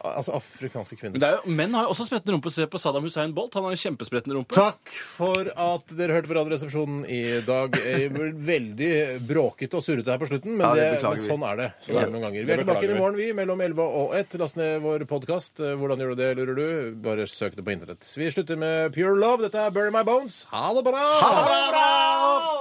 S3: Altså afrikanske
S5: Men
S3: kvinner.
S5: det er jo, menn har jo også spretten rumpe. Se på Saddam Hussein Bolt. Han har jo kjempespretten rumpe.
S3: Takk for at dere hørte på Radioresepsjonen i dag. Jeg ble veldig bråkete og surrete her på slutten, men,
S4: Ja, det
S3: det
S4: beklager
S3: men
S4: vi.
S3: sånn er det. Sånn er det noen ganger. Vi
S5: det
S3: er tilbake
S5: beklager
S3: inn i
S5: vi.
S3: morgen, vi, mellom 11 og 1. Last ned vår podkast. Hvordan gjør du det, lurer du? Bare søk det på internett. Vi slutter med Pure Love. Dette er Bury My Bones. Ha det bra! Ha det bra!